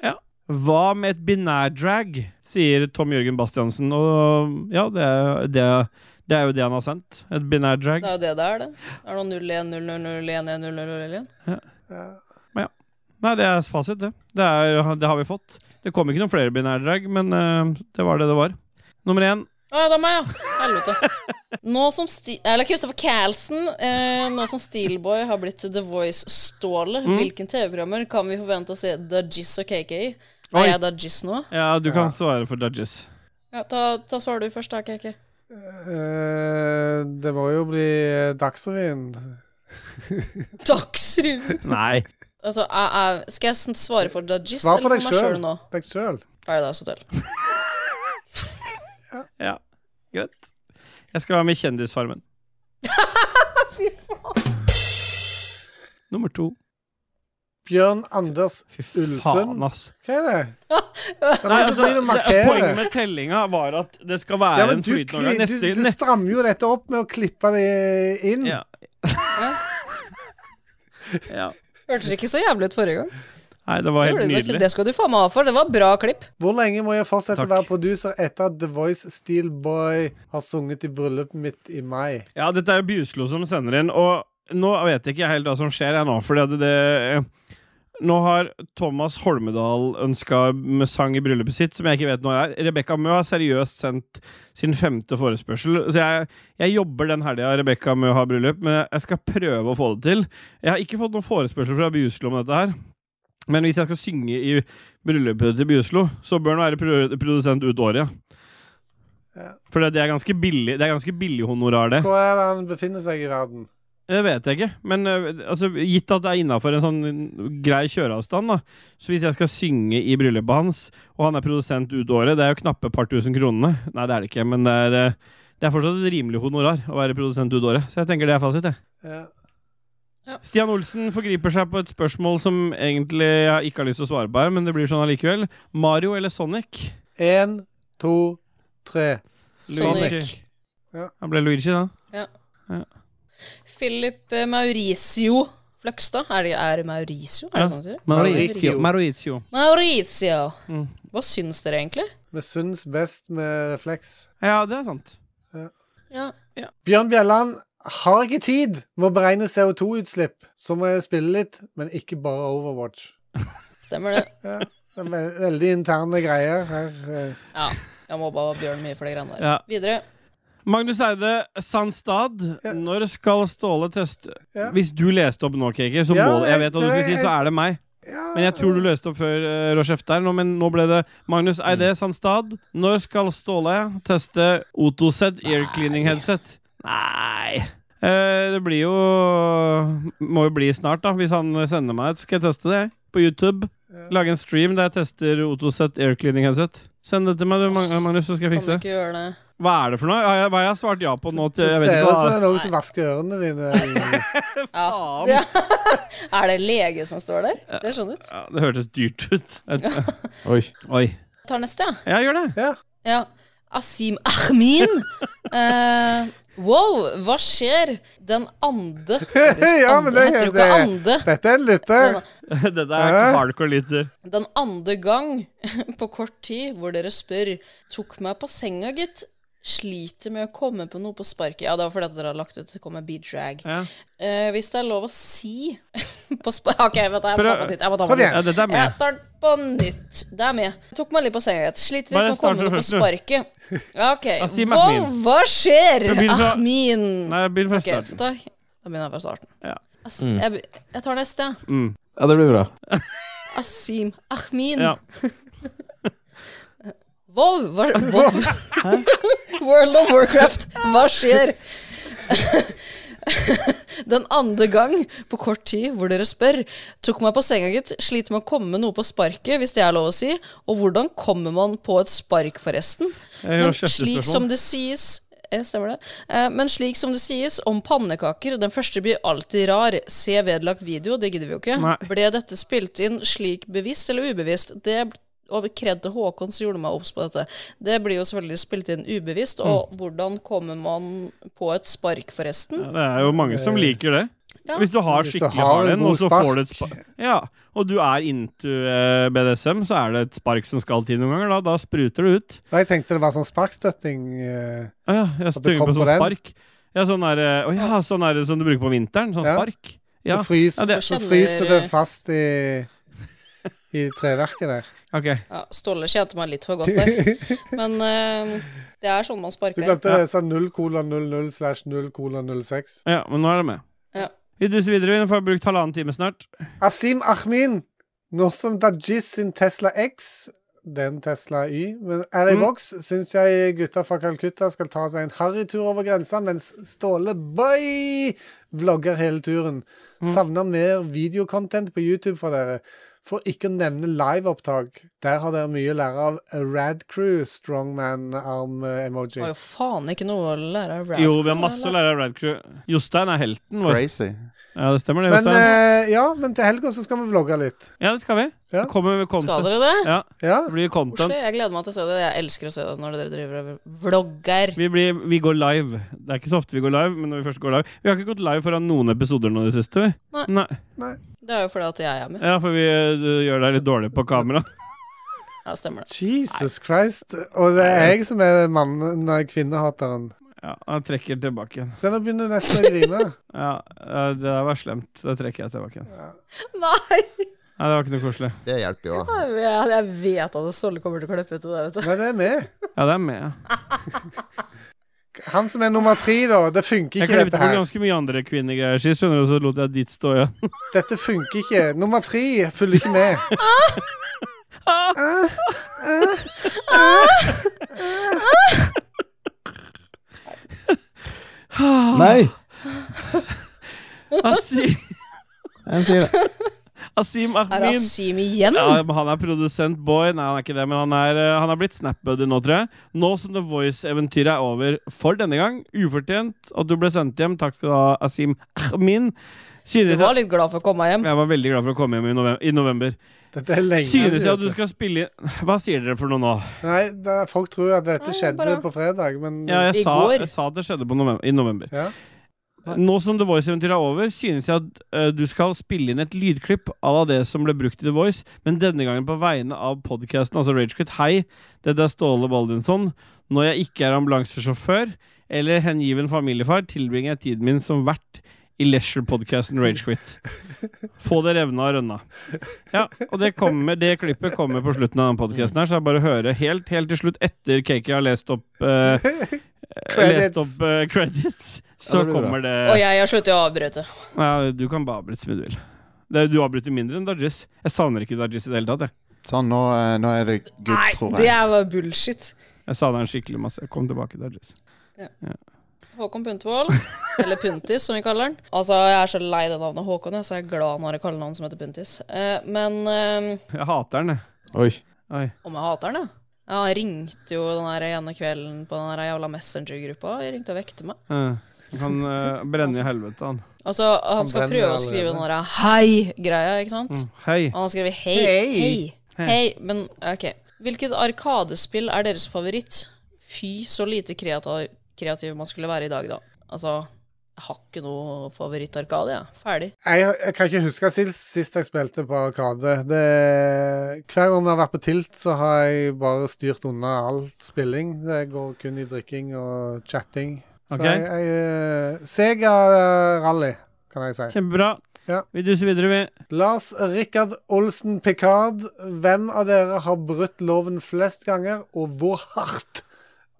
Speaker 2: Ja. Hva med et binærdrag, sier Tom Jørgen Bastiansen. Og ja, det er, det, er- det er jo det han har sendt. Et binærdrag.
Speaker 3: Det er jo det det er, det. Det er noe 0-1-0-0-0-1-1-0-0-1.
Speaker 2: Nei, det er fasit, det. Det, er, det har vi fått. Det kom ikke noen flere binærdrag, men eh, det var det det var. Nummer én.
Speaker 3: Å ja, det er meg, ja. Helvete. Nå som Sti Eller Christopher Carlsen, eh, nå som Steelboy har blitt The Voice-stålet,
Speaker 2: Mm.
Speaker 3: hvilken TV-programmer kan vi forvente å se The Jizz og KK i?
Speaker 2: Oi.
Speaker 3: Er jeg The Jizz nå?
Speaker 2: Ja, du kan svare for Dudges.
Speaker 3: Ja, ta, ta svar du først, da, KK.
Speaker 1: Eh, det må jo bli eh, Dagsrevyen.
Speaker 3: Dagsrevyen.
Speaker 2: Nei.
Speaker 3: Altså, jeg, jeg, skal jeg s- svare for The Jizz
Speaker 1: Svar for
Speaker 3: eller
Speaker 1: deg
Speaker 3: for meg sjøl
Speaker 1: sjøl.
Speaker 3: nå?
Speaker 1: Deg sjøl.
Speaker 3: Paradise Hotel.
Speaker 2: Ja, greit. Jeg skal være med i Kjendisfarmen. Nummer to.
Speaker 1: Bjørn Anders
Speaker 2: Fy
Speaker 1: Ulsund.
Speaker 2: faen, ass.
Speaker 1: Hva er det? Han
Speaker 2: Nei,
Speaker 1: er
Speaker 2: altså,
Speaker 1: som driver og
Speaker 2: det- poenget
Speaker 1: markerer.
Speaker 2: med tellinga var at det skal være
Speaker 1: Ja, men
Speaker 2: en
Speaker 1: du,
Speaker 2: flytende
Speaker 1: kli-
Speaker 2: overgang.
Speaker 1: du,
Speaker 2: Neste,
Speaker 1: du
Speaker 2: neste
Speaker 1: strammer jo dette opp med å klippe det inn.
Speaker 2: ja. ja.
Speaker 3: Hørtes ikke så jævlig ut forrige gang.
Speaker 2: Nei, det var
Speaker 3: Det,
Speaker 2: helt
Speaker 3: gjorde det, ikke.
Speaker 2: nydelig.
Speaker 3: det skal du faen meg ha for. Det var bra klipp.
Speaker 1: Hvor lenge må jeg fortsette
Speaker 2: Takk.
Speaker 1: å være producer etter at The Voice Steel Boy har sunget i bryllupet mitt i mai?
Speaker 2: Ja, dette er jo Bjuslo som sender inn, og nå vet jeg ikke helt hva som skjer jeg nå, fordi at det eh, Nå har Thomas Holmedal ønska sang i bryllupet sitt, som jeg ikke vet når er. Rebekka Mø har seriøst sendt sin femte forespørsel. Så jeg, jeg jobber den helga Rebekka Mø har bryllup, men jeg skal prøve å få det til. Jeg har ikke fått noen forespørsel fra Bjuslo om dette her. Men hvis jeg skal synge i bryllupet til Bjuslo, så bør han være pro- produsent ut året.
Speaker 1: Ja.
Speaker 2: For det det er ganske billig, det er ganske billig honorar, det.
Speaker 1: Hvor er det han befinner seg i verden?
Speaker 2: Det vet jeg ikke, men eh, altså, gitt at det er innafor en sånn grei kjøreavstand, da. Så hvis jeg skal synge i bryllupet hans, og han er produsent ut året, det er jo knappe et par tusen kronene. Nei, det er det ikke, men det er, eh, det er fortsatt et rimelig honorar å være produsent ut året. Så jeg tenker det er fasit, jeg.
Speaker 1: Ja.
Speaker 2: Stian Olsen forgriper seg på et spørsmål som egentlig jeg ikke har lyst til å svare på her, men det blir sånn allikevel. Mario eller Sonic?
Speaker 1: En, to, tre.
Speaker 3: Sonic.
Speaker 1: Ja.
Speaker 2: Han ble Luigi, da.
Speaker 3: Philip eh, Mauricio Fløgstad. Er det, er det Mauricio? Er det
Speaker 2: Ja.
Speaker 3: sånn han sier? det?
Speaker 1: Mauricio.
Speaker 2: Mauricio.
Speaker 3: Mauricio!
Speaker 2: Mm.
Speaker 3: Hva syns dere egentlig?
Speaker 1: Vi syns best med refleks.
Speaker 2: Ja, det er sant.
Speaker 3: Ja.
Speaker 1: Bjørn Bjelland har ikke tid med å beregne CO2-utslipp, så må jeg spille litt, men ikke bare Overwatch.
Speaker 3: Stemmer det.
Speaker 1: Ja. Det er ve- veldig interne greier her. eh.
Speaker 3: Ja. Jeg må bare Bjørn mye for de greiene der.
Speaker 2: Ja.
Speaker 3: Videre.
Speaker 2: Magnus Eide Sandstad,
Speaker 1: Ja.
Speaker 2: når skal Ståle teste
Speaker 1: Ja.
Speaker 2: Hvis du leste opp nå, Kiki, så
Speaker 1: Ja,
Speaker 2: må det Jeg vet hva du
Speaker 1: det-
Speaker 2: skulle si, så er det meg.
Speaker 1: Ja.
Speaker 2: Men jeg tror du løste opp før uh, Rochef der, nå, men nå ble det Magnus Eide Sandstad. Når skal Ståle teste Otosed Ear Cleaning Headset? Nei Eh, Det blir jo Må jo bli snart, da. Hvis han sender meg et, skal jeg teste det. jeg. På YouTube. Lage en stream der jeg tester Otosed Ear Cleaning Headset. Send det til meg, du, Mag- Magnus, så skal jeg
Speaker 3: Kan du
Speaker 2: fikse det.
Speaker 3: ikke gjøre det?
Speaker 2: Hva er det for noe? Har jeg- Hva har jeg svart ja på nå? Til,
Speaker 1: Det
Speaker 2: jeg vet
Speaker 1: ser
Speaker 2: ikke
Speaker 1: ut som det
Speaker 2: hva.
Speaker 1: er noen som vasker ørene dine.
Speaker 3: Ja. ja. er det lege som står der? Ser sånn ut.
Speaker 2: Ja, det hørtes dyrt ut. Et-
Speaker 4: Oi.
Speaker 2: Oi.
Speaker 3: Jeg tar neste, jeg.
Speaker 2: Ja, gjør det.
Speaker 1: Ja.
Speaker 3: Ja. Asim Ahmin. Eh, wow, hva skjer? Den ande
Speaker 1: Ja, men det-
Speaker 3: Jeg tror ikke ande.
Speaker 1: Dette er en lytter.
Speaker 2: Dette er
Speaker 1: Hæ?
Speaker 2: hardcore liter.
Speaker 3: Den andre gang på kort tid hvor dere spør Tok meg på senga, gitt. Sliter med å komme på noe på sparket. Ja, det var fordi at dere hadde lagt ut Kom med beat-drag.
Speaker 2: Ja.
Speaker 3: Eh, hvis det er lov å si på spa... OK, vent, da, jeg må ta
Speaker 2: Prøv-
Speaker 3: på nytt. Jeg må ta
Speaker 1: Kom
Speaker 3: på
Speaker 1: igjen.
Speaker 2: Ja,
Speaker 3: nytt.
Speaker 2: dette er
Speaker 3: Jeg
Speaker 2: med.
Speaker 3: tar den på nytt. Det er med. Jeg tok meg litt på senga. gitt. Sliter litt
Speaker 2: Bare
Speaker 3: med å
Speaker 2: start
Speaker 3: komme
Speaker 2: fra
Speaker 3: noe på
Speaker 2: først,
Speaker 3: sparket. Ja, OK.
Speaker 2: si
Speaker 3: Hva,
Speaker 2: Ahmin.
Speaker 3: hva skjer?
Speaker 2: Du begynner fra-
Speaker 3: Ahmin.
Speaker 2: Nei, jeg begynner fra
Speaker 3: OK, så
Speaker 2: starten.
Speaker 3: da, da begynner jeg fra starten.
Speaker 2: Ja.
Speaker 3: As jeg, be- jeg tar neste. jeg.
Speaker 4: Ja, det blir bra.
Speaker 3: Asim Ahmin.
Speaker 2: Ja.
Speaker 3: Wow, hva, wow. World of Warcraft, hva skjer? Den andre gang på kort tid hvor dere spør. Tok meg på senga, gitt. Sliter med å komme med noe på sparket, hvis det er lov å si. Og hvordan kommer man på et spark, forresten?
Speaker 2: Jeg har
Speaker 3: Men
Speaker 2: kjempespørsmål.
Speaker 3: slik som det sies eh, Stemmer det. Eh, Men slik som det sies om pannekaker, den første blir alltid rar. Se vedlagt video, det gidder vi jo ikke.
Speaker 2: Nei.
Speaker 3: Ble dette spilt inn slik bevisst eller ubevisst? Det og kred til Håkon som gjorde meg obs på dette. Det blir jo selvfølgelig spilt inn ubevisst. Og hvordan kommer man på et spark, forresten?
Speaker 2: Mm. Ja, det er jo mange som liker det.
Speaker 3: Ja.
Speaker 2: Hvis du har
Speaker 1: Eh, Hvis du
Speaker 2: skikkelig
Speaker 1: har
Speaker 2: hard en,
Speaker 1: god
Speaker 2: og så
Speaker 1: spark.
Speaker 2: får du et spark Ja, og du er into eh, BDSM, så er det et spark som skal til noen ganger. Da, da spruter det ut.
Speaker 1: Nei, Jeg tenkte det var sånn sparkstøtting. eh,
Speaker 2: Å ja,
Speaker 1: At
Speaker 2: jeg
Speaker 1: det
Speaker 2: tenker
Speaker 1: kom
Speaker 2: på
Speaker 1: på
Speaker 2: sånn
Speaker 1: den?
Speaker 2: spark. Ja, sånn er, det- å ja, sånn er det som du bruker på vinteren. Sånn
Speaker 1: Ja.
Speaker 2: spark. Ja,
Speaker 1: Så, frys,
Speaker 2: ja, det-
Speaker 1: så
Speaker 3: Kjenner-
Speaker 1: fryser det fast i, i treverket der.
Speaker 2: ok.
Speaker 3: Ja, Ståle kjente meg litt for godt der. Men eh, det er sånn man
Speaker 1: Du
Speaker 3: sparker.
Speaker 1: glemte det. Sånn 0 kolon 00 slash 0 kolon 06.
Speaker 2: Ja, men nå er det med.
Speaker 3: Ja.
Speaker 2: Vi duser videre, vi får brukt halvannen time snart.
Speaker 1: Asim Ahmin, nå som Dajis sin Tesla X den Tesla Y, men er i
Speaker 2: Mm.
Speaker 1: boks, syns jeg gutta fra Calcutta skal ta seg en harrytur over grensa, mens Ståle Boy vlogger hele turen. Savner mer videocontent på YouTube fra dere. For ikke å nevne liveopptak. Der har dere mye å lære av Rad Crew,
Speaker 3: Det var
Speaker 1: strongman-arm-emoji.
Speaker 3: jo faen ikke noe å lære av Rad
Speaker 2: Jo, vi har
Speaker 3: Crew,
Speaker 2: masse å
Speaker 3: eller?
Speaker 2: lære av Rad Crew. Jostein er helten vår.
Speaker 4: Crazy.
Speaker 2: Ja, det stemmer det.
Speaker 1: Men
Speaker 2: Jostein.
Speaker 1: eh, ja, men til helga så skal vi vlogge litt.
Speaker 2: Ja, det skal vi.
Speaker 1: ja.
Speaker 2: Det kommer med
Speaker 3: Skal
Speaker 2: content.
Speaker 3: dere det?
Speaker 2: Ja,
Speaker 1: Ja,
Speaker 2: det blir
Speaker 3: Oslo,
Speaker 2: content.
Speaker 3: jeg gleder meg til å se det. Jeg elsker å se det når dere driver og vlogger.
Speaker 2: Vi, blir, vi går live. Det er ikke så ofte vi går live, men når vi først går live Vi har ikke gått live foran noen episoder nå i det siste. vi.
Speaker 3: Nei. Det er jo fordi at jeg er med.
Speaker 2: Ja, for vi eh, gjør deg litt dårlig på kamera.
Speaker 3: Ja, stemmer det.
Speaker 1: Jesus Christ. Og det er jeg som er mannen, nei, kvinnehateren.
Speaker 2: Ja, jeg trekker tilbake igjen.
Speaker 1: Se, nå begynner du nesten å grine.
Speaker 2: Ja, eh, Det der var slemt. Det trekker jeg tilbake igjen.
Speaker 3: Nei,
Speaker 2: Nei, det var ikke noe koselig.
Speaker 4: Det hjelper jo.
Speaker 3: jeg vet- jeg vet at Ståle kommer til å klippe ut det der, vet du.
Speaker 1: Nei, det er meg.
Speaker 2: Ja, det er med. ja.
Speaker 1: Han som er nummer tre, da. Det funker
Speaker 2: Jeg
Speaker 1: ikke,
Speaker 2: klippet
Speaker 1: dette
Speaker 2: bort
Speaker 1: her.
Speaker 2: ganske mye andre kvinnegreier sist, skjønner du, så lot jeg ditt stå igjen.
Speaker 1: Dette funker ikke. Nummer tre følger ikke med.
Speaker 3: Ah.
Speaker 5: Nei,
Speaker 2: Asi-
Speaker 5: han sier det.
Speaker 2: Asim
Speaker 3: Er
Speaker 2: Ahmin.
Speaker 3: Asim igjen?
Speaker 2: Ja, men han er produsent boy. Nei, han er ikke det, men han er, eh, han er blitt Snap-buddy nå, tror jeg. Nå som The Voice-eventyret er over for denne gang, ufortjent at du ble sendt hjem, takk skal du ha, Asim Ahmin. Synes
Speaker 3: Du
Speaker 2: jeg,
Speaker 3: var litt glad for å komme hjem.
Speaker 2: jeg var veldig glad for å komme hjem i november. I november.
Speaker 1: Dette er lenge
Speaker 2: Synes jeg at
Speaker 1: siden.
Speaker 2: du skal spille inn Hva sier dere for noe nå?
Speaker 1: Nei, da, folk tror at
Speaker 3: Nei,
Speaker 1: dette skjedde
Speaker 3: bare-
Speaker 1: på fredag, men
Speaker 2: Ja,
Speaker 3: I
Speaker 2: jeg, sa,
Speaker 3: går.
Speaker 2: jeg sa at det skjedde på november, i november.
Speaker 1: Ja.
Speaker 2: Nå som The Voice-eventyret er over, synes jeg at eh, du skal spille inn et lydklipp à la det som ble brukt i The Voice, men denne gangen på vegne av podkasten, altså Ragequit. Hei, dette er Ståle Baldinsson. Når jeg ikke er ambulansesjåfør eller hengiven familiefar, tilbringer jeg tiden min som vert i leisure-podkasten Ragequit. Få det revna og rønna. Ja, og det, kommer, det klippet kommer på slutten av denne podkasten her, så jeg bare hører helt, helt til slutt, etter Kaki har lest opp eh,
Speaker 1: Credits.
Speaker 2: Lest opp eh, credits, så
Speaker 5: Ja, det blir bra.
Speaker 2: kommer det
Speaker 3: Og jeg har sluttet å avbryte.
Speaker 2: ja, du kan bare avbryte så mye du vil. Det, du avbryter mindre enn Dajis. Jeg savner ikke Dajis i det hele tatt. Jeg,
Speaker 5: Sånn, nå, eh, nå er det good,
Speaker 3: Nei,
Speaker 5: tror
Speaker 3: det
Speaker 5: jeg.
Speaker 3: er bare bullshit.
Speaker 2: jeg savner han skikkelig masse. Kom tilbake, Dajis.
Speaker 3: Håkon Puntvold, eller Puntis som vi kaller han. Altså, jeg er så lei det navnet Håkon, jeg, så jeg er glad når jeg kaller han som heter Puntis. Eh, men eh,
Speaker 2: Jeg hater han, jeg.
Speaker 5: Oi.
Speaker 2: Oi.
Speaker 3: om jeg hater han, ja. Ja, han ringte jo den her ene kvelden på den her jævla Messenger-gruppa. Jeg ringte og vekte meg.
Speaker 2: Eh, Han kan eh, brenne i helvete, han.
Speaker 3: Altså, han skal
Speaker 1: brenner
Speaker 3: prøve å
Speaker 1: allerede.
Speaker 3: skrive den derre hei-greia, ikke sant?
Speaker 2: Mm. Hei.
Speaker 3: Og han har skrevet hei,
Speaker 1: Hei.
Speaker 3: hei, hei, men ok. Hvilket arkadespill er deres favoritt? Fy, så lite kreativ, kreativ man skulle være i dag, da. Altså, jeg har ikke noe favorittarkade, jeg. Ferdig.
Speaker 1: Jeg, jeg kan ikke huske sist, sist jeg spilte på Arkade. Det, hver gang vi har vært på Tilt, så har jeg bare styrt unna alt spilling. Det går kun i drikking og chatting. Så
Speaker 2: Ok.
Speaker 1: jeg, jeg eh, Sega eh, Rally, kan jeg si.
Speaker 2: Kjempebra.
Speaker 1: Ja.
Speaker 2: Vi duser videre, vi.
Speaker 1: Lars Rikard Olsen Picard, hvem av dere har brutt loven flest ganger, og hvor hardt?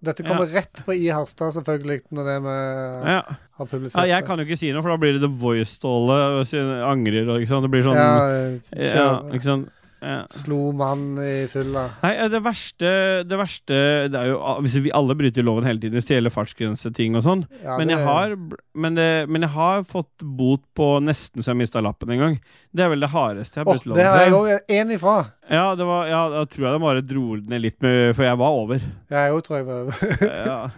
Speaker 1: Dette kommer rett på i Harstad, selvfølgelig, når det vi
Speaker 2: Ja.
Speaker 1: har publisert.
Speaker 2: Ja, jeg kan jo ikke si noe, for da blir det The Voice-Ståle og sin- angrer og ikke sant. Det blir sånn
Speaker 1: ja,
Speaker 2: ja,
Speaker 1: kjør.
Speaker 2: ikke sant. Ja.
Speaker 1: Slo mann i fylla.
Speaker 2: Nei, eh, det verste, det verste Det er jo Hvis vi alle bryter loven hele tiden, stjeler fartsgrenseting og sånn.
Speaker 1: Ja,
Speaker 2: men,
Speaker 1: det-
Speaker 2: jeg har, men, det, men jeg har fått bot på nesten så jeg mista lappen en gang. Det er vel det hardeste jeg
Speaker 1: Åh,
Speaker 2: har brutt loven
Speaker 1: det har jeg
Speaker 2: for.
Speaker 1: òg. Én ifra.
Speaker 2: Ja, det var, ja, da tror jeg de bare dro den ned litt, med, for jeg var over.
Speaker 1: Jeg òg, tror jeg. Var.
Speaker 2: Ja.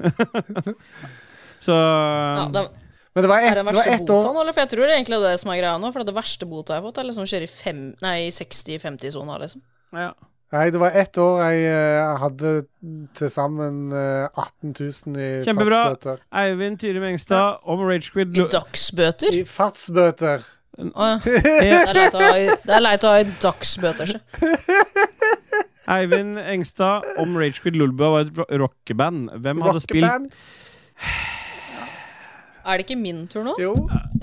Speaker 2: så
Speaker 3: Ja,
Speaker 1: Um,
Speaker 3: det
Speaker 1: Men det var
Speaker 3: er
Speaker 1: ett
Speaker 3: den
Speaker 1: det var
Speaker 3: verste
Speaker 1: ett
Speaker 3: bota
Speaker 1: år
Speaker 3: nå, eller? For jeg tror det er egentlig det som er greia nå. For det verste bota jeg har fått, er liksom å kjøre i fem- nei, 60-50-sona, liksom.
Speaker 2: ja.
Speaker 1: Nei, det var ett år jeg eh, hadde til sammen eh, 18 000 i
Speaker 2: Kjempebra.
Speaker 1: fartsbøter.
Speaker 2: Eivind Tyrim Engstad om Ragequid
Speaker 3: I dagsbøter.
Speaker 1: I fartsbøter.
Speaker 3: Å ja. Det er leit å ha i, det er leit å ha i dagsbøter, sjø.
Speaker 2: Eivind Engstad om Ragequid Lulba var et ro- rockeband. Hvem hadde spilt
Speaker 1: Rockeband.
Speaker 3: Er det ikke min tur nå?
Speaker 1: Jo.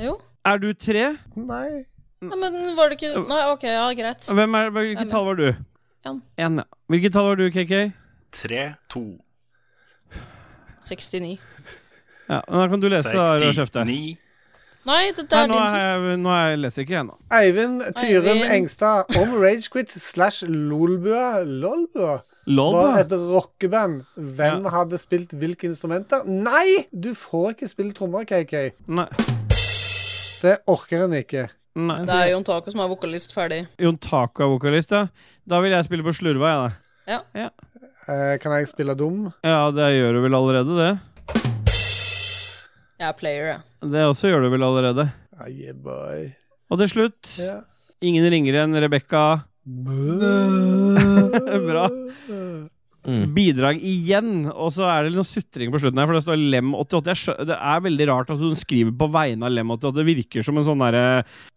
Speaker 3: Jo.
Speaker 2: Er du tre?
Speaker 1: Nei.
Speaker 3: Nei, men var det ikke Nei, OK, ja, greit.
Speaker 2: Hvem er, hvilket
Speaker 3: Hvem er-
Speaker 2: tall var du?
Speaker 3: En.
Speaker 2: En, ja. Hvilket tall var du, KK?
Speaker 5: 3, 2,
Speaker 3: 69.
Speaker 2: Ja, men da kan du lese, da, Rødskjefte.
Speaker 5: 69
Speaker 3: Nei, det, det
Speaker 2: Nei,
Speaker 3: er
Speaker 2: nå,
Speaker 3: din tur.
Speaker 2: er jeg, nå er jeg leser jeg ikke jeg nå.
Speaker 1: Eivind Tyren
Speaker 3: Eivind.
Speaker 1: Engstad om Ragequit slash Lolbua Lolbua
Speaker 2: Lol,
Speaker 1: var
Speaker 2: da.
Speaker 1: et rockeband. Hvem hadde spilt hvilke instrumenter? Nei! Du får ikke spille trommer, KK.
Speaker 2: Nei.
Speaker 1: Det orker en ikke.
Speaker 2: Nei.
Speaker 3: Det er Jon Taco som er vokalist ferdig.
Speaker 2: Jon Taco er vokalist, ja. Da vil jeg spille på slurva, jeg, da.
Speaker 1: Eh, kan jeg spille dum?
Speaker 2: Ja, det gjør du vel allerede, det?
Speaker 3: Jeg er player, jeg.
Speaker 2: Det også gjør du vel allerede.
Speaker 1: Ah, yeah, boy.
Speaker 2: Og til slutt,
Speaker 1: Ja.
Speaker 2: ingen ringere enn Rebekka. Bra. Bidrag igjen, og så er det noe sutring på slutten her, for det står Lem88. Jeg skjø- Det er veldig rart at hun skriver på vegne av Lem88. Det virker som en sånn derre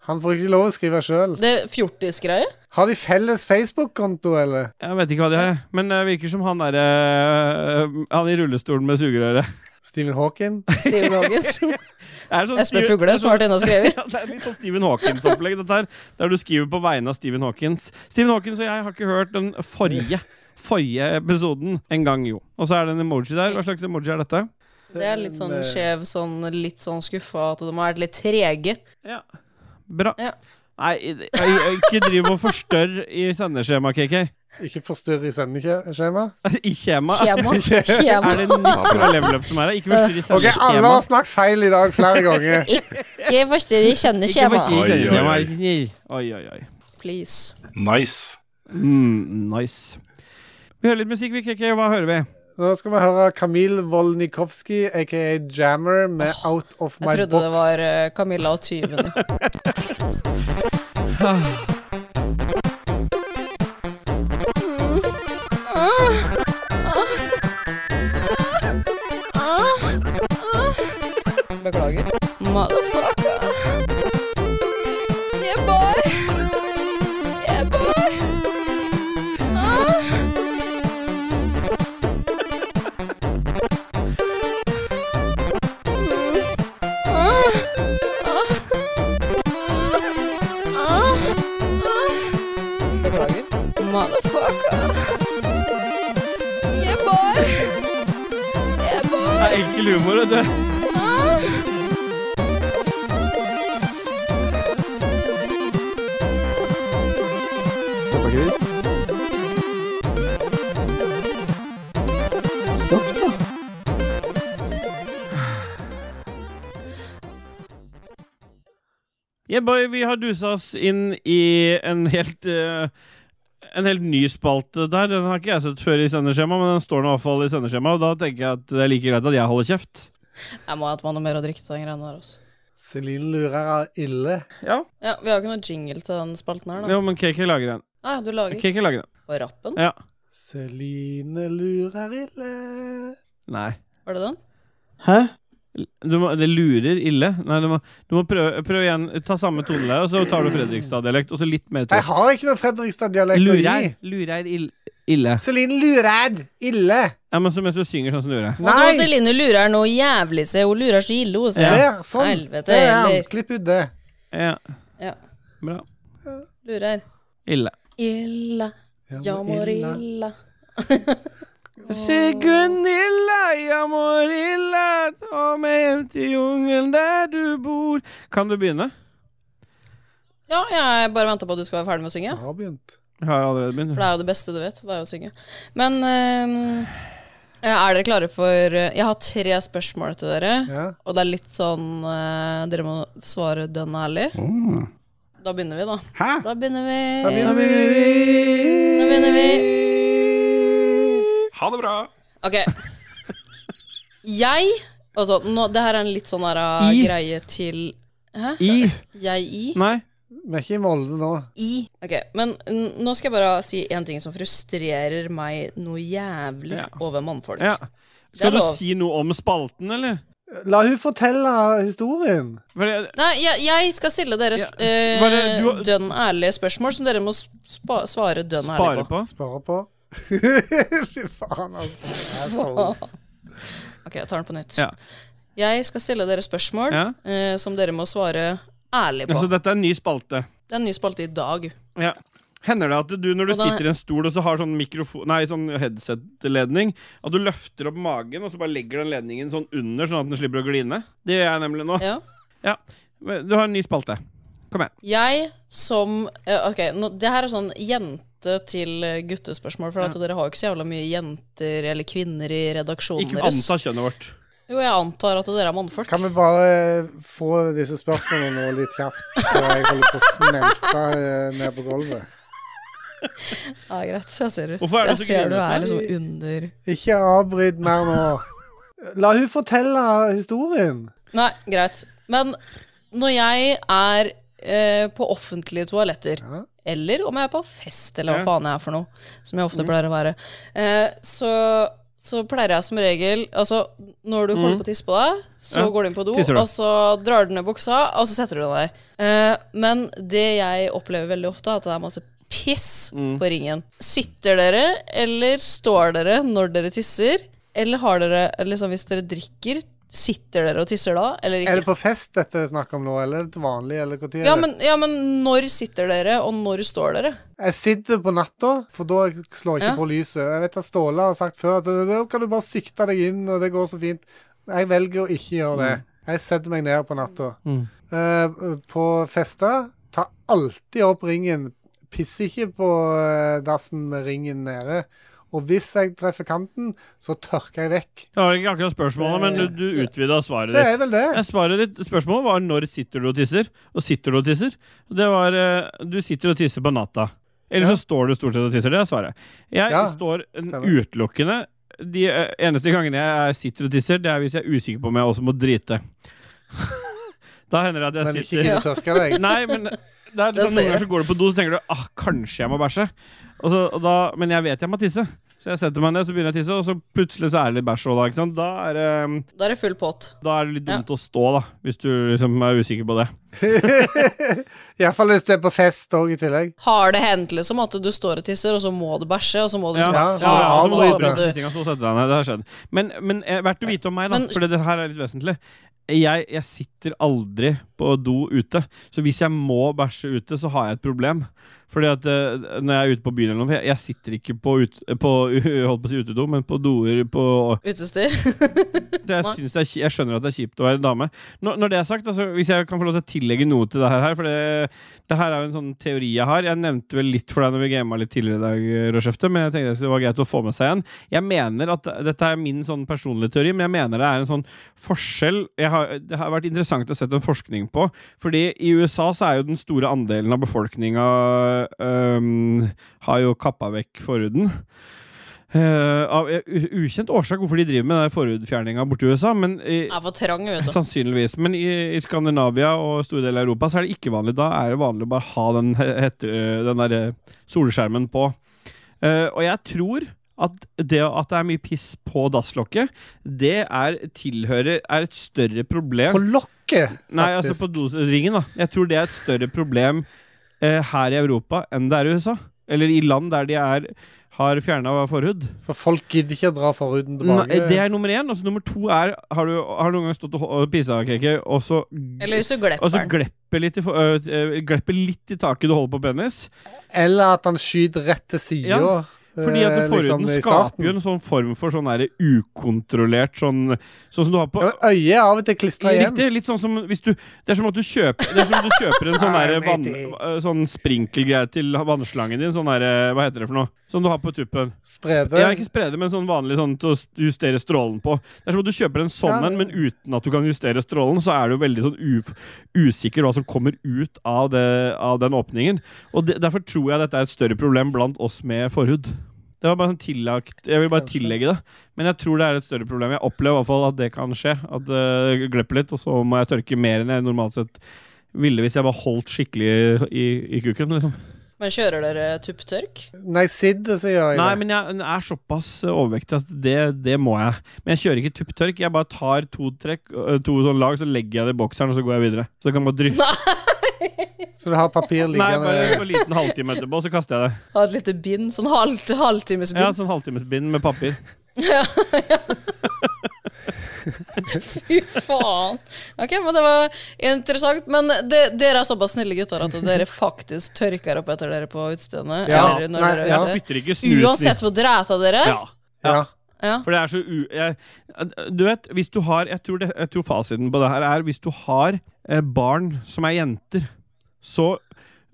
Speaker 1: Han får ikke lov å skrive sjøl.
Speaker 3: Det fjortisgreie?
Speaker 1: Har de felles Facebook-konto, eller?
Speaker 2: Jeg vet ikke hva de har, jeg. men det virker som han derre Han i rullestolen med sugerøre.
Speaker 1: Stephen Hawking?
Speaker 3: Steve Rogers?
Speaker 2: Det er sånn
Speaker 3: Espen
Speaker 2: Steven-
Speaker 3: Fugle som har vært inne og skrevet?
Speaker 2: Ja, det er litt sånn Stephen Hawkins-opplegg, dette her. Der du skriver på vegne av Stephen Hawkins. Stephen Hawkins og jeg har ikke hørt den forrige Forrige episoden en gang, jo. Og så er det en emoji der. Hva slags emoji er dette?
Speaker 3: Det er litt sånn skjev, sånn, litt sånn skuffa at de har vært litt trege.
Speaker 2: Ja. Bra.
Speaker 3: Ja.
Speaker 2: Nei, jeg, jeg, ikke driv og forstørr i sendeskjemaet, KK.
Speaker 1: Ikke forstyrr i sendeskjema.
Speaker 2: I skjemaet.
Speaker 3: Tjena. Tjena.
Speaker 2: Er det Nick fra Level Up som er her? Ikke forstyrr i
Speaker 1: Ok, alle har
Speaker 2: sendeskjemaet.
Speaker 1: snakket feil i dag flere ganger.
Speaker 3: Ikke forstyrr i
Speaker 2: Ikke
Speaker 3: kjenneskjemaet.
Speaker 2: forstyrr i
Speaker 5: Oi, oi, oi.
Speaker 2: sendeskjemaet, vær så snill. Oi, oi, oi.
Speaker 3: Please.
Speaker 5: Nice
Speaker 2: Mm, nice. Vi hører litt musikk, vi, KK. Hva hører vi?
Speaker 1: Nå skal vi høre Kamil Volnikovskij, aka Jammer, med Out of My Box.
Speaker 3: Jeg trodde det var eh, Camilla og tyvene. Beklager. Motherfucker. Yeah, boy. Yeah, boy. Beklager. Motherfucker. Yeah, boy. Yeah, boy.
Speaker 2: Det er enkel humor, vet du.
Speaker 4: Peppergris. Stopp, da.
Speaker 2: Yeah, boy, vi har dusa oss inn i en helt eh, en helt ny spalte der. Den har ikke jeg sett før i sendeskjema, men den står nå i hvert fall i sendeskjema, og da tenker jeg at det er like greit at jeg holder kjeft.
Speaker 3: Jeg må ha et mann mer å drikke til den greiene der, altså.
Speaker 1: Celine Lurer er ille.
Speaker 2: Ja,
Speaker 3: Ja, vi har jo ikke noe jingle til den spalten her, da.
Speaker 2: jo, men KK lager den.
Speaker 3: Nei, du lager
Speaker 2: KK lager den.
Speaker 3: på rappen?
Speaker 2: Ja.
Speaker 1: Celine Lurer ille.
Speaker 2: Nei.
Speaker 3: Var det den?
Speaker 6: Hæ?
Speaker 2: Du må, det lurer ille. Nei, du må, du må prøve, prøve igjen. Ta samme toneleie, og så tar du Fredrikstad-dialekt, og så litt mer
Speaker 1: Jeg
Speaker 2: til.
Speaker 1: har ikke noe Fredrikstad-dialekt å gi.
Speaker 2: Lurer. Lurer ill, ille.
Speaker 1: Celine Lurer ille.
Speaker 2: Ja, men så mens du synger sånn som du gjør.
Speaker 3: Nei! Hun
Speaker 1: Nei!
Speaker 3: Celine lurer noe jævlig, se. Hun lurer så ille, hun. se.
Speaker 2: Ja.
Speaker 1: Der, sånn.
Speaker 3: Helvete
Speaker 1: Det er han.
Speaker 3: heller.
Speaker 1: Klipp ut det.
Speaker 2: Ja.
Speaker 3: Ja.
Speaker 2: Bra.
Speaker 3: Lurer.
Speaker 2: Ille.
Speaker 3: Illa, ja mår illa.
Speaker 2: Se Gunilla, jeg mår ille, ta meg hjem til jungelen der du bor Kan du begynne?
Speaker 3: Ja, jeg bare venta på at du skal være ferdig med å synge.
Speaker 1: Jeg har begynt.
Speaker 2: Jeg har allerede begynt.
Speaker 3: For det er jo det beste du vet. Det er jo å synge. Men ehm, er dere klare for eh, Jeg har tre spørsmål til dere.
Speaker 1: Ja.
Speaker 3: Og det er litt sånn eh, Dere må svare dønn ærlig.
Speaker 7: Åh.
Speaker 3: Da begynner vi, da.
Speaker 7: Hæ?
Speaker 3: Da begynner vi.
Speaker 1: Da begynner vi.
Speaker 3: Da begynner vi.
Speaker 5: Ha det bra!
Speaker 3: Ok. Jeg Altså, nå, det her er en litt sånn her, uh,
Speaker 2: I.
Speaker 3: greie til Hæ?
Speaker 2: I?
Speaker 3: Jeg i?
Speaker 2: Nei.
Speaker 1: Vi er ikke i Molde nå.
Speaker 3: I. Ok, Men n- nå skal jeg bare si en ting som frustrerer meg noe jævlig
Speaker 2: Ja.
Speaker 3: over mannfolk.
Speaker 2: Ja.
Speaker 3: Det er
Speaker 2: Skal du
Speaker 3: lov.
Speaker 2: si noe om spalten, eller?
Speaker 1: La hun fortelle historien.
Speaker 2: For det-
Speaker 3: Nei, jeg, jeg skal stille dere
Speaker 2: Ja,
Speaker 3: eh,
Speaker 2: bare du-
Speaker 3: dønn ærlige spørsmål som dere må spa svare dønn
Speaker 2: Spare
Speaker 3: ærlig på.
Speaker 2: på.
Speaker 1: Spare på. Fy faen, altså. Assholes.
Speaker 3: Ok, jeg tar den på nytt.
Speaker 2: Ja.
Speaker 3: Jeg skal stille dere spørsmål
Speaker 2: Ja.
Speaker 3: eh, som dere må svare ærlig på.
Speaker 2: Altså, dette er en ny spalte.
Speaker 3: det er en ny spalte i dag.
Speaker 2: Ja. Hender det at du når du
Speaker 3: Og da-
Speaker 2: sitter i en stol og så har sånn mikrofon Nei, sånn headset-ledning, at du løfter opp magen og så bare legger den ledningen sånn under, sånn at den slipper å gline? Det gjør jeg nemlig nå.
Speaker 3: Ja.
Speaker 2: Du har en ny spalte. Kom igjen.
Speaker 3: Jeg som eh, Ok, nå, det her er sånn jente til eh, guttespørsmål, for at dere har jo ikke så jævla mye jenter eller kvinner i redaksjonen
Speaker 2: Ikke
Speaker 3: deres.
Speaker 2: anta kjønnet vårt.
Speaker 3: Jo, jeg antar at dere er mannfolk.
Speaker 1: Kan vi bare eh, få disse spørsmålene nå litt kjapt, før jeg holder på å smelte eh, ned på gulvet?
Speaker 3: Ja, greit. Så jeg ser,
Speaker 2: Hvorfor er
Speaker 3: så
Speaker 2: det så
Speaker 3: jeg ser du
Speaker 2: grinete?
Speaker 3: er liksom under
Speaker 1: Ikke avbryt mer nå. La hun fortelle historien.
Speaker 3: Nei, greit. Men når jeg er eh, på offentlige toaletter,
Speaker 1: Ja.
Speaker 3: eller om jeg er på fest, eller hva
Speaker 2: Ja. Mm.
Speaker 3: faen jeg er for noe, som jeg ofte pleier å være, eh, så, så pleier jeg som regel Altså, når du holder på å tisse på deg, så
Speaker 2: Mm. Ja.
Speaker 3: går du inn på do,
Speaker 2: Tisser du.
Speaker 3: og så drar du ned buksa, og så setter du deg der. Eh, men det jeg opplever veldig ofte, er at det er masse piss på ringen. Sitter dere, eller står dere når dere tisser? Eller har dere, liksom hvis dere drikker, sitter dere og tisser da, eller ikke?
Speaker 1: Er det på fest dette er snakk om nå, eller er det til vanlig, eller når?
Speaker 3: Ja men, ja, men når sitter dere, og når står dere?
Speaker 1: Jeg sitter på natta, for da slår jeg ikke
Speaker 3: Ja.
Speaker 1: på lyset. Jeg vet at Ståle har sagt før at da kan du bare sikte deg inn, og det går så fint. Jeg velger å ikke gjøre
Speaker 2: Mm.
Speaker 1: det. Jeg setter meg ned på natta. Eh, på fester tar alltid opp ringen. Pisser ikke på eh, dassen med ringen nede. Og hvis jeg treffer kanten, så tørker jeg vekk.
Speaker 2: Det var ikke akkurat spørsmålet, men du, du utvida
Speaker 1: Det
Speaker 2: svaret ditt.
Speaker 1: er vel det.
Speaker 2: Jeg svarer ditt spørsmål var når sitter du og tisser, og sitter du og tisser. Det var eh, du sitter og tisser på natta. Eller
Speaker 1: Ja.
Speaker 2: så står du stort sett og tisser. Det er svaret. Jeg
Speaker 1: Ja,
Speaker 2: står en-
Speaker 1: stemmer.
Speaker 2: utelukkende De eh, eneste gangene jeg sitter og tisser, det er hvis jeg er usikker på om jeg også må drite. da hender det at
Speaker 1: Men
Speaker 2: jeg
Speaker 1: ikke
Speaker 2: sitter
Speaker 1: kunne tørke deg.
Speaker 2: Nei, men det er sånn,
Speaker 3: Den ser
Speaker 2: noen ganger
Speaker 3: jeg.
Speaker 2: så går du på do, så tenker du ah, kanskje jeg må bæsje. Og så, og da, men jeg vet jeg må tisse. Så jeg setter meg ned, så begynner jeg å tisse, og så plutselig så er det litt bæsj. Og da, ikke sant? da er det
Speaker 3: Da er det full pott.
Speaker 2: da er det litt dumt å stå, da, hvis du liksom er usikker på det.
Speaker 1: Iallfall hvis du er på fest òg, i tillegg.
Speaker 3: Har det hendt liksom at du står og tisser, og så må du bæsje, og så må du liksom
Speaker 1: Ja.
Speaker 3: bare
Speaker 1: Ja, ja,
Speaker 3: faen,
Speaker 1: så må du
Speaker 3: og så må
Speaker 1: avbryte.
Speaker 3: du
Speaker 2: Tissinga, så setter jeg ned. Det har skjedd. Men, men eh, verdt å vite om meg, da,
Speaker 3: Men-
Speaker 2: for det her er litt vesentlig. Jeg, jeg sitter aldri på do ute, så hvis jeg må bæsje ute, så har jeg et problem. Fordi at eh, når jeg er ute på byen eller noe, for jeg, jeg sitter ikke på, ut, på holdt på å si utedo, men på doer på
Speaker 3: Utestyr.
Speaker 2: Så jeg,
Speaker 3: Nei.
Speaker 2: synes det er, ki- jeg skjønner at det er kjipt å være dame. Når, når det er sagt, altså, Hvis jeg kan få lov til å tillegge noe til det her For det, det her er jo en sånn teori jeg har. Jeg nevnte vel litt for deg når vi gama litt tidligere i dag, eh, Rødskjefte, men jeg tenkte det var greit å få med seg en. Jeg mener at Dette er min sånn personlige teori, men jeg mener det er en sånn forskjell jeg har, Det har vært interessant å sette en forskning på. Fordi i USA så er jo den store andelen av befolkninga øhm, har jo kappa vekk forhuden. Eh, av eh, u- ukjent årsak hvorfor de driver med den forhudfjerninga borti USA, men i,
Speaker 3: Er for trang, vet du.
Speaker 2: sannsynligvis. Men i, i Skandinavia og store deler av Europa så er det ikke vanlig. Da er det vanlig å bare ha den, he- hette, den der eh, solskjermen på. Eh, og jeg tror at det at det er mye piss på dasslokket, det er, tilhører, er et større problem
Speaker 1: På lokket, faktisk.
Speaker 2: Nei, altså på doseringen, da. Jeg tror det er et større problem eh, her i Europa enn det er i USA. Eller i land der de er, har fjerna forhud.
Speaker 1: For folk gidder ikke å dra forhuden tilbake.
Speaker 2: Nei, det er nummer én. Og så nummer to er Har du, har du noen gang stått og ho- og pissa, Keke, og så
Speaker 3: Eller hvis du
Speaker 2: og så
Speaker 3: glepper den.
Speaker 2: glepper litt, i, for- øh, øh, glepper litt i taket du holder på penis.
Speaker 1: Eller at han skyter rett til sida.
Speaker 2: Ja. Fordi at
Speaker 1: eh, liksom,
Speaker 2: forhuden
Speaker 1: i
Speaker 2: skaper
Speaker 1: starten.
Speaker 2: jo en sånn form for sånn der ukontrollert sånn Sånn som du har på
Speaker 1: Ja, men Øyet er av og til klistra igjen.
Speaker 2: Riktig. Litt sånn som hvis du Det er som at du kjøper, det er som om du kjøper en sånn der vann, eh, sånn sprinkelgreie til vannslangen din. Sånn der, eh, Hva heter det for noe? Som du har på tuppen.
Speaker 1: Sprede.
Speaker 2: Ja, ikke sprede, men sånn vanlig sånn til å s- justere strålen på. Det er som om du kjøper en sånn
Speaker 1: Ja.
Speaker 2: en, men uten at du kan justere strålen, så er du veldig sånn uf usikker hva som kommer ut av, det, av den åpningen. Og det, derfor tror jeg dette er et større problem blant oss med forhud. Det var bare sånn tillagt Jeg vil bare
Speaker 1: Kanskje.
Speaker 2: tillegge det. Men jeg tror det er et større problem. Jeg opplever i hvert fall at det kan skje. At det glepper litt, og så må jeg tørke mer enn jeg normalt sett ville hvis jeg bare holdt skikkelig i, i kuken. liksom
Speaker 3: Men kjører dere tupptørk?
Speaker 1: Nei, Sid, så gjør jeg
Speaker 2: Nei,
Speaker 1: det.
Speaker 2: men jeg er såpass eh, overvektig at det, det må jeg. Men jeg kjører ikke tupptørk. Jeg bare tar to trekk, ø, to sånn lag, så legger jeg det i bokseren, og så går jeg videre. Så jeg kan bare drysse.
Speaker 1: Så du har papir
Speaker 2: Nei, bare
Speaker 1: liggende
Speaker 2: en liten halvtime etterpå, så kaster jeg det.
Speaker 3: Har et lite bind? Sånn halvt, halvtimesbind?
Speaker 2: Ja, sånn halvtimesbind med papir.
Speaker 3: Fy faen. Ok, men det var interessant. Men det, dere er såpass snille gutter at dere faktisk tørker opp etter dere på utestedene.
Speaker 1: Ja.
Speaker 3: eller når
Speaker 1: Nei,
Speaker 3: dere
Speaker 1: ja.
Speaker 2: Jeg
Speaker 3: gjør det.
Speaker 2: spytter ikke snus.
Speaker 3: Uansett hvor dræta dere er.
Speaker 2: Ja.
Speaker 1: Ja.
Speaker 3: Ja.
Speaker 2: For det er så u... Jeg, eh, du vet, hvis du har jeg tror, det, jeg tror fasiten på det her er hvis du har eh, barn som er jenter, så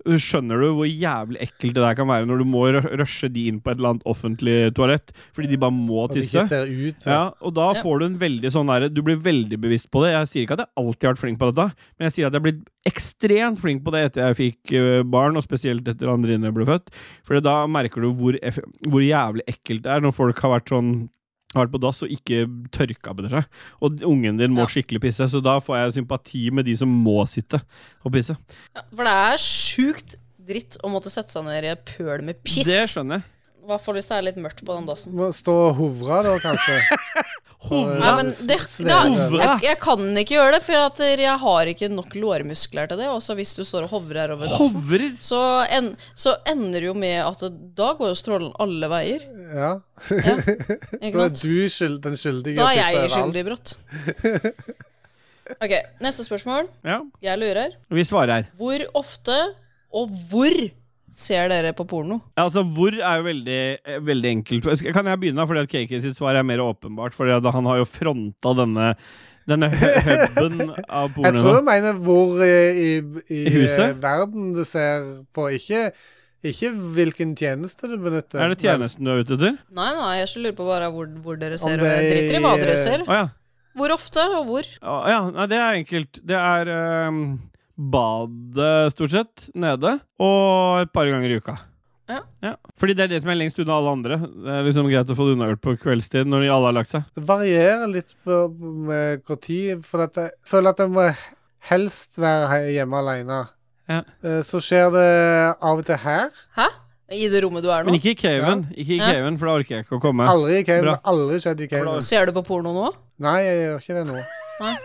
Speaker 2: eh, skjønner du hvor jævlig ekkelt det der kan være når du må rø- rushe de inn på et eller annet offentlig toalett fordi de bare må
Speaker 1: Og det ikke
Speaker 2: tisse.
Speaker 1: ser ut. så-
Speaker 2: Ja, og da
Speaker 3: Ja.
Speaker 2: får du en veldig sånn derre Du blir veldig bevisst på det. Jeg sier ikke at jeg alltid har vært flink på dette, men jeg sier at jeg har blitt ekstremt flink på det etter jeg fikk eh, barn, og spesielt etter Andrine ble født. For da merker du hvor, eff- hvor jævlig ekkelt det er når folk har vært sånn har vært på dass og ikke tørka på seg. Og ungen din må
Speaker 3: Ja.
Speaker 2: skikkelig pisse, så da får jeg sympati med de som må sitte og pisse.
Speaker 3: Ja, For det er sjukt dritt å måtte sette seg ned i et pøl
Speaker 2: Det
Speaker 3: med piss.
Speaker 2: skjønner jeg.
Speaker 3: I hvert fall hvis det er litt mørkt på den dassen.
Speaker 1: Må stå og hovre, da, kanskje.
Speaker 2: Hovra.
Speaker 3: Nei, men det,
Speaker 1: Sveve.
Speaker 3: da,
Speaker 2: Hovre.
Speaker 3: jeg, jeg kan ikke gjøre det, for at jeg har ikke nok lårmuskler til det. Også hvis du står og hovrer over dassen.
Speaker 2: Hovrer!
Speaker 3: Så, en, så ender det jo med at da går jo strålen alle veier.
Speaker 1: Ja.
Speaker 3: Ikke
Speaker 1: Da er
Speaker 3: sant?
Speaker 1: du skyld, den skyldige.
Speaker 3: Da
Speaker 1: i å
Speaker 3: er jeg
Speaker 1: pisse overalt.
Speaker 3: skyldig i brått. Ok, neste spørsmål.
Speaker 2: Ja,
Speaker 3: Jeg lurer.
Speaker 2: vi svarer her.
Speaker 3: Hvor ofte og hvor ser dere på porno?
Speaker 2: Ja, altså Hvor er jo veldig, eh, veldig enkelt. Skal- Kan jeg begynne? da? Fordi at KK sitt svar er mer åpenbart. Fordi at han har jo fronta denne Denne hø- hubben av porno.
Speaker 1: Jeg tror jeg mener hvor eh, i, i,
Speaker 2: I huset?
Speaker 1: eh, verden du ser på, ikke, ikke hvilken tjeneste du benytter.
Speaker 2: Er det tjenesten du er ute etter?
Speaker 3: Nei, nei, jeg lurer på bare hvor, hvor dere ser.
Speaker 1: det
Speaker 3: og Jeg driter i hva dere
Speaker 1: er-
Speaker 3: ser.
Speaker 2: Å ja.
Speaker 3: Hvor ofte og hvor?
Speaker 2: Å, ja. Nei, det er enkelt. Det er ehm, badet, stort sett, nede. Og et par ganger i uka.
Speaker 3: Ja.
Speaker 2: Fordi det er det som er lengst unna alle andre. Det er liksom greit å få det unnagjort på kveldstid når de alle har lagt seg.
Speaker 1: Det varierer litt på med hvor tid, for at jeg føler at jeg må helst være he- hjemme alene.
Speaker 2: Ja.
Speaker 1: Eh, Så skjer det av og til her.
Speaker 3: Hæ? I det rommet du er
Speaker 2: Men
Speaker 3: nå?
Speaker 2: ikke i caven, ikke i
Speaker 3: Ja.
Speaker 2: caven for da orker jeg ikke å komme.
Speaker 1: Aldri i Cave.
Speaker 2: Bra.
Speaker 1: det har Aldri skjedd i Cave.
Speaker 3: Ser du på porno nå?
Speaker 1: Nei, jeg gjør ikke det nå.
Speaker 3: Nei.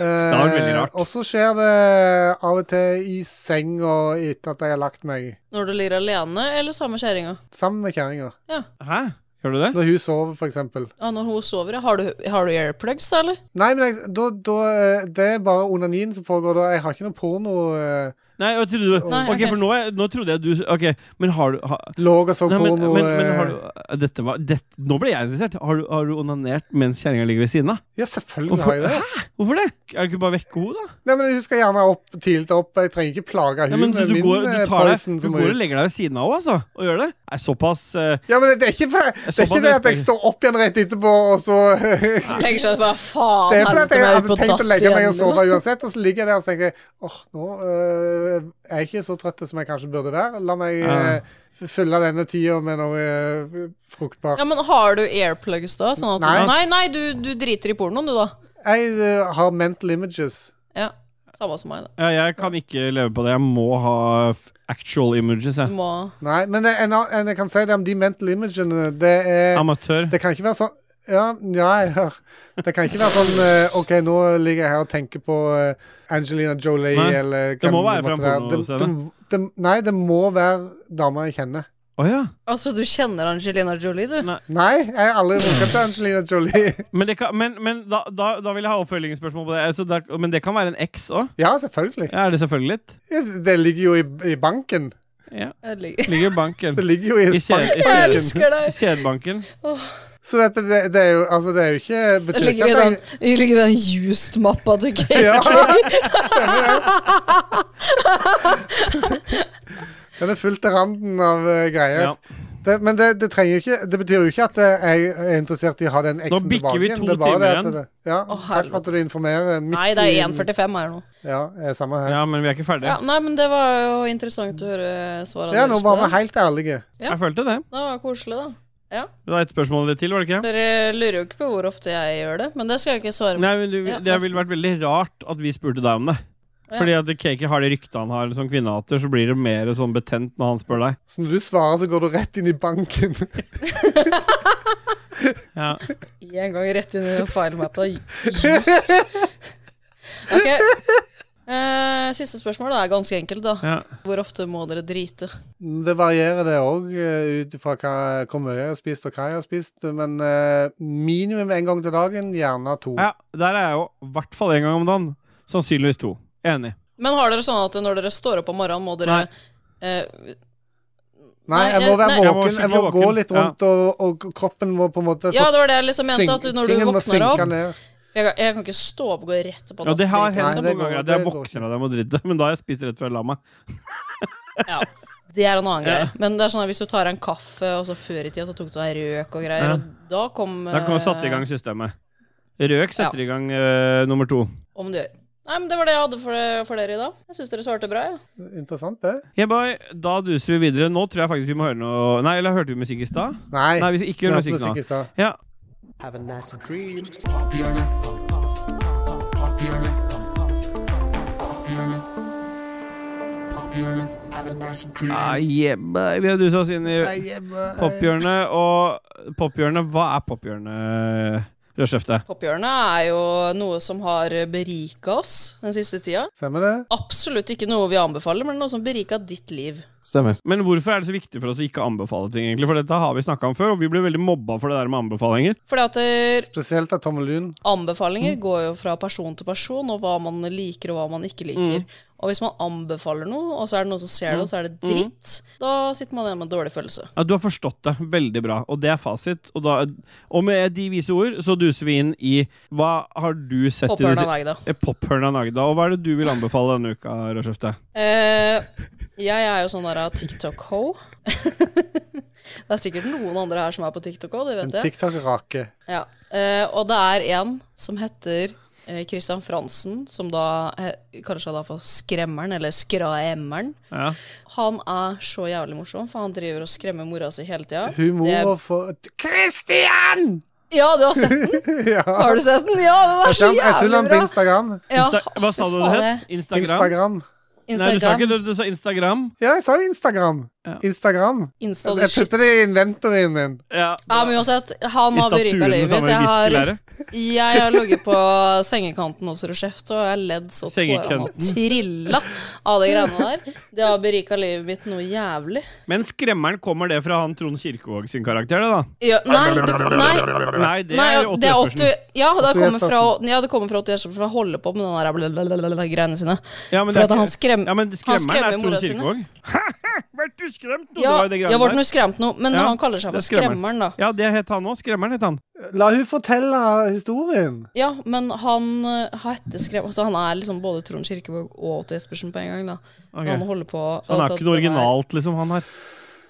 Speaker 1: Eh,
Speaker 2: Det var veldig rart.
Speaker 1: Og så skjer det av og til i senga etter at jeg har lagt meg.
Speaker 3: Når du ligger alene, eller sammen med kjerringa?
Speaker 1: Sammen med kjerringa.
Speaker 2: Hæ? Gjør du det?
Speaker 1: Når hun sover, for eksempel.
Speaker 3: Ja, når hun sover, ja. Har du, har du airplugs, da, eller?
Speaker 1: Nei, men jeg, da, da, eh, det er bare onanien som foregår da. Jeg har ikke noe porno. eh,
Speaker 2: Nei, jeg trodde,
Speaker 1: Nei,
Speaker 2: ok,
Speaker 3: ok.
Speaker 2: for nå, er- nå trodde jeg du Ok, men har du ha,
Speaker 1: Lå og så
Speaker 2: nei, men,
Speaker 1: porno.
Speaker 2: men, men har
Speaker 1: eh,
Speaker 2: du Dette var dette, Nå ble jeg interessert. Har du, har du onanert mens kjerringa ligger ved siden av?
Speaker 1: Ja, selvfølgelig har
Speaker 2: Hvorfor,
Speaker 1: jeg det.
Speaker 2: hæ? Hvorfor det? Er det ikke bare å vekke henne, da?
Speaker 1: Nei, men Hun skal gjerne opp tidlig opp. Jeg trenger ikke plage
Speaker 2: Nei,
Speaker 1: hun
Speaker 2: men du,
Speaker 1: med
Speaker 2: du,
Speaker 1: min
Speaker 2: går,
Speaker 1: eh,
Speaker 2: du, tar deg,
Speaker 1: poison
Speaker 2: du
Speaker 1: som
Speaker 2: går
Speaker 1: må
Speaker 2: og
Speaker 1: ut.
Speaker 2: legger deg ved siden av henne, altså? Og gjør det? Nei, såpass eh,
Speaker 1: Ja, men Det er ikke, for, det, er
Speaker 2: såpass
Speaker 1: ikke det at jeg
Speaker 2: respekt.
Speaker 1: står opp igjen rett etterpå, og så
Speaker 3: Legger seg bare faen
Speaker 1: Det er fordi at jeg
Speaker 3: helvete, nå er vi
Speaker 1: hadde
Speaker 3: på
Speaker 1: tenkt å
Speaker 3: dass
Speaker 1: legge meg
Speaker 3: igjen,
Speaker 1: og sove
Speaker 3: liksom.
Speaker 1: uansett, og så ligger jeg der og så tenker jeg, åh, nå øh, er jeg ikke så trøtt som jeg kanskje burde være. La meg
Speaker 2: Ja.
Speaker 1: øh, f- fylle denne tida med noe øh, fruktbart.
Speaker 3: Ja, men har du airplugs da? Sånn at
Speaker 1: Nei.
Speaker 3: Du, nei, nei, du, du driter i pornoen, du, da.
Speaker 1: Jeg øh, har mental images.
Speaker 3: Ja, Samme som meg, da.
Speaker 2: ja, Jeg kan ikke leve på det. Jeg må ha f- actual images,
Speaker 3: Du
Speaker 2: jeg.
Speaker 3: må
Speaker 1: Nei, men det, en, annen- en jeg kan si det om de mental imagene, det er
Speaker 2: Amatør.
Speaker 1: Det kan ikke være sånn ja, ja, jeg hører. Det kan ikke være sånn eh, OK, nå ligger jeg her og tenker på eh, Angelina Jolie
Speaker 2: Nei,
Speaker 1: eller
Speaker 2: det må være
Speaker 1: måtte
Speaker 2: fra en
Speaker 1: Det-
Speaker 2: pornoscene.
Speaker 1: det- det- Nei, det må være damer jeg kjenner.
Speaker 2: Å ja.
Speaker 3: Altså, du kjenner Angelina Jolie, du?
Speaker 2: Nei.
Speaker 1: Nei, jeg har aldri runket til Angelina Jolie.
Speaker 2: Men, det kan, men, men da, da, da vil jeg ha oppfølgingsspørsmål på det. Altså, da, men det kan være en eks òg?
Speaker 1: Ja, selvfølgelig.
Speaker 2: Ja, er det selvfølgelig litt?
Speaker 1: Det ligger jo i, i banken.
Speaker 2: Ja.
Speaker 3: Jeg ligger.
Speaker 2: Ligger i banken.
Speaker 1: Det ligger jo i
Speaker 2: I
Speaker 1: en
Speaker 2: kjed-
Speaker 1: spank.
Speaker 2: i
Speaker 3: Jeg
Speaker 2: kjeden.
Speaker 3: elsker deg.
Speaker 2: I kjedebanken.
Speaker 1: Så dette, det, det er jo Altså, det er jo ikke
Speaker 3: Jeg
Speaker 1: betyr ikke
Speaker 3: ligger i
Speaker 1: at
Speaker 3: den, jeg ligger i den used-mappa til Kate.
Speaker 1: Ja, stemmer det. Den er fullt til randen av eh, greier.
Speaker 2: Ja.
Speaker 1: Det, men det, det trenger jo ikke Det betyr jo ikke at eh, jeg er interessert i å ha den
Speaker 2: Nå
Speaker 1: eksen
Speaker 2: bikker
Speaker 1: tilbake.
Speaker 2: vi
Speaker 1: igjen.
Speaker 2: to
Speaker 1: Det er bare det
Speaker 2: timer
Speaker 1: at
Speaker 2: igjen.
Speaker 1: det- Ja,
Speaker 3: Å,
Speaker 1: takk for at du informerer. midt
Speaker 3: Nei, det
Speaker 1: i-
Speaker 3: er 1,45 her nå.
Speaker 1: Ja, eh, samme her.
Speaker 2: Ja, men vi er ikke ferdige.
Speaker 3: Ja, nei, men det var jo interessant å høre svarene
Speaker 1: Ja, nå
Speaker 3: på
Speaker 1: var vi
Speaker 3: det.
Speaker 1: helt ærlige.
Speaker 3: ja.
Speaker 2: Jeg følte det.
Speaker 3: Det var koselig, da.
Speaker 2: Det var ett spørsmål til, var det ikke?
Speaker 3: Dere lurer jo ikke på hvor ofte jeg gjør det, men det skal jeg ikke svare på.
Speaker 2: Nei, men du,
Speaker 3: Ja,
Speaker 2: Det ville vært veldig rart at vi spurte deg om det.
Speaker 3: Ja.
Speaker 2: Fordi at Kaki har det ryktet han har som kvinnehater, så blir det mer sånn betent når han spør deg.
Speaker 1: Så når du svarer, så går du rett inn i banken.
Speaker 2: Ja.
Speaker 3: En gang rett inn i den filemappa. Just. Ok. Eh, siste spørsmål da, er ganske enkelt, da.
Speaker 2: Ja.
Speaker 3: Hvor ofte må dere drite?
Speaker 1: Det varierer det òg, ut ifra hva- hvor mye jeg har spist og hva jeg har spist. Men eh, minimum én gang til dagen, gjerne to.
Speaker 2: ja, Der er jeg jo i hvert fall én gang om dagen. Sannsynligvis to. Enig.
Speaker 3: Men har dere sånn at når dere står opp om morgenen, må dere eh,
Speaker 1: Nei,
Speaker 3: Nei,
Speaker 1: jeg må
Speaker 3: jeg-
Speaker 1: være
Speaker 3: nei.
Speaker 1: våken.
Speaker 2: Jeg må
Speaker 1: Jeg må
Speaker 2: skikkelig
Speaker 1: gå
Speaker 2: våken.
Speaker 1: litt rundt, og, og kroppen må på en måte
Speaker 3: Ja, det var det jeg liksom mente, at du- når du
Speaker 1: Tingen må
Speaker 3: våkner
Speaker 1: synke
Speaker 3: opp-
Speaker 1: ned.
Speaker 3: jeg, kan- jeg kan ikke stå opp og gå rett på
Speaker 2: Ja, det har
Speaker 3: dassen.
Speaker 2: hendt
Speaker 1: Nei,
Speaker 2: så
Speaker 1: det
Speaker 2: mange
Speaker 1: går-
Speaker 2: ganger at jeg
Speaker 1: det går
Speaker 2: våkner av dem og driter, men da har jeg spist rett før jeg la meg.
Speaker 3: Ja, liksom. det er en annen greie. Men det er sånn at hvis du tar en kaffe, og så før i tida så tok du deg røk og greier,
Speaker 2: Ja.
Speaker 3: og da kom eh,
Speaker 2: Da kan jeg satt i gang systemet. Røk setter i gang eh, nummer to.
Speaker 3: Om du gjør. Nei, men det var det jeg hadde for, for dere i dag. Jeg syns dere svarte bra, jeg.
Speaker 1: Interessant, det.
Speaker 2: Yeah, boy, da duser vi videre. Nå tror jeg faktisk vi må høre noe Nei, eller hørte vi musikk i stad?
Speaker 1: Nei,
Speaker 2: Nei, vi skal ikke
Speaker 1: vi
Speaker 2: høre
Speaker 1: hørte
Speaker 2: musikk nå.
Speaker 1: musikk i stad.
Speaker 2: Ja.
Speaker 6: Have a nice dream. Have a nice dream.
Speaker 2: Ah, yeah, boy. Vi har dusa oss inn i
Speaker 3: eh,
Speaker 2: pophjørnet, og pophjørnet Hva er pophjørnet, Rødskjefte?
Speaker 3: Pophjørnet er jo noe som har berika oss den siste tida.
Speaker 1: Stemmer det?
Speaker 3: Absolutt ikke noe vi anbefaler, men noe som berika ditt liv.
Speaker 4: Stemmer.
Speaker 2: Men hvorfor er det så viktig for oss å ikke anbefale ting, egentlig? For dette har vi snakka om før, og vi ble veldig mobba for det der med anbefalinger.
Speaker 3: Fordi at eh,
Speaker 1: Spesielt av Tommel Lund.
Speaker 3: anbefalinger går jo fra person til person, og hva man liker og hva man ikke liker.
Speaker 2: Mm.
Speaker 3: Og hvis man anbefaler noe, og så er det noen som ser det, og så er det dritt, da sitter man igjen med en dårlig følelse.
Speaker 2: Ja, du har forstått det veldig bra, og det er fasit. Og, da, og med de vise ord så duser vi inn i Hva har du sett i
Speaker 3: Pophjørnet
Speaker 2: det
Speaker 3: av deg, da.
Speaker 2: si- Eh, Pophjørnet Nagda. Og hva er det du vil anbefale denne uka, Rødskjefte?
Speaker 3: Eh, jeg er jo sånn der av TikTok-ho. det er sikkert noen andre her som er på TikTok-ho, det
Speaker 1: En
Speaker 3: vet jeg.
Speaker 1: TikTok-rake.
Speaker 3: Ja. Eh, og det er en som heter eh, Christian Fransen, som da he- kaller seg da for Skremmeren, eller Skraemmeren.
Speaker 2: Ja.
Speaker 3: Han er så jævlig morsom, for han driver og skremmer mora si hele tida. Det-
Speaker 1: Humor og for Christian!
Speaker 3: Ja, du har sett den?
Speaker 1: Ja.
Speaker 3: Har du sett den? Ja, den er
Speaker 1: Jeg
Speaker 3: så
Speaker 1: følger jeg følger
Speaker 3: jævlig
Speaker 1: han på
Speaker 3: bra!
Speaker 1: Instagram.
Speaker 3: Ja,
Speaker 2: Insta hva sa du det
Speaker 3: faen,
Speaker 2: het?
Speaker 1: Instagram.
Speaker 2: Instagram? Nei, du sa ikke
Speaker 3: Instagram.
Speaker 2: det, du sa Instagram.
Speaker 1: Ja, jeg sa jo Instagram.
Speaker 2: Ja.
Speaker 1: Instagram.
Speaker 3: Insta the
Speaker 1: Jeg
Speaker 3: shit.
Speaker 1: putter det i inventoryen min.
Speaker 2: Ja.
Speaker 3: Ja, men uansett, han har berika livet mitt. Jeg har Jeg har ligget på sengekanten hos Rochefte, og jeg har ledd så tårene har
Speaker 2: Sengekanten.
Speaker 3: trilla av de greiene der. Det har berika livet mitt noe jævlig.
Speaker 2: Men skremmeren kommer det fra han Trond Kirkevåg sin karakter, det da?
Speaker 3: Ja, nei, du, nei,
Speaker 2: Nei, det
Speaker 3: nei,
Speaker 2: er
Speaker 3: og det er 80
Speaker 2: 80-spørsmål.
Speaker 3: Ja, det
Speaker 1: Åtte
Speaker 3: kommer fra,
Speaker 1: Jespersen.
Speaker 3: ja, det kommer fra 80 Jespersen, for jeg holder på med den der blablabla greiene sine.
Speaker 2: Ja, men
Speaker 3: For
Speaker 2: det er
Speaker 3: at han
Speaker 2: ikke-
Speaker 3: skrem-
Speaker 2: Ja, men
Speaker 3: han
Speaker 2: skremmeren er
Speaker 3: skremmer mora
Speaker 2: Trond
Speaker 3: sine.
Speaker 2: Kirkevåg. Vært du skremt nå?
Speaker 3: Ja,
Speaker 2: det var jo det
Speaker 3: jeg
Speaker 2: greiene
Speaker 3: ble
Speaker 2: der.
Speaker 3: noe skremt nå, men
Speaker 2: Ja,
Speaker 3: han kaller seg
Speaker 2: det
Speaker 3: for
Speaker 2: er skremmeren.
Speaker 3: Skremmeren, da.
Speaker 2: Ja, det het han òg. Skremmeren het han.
Speaker 1: La hun fortelle historien.
Speaker 3: Ja, men han eh, har etterskrevet Så han er liksom både Trond Kirkevåg og 80 Jespersen på en gang, da. Så
Speaker 2: Ok.
Speaker 3: han holder på
Speaker 2: Så han er
Speaker 3: altså,
Speaker 2: ikke noe
Speaker 3: den er-
Speaker 2: originalt, liksom, han her.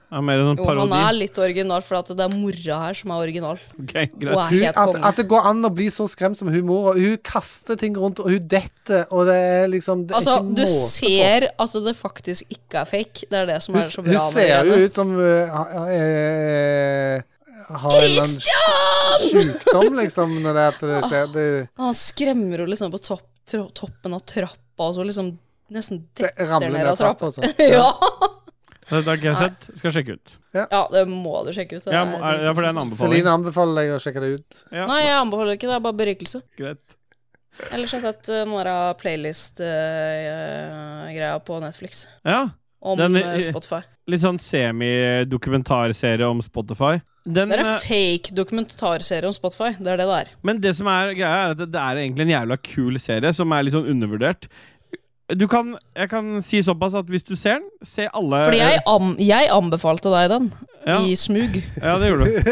Speaker 2: Han er mer en
Speaker 3: Jo,
Speaker 2: parodi.
Speaker 3: han er litt original, for at det er mora her som er original.
Speaker 2: Ok,
Speaker 3: Og
Speaker 2: greit.
Speaker 3: er
Speaker 1: Hun,
Speaker 3: helt
Speaker 1: at,
Speaker 3: konge.
Speaker 1: at det går an å bli så skremt som humor. Og hun kaster ting rundt, og hun detter, og det er liksom det er
Speaker 3: Altså,
Speaker 1: ikke
Speaker 3: du
Speaker 1: måte på.
Speaker 3: ser at det faktisk ikke er fake. Det er det som
Speaker 1: Hun,
Speaker 3: er så bra
Speaker 1: hun
Speaker 3: med
Speaker 1: ser jo
Speaker 3: greiene.
Speaker 1: ut som uh, ha- eh, Har en eller annen
Speaker 3: Ah,
Speaker 1: sj- sjukdom, liksom, når det, at det skjer. Det,
Speaker 3: Han skremmer henne liksom på topp, tro, toppen av trappa, og så liksom nesten
Speaker 1: det
Speaker 3: detter
Speaker 1: ramler
Speaker 3: ned av trappa.
Speaker 1: og sånn.
Speaker 3: ja.
Speaker 2: Det har ikke jeg sett. Skal sjekke ut.
Speaker 3: ja, det må du sjekke ut. det
Speaker 2: Ja,
Speaker 3: er
Speaker 2: må- er- ja, for det er en
Speaker 1: Ja.
Speaker 2: anbefaling.
Speaker 1: Celine anbefaler deg å sjekke det ut.
Speaker 2: Ja,
Speaker 3: Nei, jeg anbefaler ikke det. Det er bare berikelse.
Speaker 2: greit.
Speaker 3: Ellers har jeg sett eh, noen av playlist-greia på Netflix
Speaker 2: Ja,
Speaker 3: om
Speaker 2: Den-
Speaker 3: eh, Spotify.
Speaker 2: litt sånn semi-dokumentarserie om Spotify. Den,
Speaker 3: Det er
Speaker 2: eh,
Speaker 3: en fake dokumentarserie om Spotify. Det er det det er.
Speaker 2: Men det som er greia, er at det er egentlig en jævla kul serie som er litt sånn undervurdert. Du kan, jeg kan si såpass at hvis du ser den, se alle
Speaker 3: Fordi jeg, am jeg anbefalte deg den
Speaker 2: Ja.
Speaker 3: i smug.
Speaker 2: Ja, det gjorde du.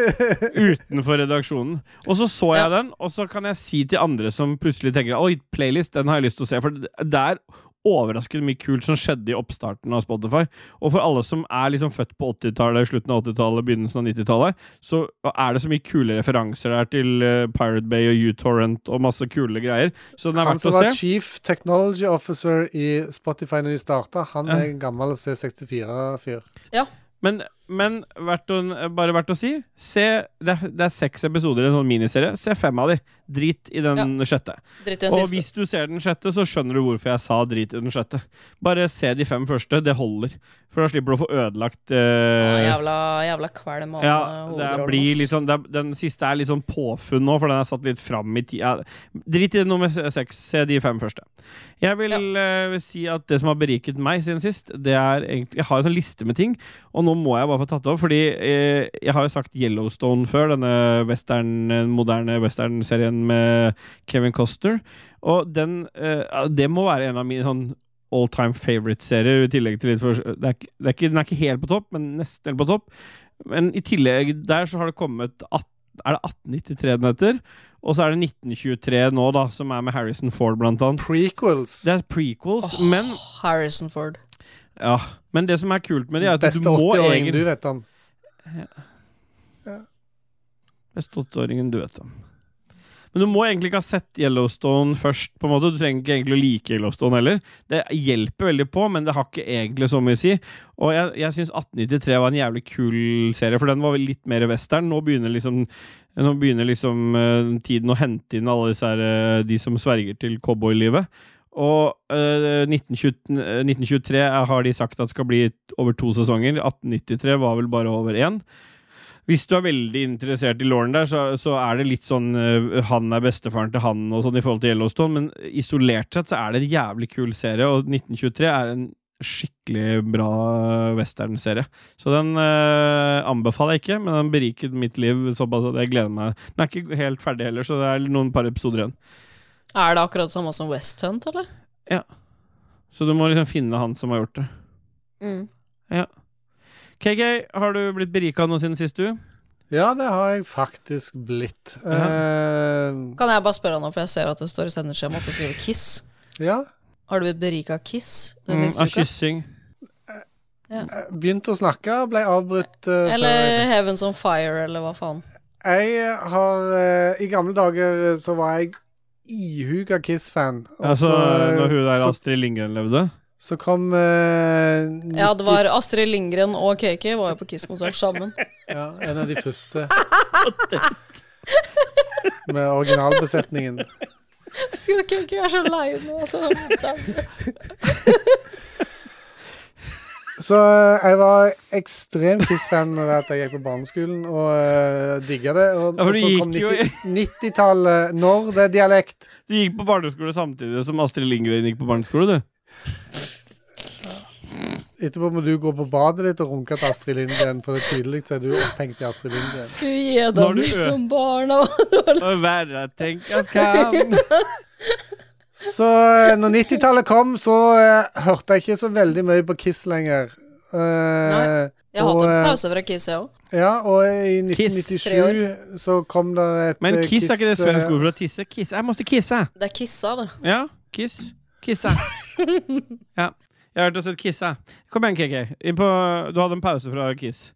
Speaker 2: Utenfor redaksjonen. Og så så jeg
Speaker 3: Ja.
Speaker 2: den, og så kan jeg si til andre som plutselig tenker Oi, playlist, den har jeg lyst til å se. For det det er overraskende mye kult som skjedde i oppstarten av Spotify. Og for alle som er liksom født på 80-tallet, slutten av 80-tallet, begynnelsen av 90-tallet, så er det så mye kule referanser der til eh, Pirate Bay og U-Torrent og masse kule greier. Så den er
Speaker 1: Han
Speaker 2: verdt
Speaker 1: som
Speaker 2: å
Speaker 1: var
Speaker 2: se.
Speaker 1: chief technology officer i Spotify når de starta, han
Speaker 2: Ja.
Speaker 1: er en gammel C64-fyr.
Speaker 2: Men, men verdt å, bare verdt å si se, det, er, det er seks episoder i en sånn miniserie. Se fem av de. Drit i den sjette.
Speaker 3: Dritt i den
Speaker 2: Og
Speaker 3: siste.
Speaker 2: hvis du ser den sjette, så skjønner du hvorfor jeg sa drit i den sjette. Bare se de fem første. Det holder. For da slipper du å få ødelagt
Speaker 3: Ja,
Speaker 2: eh,
Speaker 3: Ah, jævla, jævla kvalm av
Speaker 2: ja,
Speaker 3: eh,
Speaker 2: det
Speaker 3: hovedrollen,
Speaker 2: blir
Speaker 3: ass.
Speaker 2: litt sånn, det er, Den siste er litt sånn påfunn nå, for den er satt litt fram i tid. Ja, drit i nummer se- seks. Se de fem første. Jeg vil eh, si at det som har beriket meg siden sist, det er egentlig Jeg har en sånn liste med ting, og nå må jeg bare få tatt det opp. Fordi eh, jeg har jo sagt Yellowstone før, denne western, eh, moderne western-serien med Kevin Costner. Og den eh, Det må være en av mine sånn all time favorite-serier. I tillegg til litt for, det er, ikke- det er ikke, Den er ikke helt på topp, men nesten helt på topp. Men i tillegg der så har det kommet 18, Er det 1893 den heter? Og så er det 1923 nå, da, som er med Harrison Ford, blant annet.
Speaker 1: Prequels.
Speaker 2: Det er prequels,
Speaker 3: Åh,
Speaker 2: men,
Speaker 3: Harrison Ford.
Speaker 2: ja, men det som er kult med det, er at
Speaker 1: Beste
Speaker 2: du må
Speaker 1: 80-åringen du
Speaker 2: egentlig
Speaker 1: vet om.
Speaker 2: Beste 80-åringen du vet om. Men du må egentlig ikke ha sett Yellowstone først. på en måte. Du trenger ikke egentlig å like Yellowstone heller. Det hjelper veldig på, men det har ikke egentlig så mye å si. Og jeg, jeg syns 1893 var en jævlig kul serie, for den var vel litt mer western. Nå begynner liksom, nå begynner liksom eh, tiden å hente inn alle disse her, eh, de som sverger til cowboylivet. Og eh, 1920, eh, 1923 er- har de sagt at skal bli over to sesonger. 1893 var vel bare over én. Hvis du er veldig interessert i Lauren der, så, så er det litt sånn øh, Han er bestefaren til han og sånn i forhold til Yellowstone, men isolert sett så er det en jævlig kul serie, og 1923 er en skikkelig bra westernserie. Så den øh, anbefaler jeg ikke, men den beriket mitt liv såpass at jeg gleder meg. Den er ikke helt ferdig heller, så det er noen par episoder igjen.
Speaker 3: Er det akkurat det samme som West Hunt, eller?
Speaker 2: Så du må liksom finne han som har gjort det. KK, har du blitt berika av noe siden sist, du?
Speaker 1: Ja, det har jeg faktisk blitt. Eh,
Speaker 3: Kan jeg bare spørre nå, for jeg ser at det står i sendeskjemaet at du skriver Kiss.
Speaker 1: ja.
Speaker 3: Har du blitt berika av Kiss den
Speaker 2: Mm,
Speaker 3: siste
Speaker 2: av
Speaker 3: uka?
Speaker 2: kyssing.
Speaker 1: Begynte å snakke, ble avbrutt. eh, før
Speaker 3: Eller Heavens on Fire, eller hva faen.
Speaker 1: jeg, jeg har eh, I gamle dager eh, så var jeg ihuga Kiss-fan. Og
Speaker 2: Altså,
Speaker 1: så- eh,
Speaker 2: når hun der
Speaker 1: så,
Speaker 2: Astrid Lindgren levde?
Speaker 1: så kom eh,
Speaker 3: Ja, det var Astrid Lindgren og KK var jo på Kiss-konsert sammen.
Speaker 1: Ja, en av de første. Med originalbesetningen.
Speaker 3: KK er så lei nå.
Speaker 1: Så eh, jeg var ekstrem Kiss-fan da jeg gikk på barneskolen, og uh, digga det. Og,
Speaker 2: Ja, for
Speaker 1: og
Speaker 2: du
Speaker 1: så kom
Speaker 2: gikk jo i-
Speaker 1: 90 90-tallet, når det er dialekt.
Speaker 2: Du gikk på barneskole samtidig som Astrid Lindgren gikk på barneskole, du.
Speaker 1: Etterpå må du gå på badet ditt og runke til Astrid Lindgren, for det er tydelig så er du opphengt i Astrid Lindgren.
Speaker 2: Når
Speaker 3: Gjedam
Speaker 2: du ø-
Speaker 3: som barna.
Speaker 2: Og verre tenk jeg kan.
Speaker 1: Så eh, når 90-tallet kom, så eh, hørte jeg ikke så veldig mye på Kiss lenger. Eh,
Speaker 3: Nei. Jeg har
Speaker 1: og,
Speaker 3: hatt en
Speaker 1: eh,
Speaker 3: pause fra Kiss, jeg òg.
Speaker 1: Ja, og i
Speaker 3: Tre
Speaker 1: 1997 så kom det et
Speaker 2: Men
Speaker 1: eh,
Speaker 2: kiss er ikke det
Speaker 1: eh,
Speaker 2: svensk ord for å tisse? Kiss. Jeg måtte kisse.
Speaker 3: Det er Kissa, det.
Speaker 2: Ja, kiss. Kissa. Ja. Jeg har hørt og sett kissa. Kom igjen, KK. Inn på, du hadde en pause fra kiss.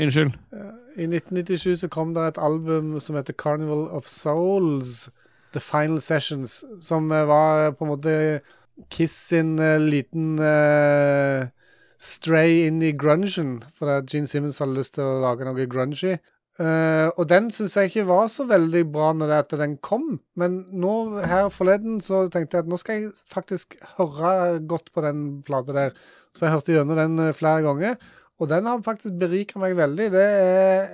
Speaker 2: Unnskyld.
Speaker 1: eh, I 1997 så kom det et album som heter Carnival of Souls, The Final Sessions, som eh, var eh, på en måte Kiss sin eh, liten eh, stray inn i grungen, for at Gene Simmons hadde lyst til å lage noe grungy. Eh, og den syns jeg ikke var så veldig bra når det at den kom, men nå her forleden så tenkte jeg at nå skal jeg faktisk høre godt på den plata der. Så jeg hørte gjennom den eh, flere ganger. Og den har faktisk berika meg veldig. Det er,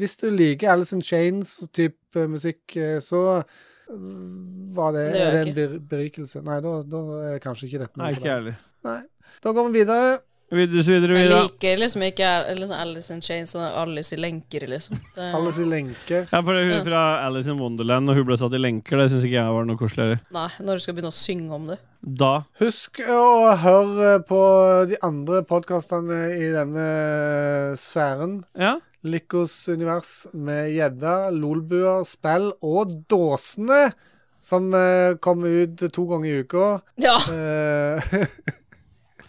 Speaker 1: hvis du liker Alice in Chains-type musikk, eh, så mm, var det,
Speaker 3: Det gjør
Speaker 1: er det
Speaker 3: jeg
Speaker 1: en ber berikelse. Nei, da, da er kanskje ikke dette
Speaker 2: Nei,
Speaker 1: noe
Speaker 2: ikke
Speaker 1: for deg.
Speaker 2: jeg heller.
Speaker 1: Da går vi videre.
Speaker 2: Videre, så videre,
Speaker 3: Jeg
Speaker 2: videre.
Speaker 3: liker liksom ikke Al- liksom Alice in Chains og Alice i lenker, liksom. Det,
Speaker 1: Alle sine lenker.
Speaker 2: Ja, for det er hun fra Alice in Wonderland, og hun ble satt i lenker. Det syns ikke jeg var noe koseligere.
Speaker 3: nei, når du skal begynne å synge om det.
Speaker 2: Da
Speaker 1: Husk å høre på de andre podkastene i denne sfæren.
Speaker 2: Ja.
Speaker 1: Lykkos univers med gjedda, lolbua, spill og dåsene, som eh, kommer ut to ganger i uka.
Speaker 3: Ja!
Speaker 1: Eh,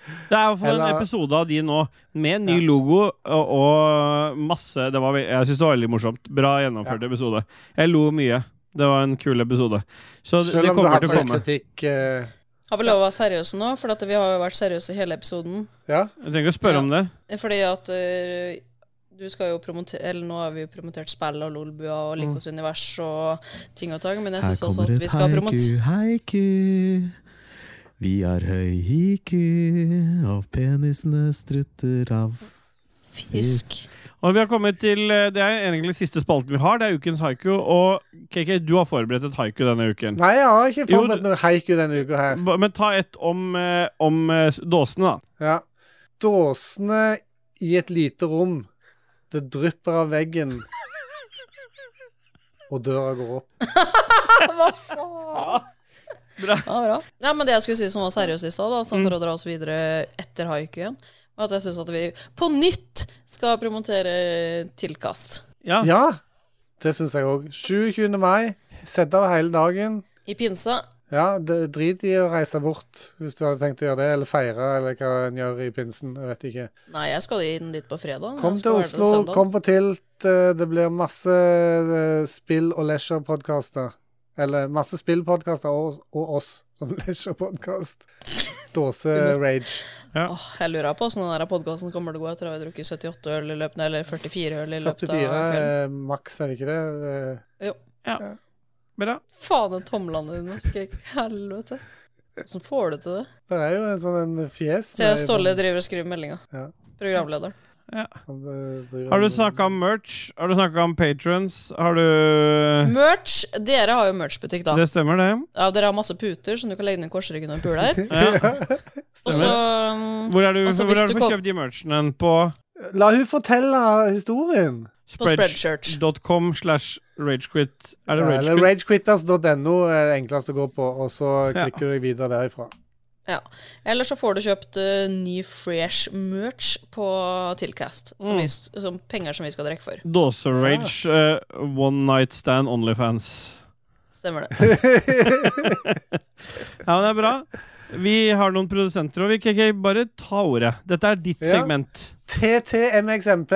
Speaker 2: Det er i hvert fall en
Speaker 1: Eller-
Speaker 2: episode av de nå, med en ny logo og, og masse det var, ve- Jeg syns det var veldig morsomt. Bra gjennomført episode. Jeg lo mye. Det var en kul episode. Så det,
Speaker 1: selv
Speaker 2: det
Speaker 1: om du har
Speaker 2: kommer
Speaker 1: hatt
Speaker 2: til å
Speaker 1: mye
Speaker 2: komme.
Speaker 1: kritikk. eh,
Speaker 3: Har vi lov å være seriøse nå? For at vi har jo vært seriøse hele episoden.
Speaker 1: ja.
Speaker 2: Jeg trenger ikke å spørre
Speaker 3: Ja.
Speaker 2: om det.
Speaker 3: Fordi at øh, du skal jo promotere Eller nå har vi jo promotert spill og Lolbua
Speaker 1: Mm.
Speaker 3: og Likos univers og ting og tang, men jeg syns også at vi skal promotere
Speaker 7: haiku. Vi har høy hiku, og penisene strutter av
Speaker 3: fisk.
Speaker 2: Og vi har kommet til eh, Det er egentlig siste spalten vi har. Det er ukens haiku. Og KK, du har forberedt et haiku denne uken.
Speaker 1: Nei, jeg har ikke
Speaker 2: Jo,
Speaker 1: forberedt noe haiku denne uka her.
Speaker 2: Ba- Men ta et om, eh, om eh, dåsene, da.
Speaker 1: Ja. Dåsene i et lite rom. Det drypper av veggen. Og døra går opp.
Speaker 3: Ja, bra. Ja, men det jeg skulle si som var seriøst i stad, da,
Speaker 1: Mm.
Speaker 3: sånn for å dra oss videre etter haikuen, var at jeg syns at vi på nytt skal promotere tilkast.
Speaker 2: Ja.
Speaker 1: Ja, det syns jeg òg. 27. mai. Sett av hele dagen.
Speaker 3: I pinsa
Speaker 1: Ja, det, drit i å reise bort hvis du hadde tenkt å gjøre det, eller feire, eller hva en gjør i pinsen. Jeg vet ikke.
Speaker 3: Nei, jeg skal inn dit på fredag.
Speaker 1: Kom
Speaker 3: Jeg
Speaker 1: til
Speaker 3: skal være der
Speaker 1: Oslo,
Speaker 3: søndag.
Speaker 1: kom på Tilt. eh, Det blir masse eh, spill- og leisure-podkaster. Eller masse spillpodkaster og, og oss som leisure-podkast. Dåse-rage.
Speaker 3: Åh, jeg lurer på åssen den der podkasten kommer til å gå etter at vi har drukket 78 øl i løpet eller 44 øl i løpet
Speaker 1: 44
Speaker 3: av kvelden.
Speaker 1: eh, maks, er det ikke det? Eh,
Speaker 2: Bra.
Speaker 3: Faen, den tomlene dine. Så gikk helvete. Åssen får du til det?
Speaker 1: Det er jo en sånn en fjes
Speaker 3: Se, Ståle driver og skriver meldinga.
Speaker 1: Ja.
Speaker 3: Programlederen.
Speaker 1: eh,
Speaker 2: Har du snakka om merch? Har du snakka om patrons? Har du
Speaker 3: Merch! Dere har jo merchbutikk, da.
Speaker 2: Det stemmer, det.
Speaker 3: Ja, dere har masse puter som du kan legge ned i korsryggen og en pul der.
Speaker 2: Ja.
Speaker 3: Og så um,
Speaker 2: Hvor er du,
Speaker 3: Altså,
Speaker 2: hvor
Speaker 3: hvis
Speaker 2: er du får
Speaker 3: du kom-
Speaker 2: kjøpt de merchene hen? på
Speaker 1: La hun fortelle historien.
Speaker 3: på Spreadshirt.
Speaker 2: spreadshirt.com slash ragequit? Er det
Speaker 1: Ja, Eller
Speaker 2: ragequit?
Speaker 1: ragequitters.no er det enkleste å gå på, og så
Speaker 2: Ja.
Speaker 1: klikker du videre derifra.
Speaker 3: Eller så får du kjøpt eh, ny fresh merch på Tilcast. Som, vi, som penger som vi skal drikke for.
Speaker 2: Dåserage eh, One Night Stand Onlyfans.
Speaker 3: Stemmer det.
Speaker 2: Ja, men det er bra. Vi har noen produsenter òg. KK, bare ta ordet. Dette er ditt
Speaker 1: Ja.
Speaker 2: segment.
Speaker 1: TTMXMP,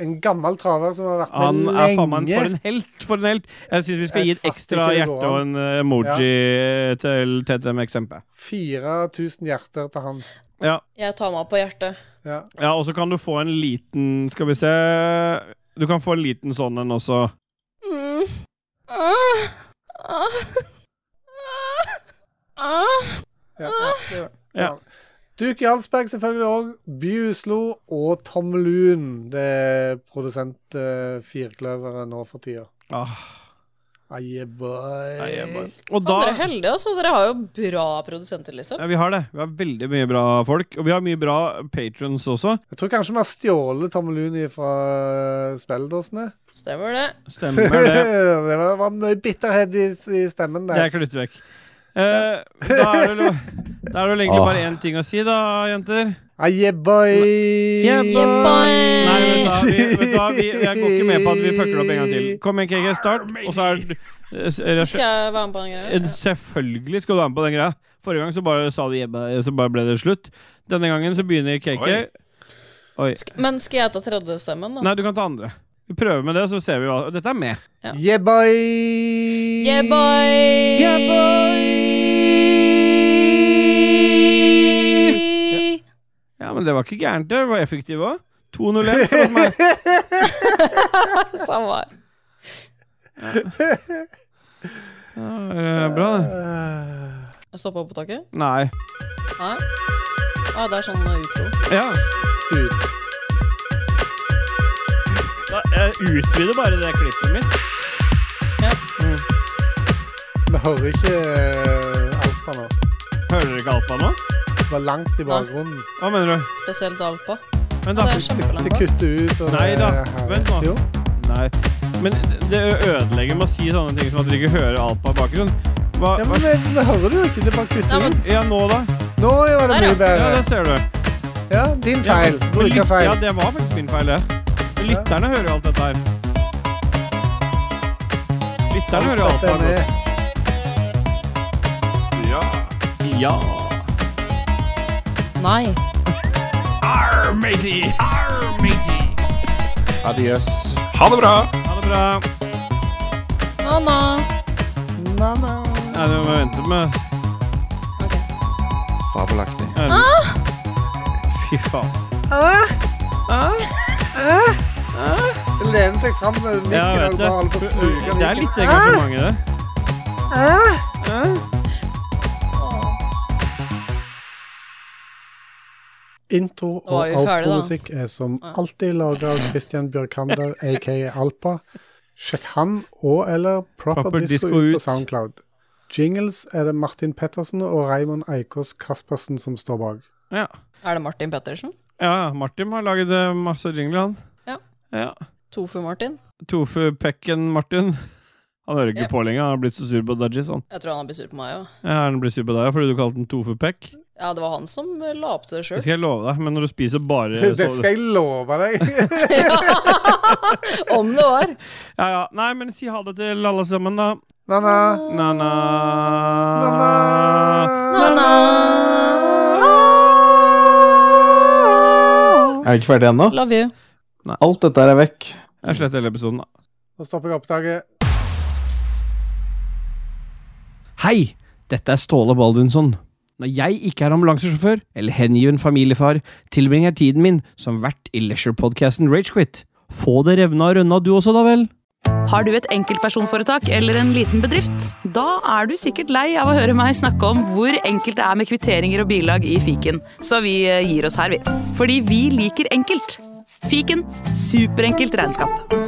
Speaker 1: en gammel traver som har vært
Speaker 2: Han
Speaker 1: med
Speaker 2: er faen meg en-
Speaker 1: lenge.
Speaker 2: for en helt. For en helt. Jeg syns vi skal
Speaker 1: Jeg
Speaker 2: gi et
Speaker 1: fatter
Speaker 2: ekstra
Speaker 1: ikke det går
Speaker 2: hjerte og en eh, emoji eh, til TTM-eksempel.
Speaker 1: 4000 hjerter til han.
Speaker 2: Ja.
Speaker 3: Jeg tar meg på hjertet.
Speaker 1: Ja.
Speaker 2: Ja, og så kan du få en liten Skal vi se Du kan få en liten sånn en også.
Speaker 3: Mm. Ah. Ah. Ah.
Speaker 1: Ja.
Speaker 2: Ja.
Speaker 1: Duke Jarlsberg selvfølgelig òg. By Oslo og Tom Loon. Det er produsent eh, Firkløveret nå for tida.
Speaker 2: Ah,
Speaker 1: Aye, boy.
Speaker 2: nei, jeg bare- og
Speaker 3: Faen, Dere
Speaker 2: da
Speaker 3: er heldige, altså. Dere har jo bra produsenter, liksom.
Speaker 2: ja, Vi har det. Vi har veldig mye bra folk. Og vi har mye bra patrons også.
Speaker 1: Jeg tror kanskje vi har stjålet Tom Loon fra spilledåsene.
Speaker 3: Stemmer det.
Speaker 2: Stemmer det.
Speaker 1: det var, var mye bitterhet i, i stemmen
Speaker 2: Det
Speaker 1: der.
Speaker 2: er kluttet vekk. Eh, da er det lo- da er det vel egentlig bare én ting å si, da, jenter.
Speaker 1: Aye, boy.
Speaker 2: Yeah, boy.
Speaker 3: boy.
Speaker 2: Nei, vet du hva, vi, vet du hva vi, Jeg går ikke med på at vi fucker det opp en gang til. Kom igjen, KK, start. Og så er det eh,
Speaker 3: Skal jeg være med på den greia?
Speaker 2: Eh, Selvfølgelig skal du være med på den greia. Forrige gang så bare sa du jebba, så bare ble det slutt. Denne gangen så begynner KK. Oi.
Speaker 3: Sk- Men skal jeg ta tredjestemmen, da?
Speaker 2: Nei, du kan ta andre. Vi prøver med det, så ser vi hva Dette er med.
Speaker 1: Yeah, boy.
Speaker 3: Yeah, boy!
Speaker 2: Ja, men det var ikke gærent, det. Det var effektivt òg. 2-0-1 for meg.
Speaker 3: Samme her.
Speaker 2: Ja, er det bra, det.
Speaker 3: Jeg stoppa opptaket?
Speaker 2: Nei.
Speaker 3: Nei. Ah, det er sånn eh, utro.
Speaker 2: Ja. Da, jeg utvider bare det klippet mitt.
Speaker 1: Vi hører ikke eh, Alfa nå.
Speaker 2: Hører dere ikke alt på nå?
Speaker 1: Det var langt i bakgrunnen.
Speaker 2: Hva mener du?
Speaker 3: Spesielt Alpa.
Speaker 2: Vent, da.
Speaker 3: Ja, det er
Speaker 1: Det
Speaker 3: kjempelangt.
Speaker 1: kutter ut. og
Speaker 2: Nei
Speaker 1: det
Speaker 2: da,
Speaker 1: er her.
Speaker 2: vent nå.
Speaker 1: Jo.
Speaker 2: Nei. Men det ødelegger med å si sånne ting som at dere ikke hører Alpa i bakgrunnen. Hva,
Speaker 1: Ja,
Speaker 2: hva
Speaker 1: men det, det hører du jo ikke. Det bare
Speaker 3: Nei,
Speaker 1: kutter
Speaker 3: men-
Speaker 1: ut.
Speaker 2: Ja, nå, da?
Speaker 1: Nå var det
Speaker 3: Der, ja.
Speaker 1: mye
Speaker 2: Ja,
Speaker 1: bedre.
Speaker 2: det ser du.
Speaker 1: Ja, din
Speaker 2: Ja,
Speaker 1: feil.
Speaker 2: men lyt-
Speaker 1: Brukerfeil.
Speaker 2: Ja, det var faktisk min feil, det. Men Lytterne hører jo alt dette her. Lytterne hører jo alt
Speaker 1: Alt dette
Speaker 2: dette
Speaker 1: med.
Speaker 2: her. Ja.
Speaker 3: Nei.
Speaker 4: Adios.
Speaker 2: Ha det bra.
Speaker 3: Nanna.
Speaker 1: Na, na.
Speaker 2: Nei, det må jeg vente med.
Speaker 3: Ok.
Speaker 4: Fabelaktig.
Speaker 2: Fy faen.
Speaker 1: Det lener seg fram med mikken
Speaker 2: Ja, jeg
Speaker 1: og
Speaker 2: vet
Speaker 1: bare holder på å
Speaker 2: det.
Speaker 1: sluke
Speaker 2: Det er
Speaker 1: mikken.
Speaker 2: litt engasjement i det. Hæ?
Speaker 1: Intro
Speaker 3: Nå var
Speaker 1: og
Speaker 3: vi ferdig, da.
Speaker 1: outro-musikk er som alltid laga av Christian Bjørkander, aka Alpa. Sjekk han og eller Proper,
Speaker 2: Proper
Speaker 1: Disco,
Speaker 2: Disco
Speaker 1: ut
Speaker 2: ut.
Speaker 1: på Soundcloud. Jingles er det Martin Pettersen og Raymond Eikås Kaspersen som står bak.
Speaker 2: Ja.
Speaker 3: Er det Martin Pettersen?
Speaker 2: Ja, Martin har laget eh, masse jingler, han.
Speaker 3: Ja.
Speaker 2: ja.
Speaker 3: Tofu-Martin?
Speaker 2: Tofu Pekken Martin. Han hører ikke
Speaker 3: Ja.
Speaker 2: på lenger. Han har blitt så sur på Dudgies, han.
Speaker 3: Jeg tror han blir sur på meg òg.
Speaker 2: Ja, han blir sur på deg fordi du kalte den Tofu Pekk.
Speaker 3: Ja, det var han som eh, la opp til det
Speaker 2: Det
Speaker 3: sjøl.
Speaker 2: skal jeg love deg, men når du spiser bare
Speaker 1: Det
Speaker 2: så-
Speaker 1: skal jeg love deg!
Speaker 3: Om det var.
Speaker 2: Ja, ja. Nei, men si ha det til alle sammen, da.
Speaker 1: Na-na.
Speaker 2: Na-na.
Speaker 1: Na-na.
Speaker 4: Er vi ikke ferdig ennå?
Speaker 3: Love you.
Speaker 4: Alt dette her er vekk.
Speaker 2: Jeg sletter hele episoden, da.
Speaker 1: Nå stopper jeg opptaket.
Speaker 2: Hei! Dette er Ståle Baldunsson. Når jeg ikke er ambulansesjåfør eller hengiven familiefar, tilbringer jeg tiden min som vert i leisure-podkasten Ragequit. Få det revna og rønna du også, da vel?
Speaker 8: Har du et enkeltpersonforetak eller en liten bedrift? Da er du sikkert lei av å høre meg snakke om hvor enkelt det er med kvitteringer og bilag i fiken, så vi eh, gir oss her, vi. Fordi vi liker enkelt. Fiken superenkelt regnskap.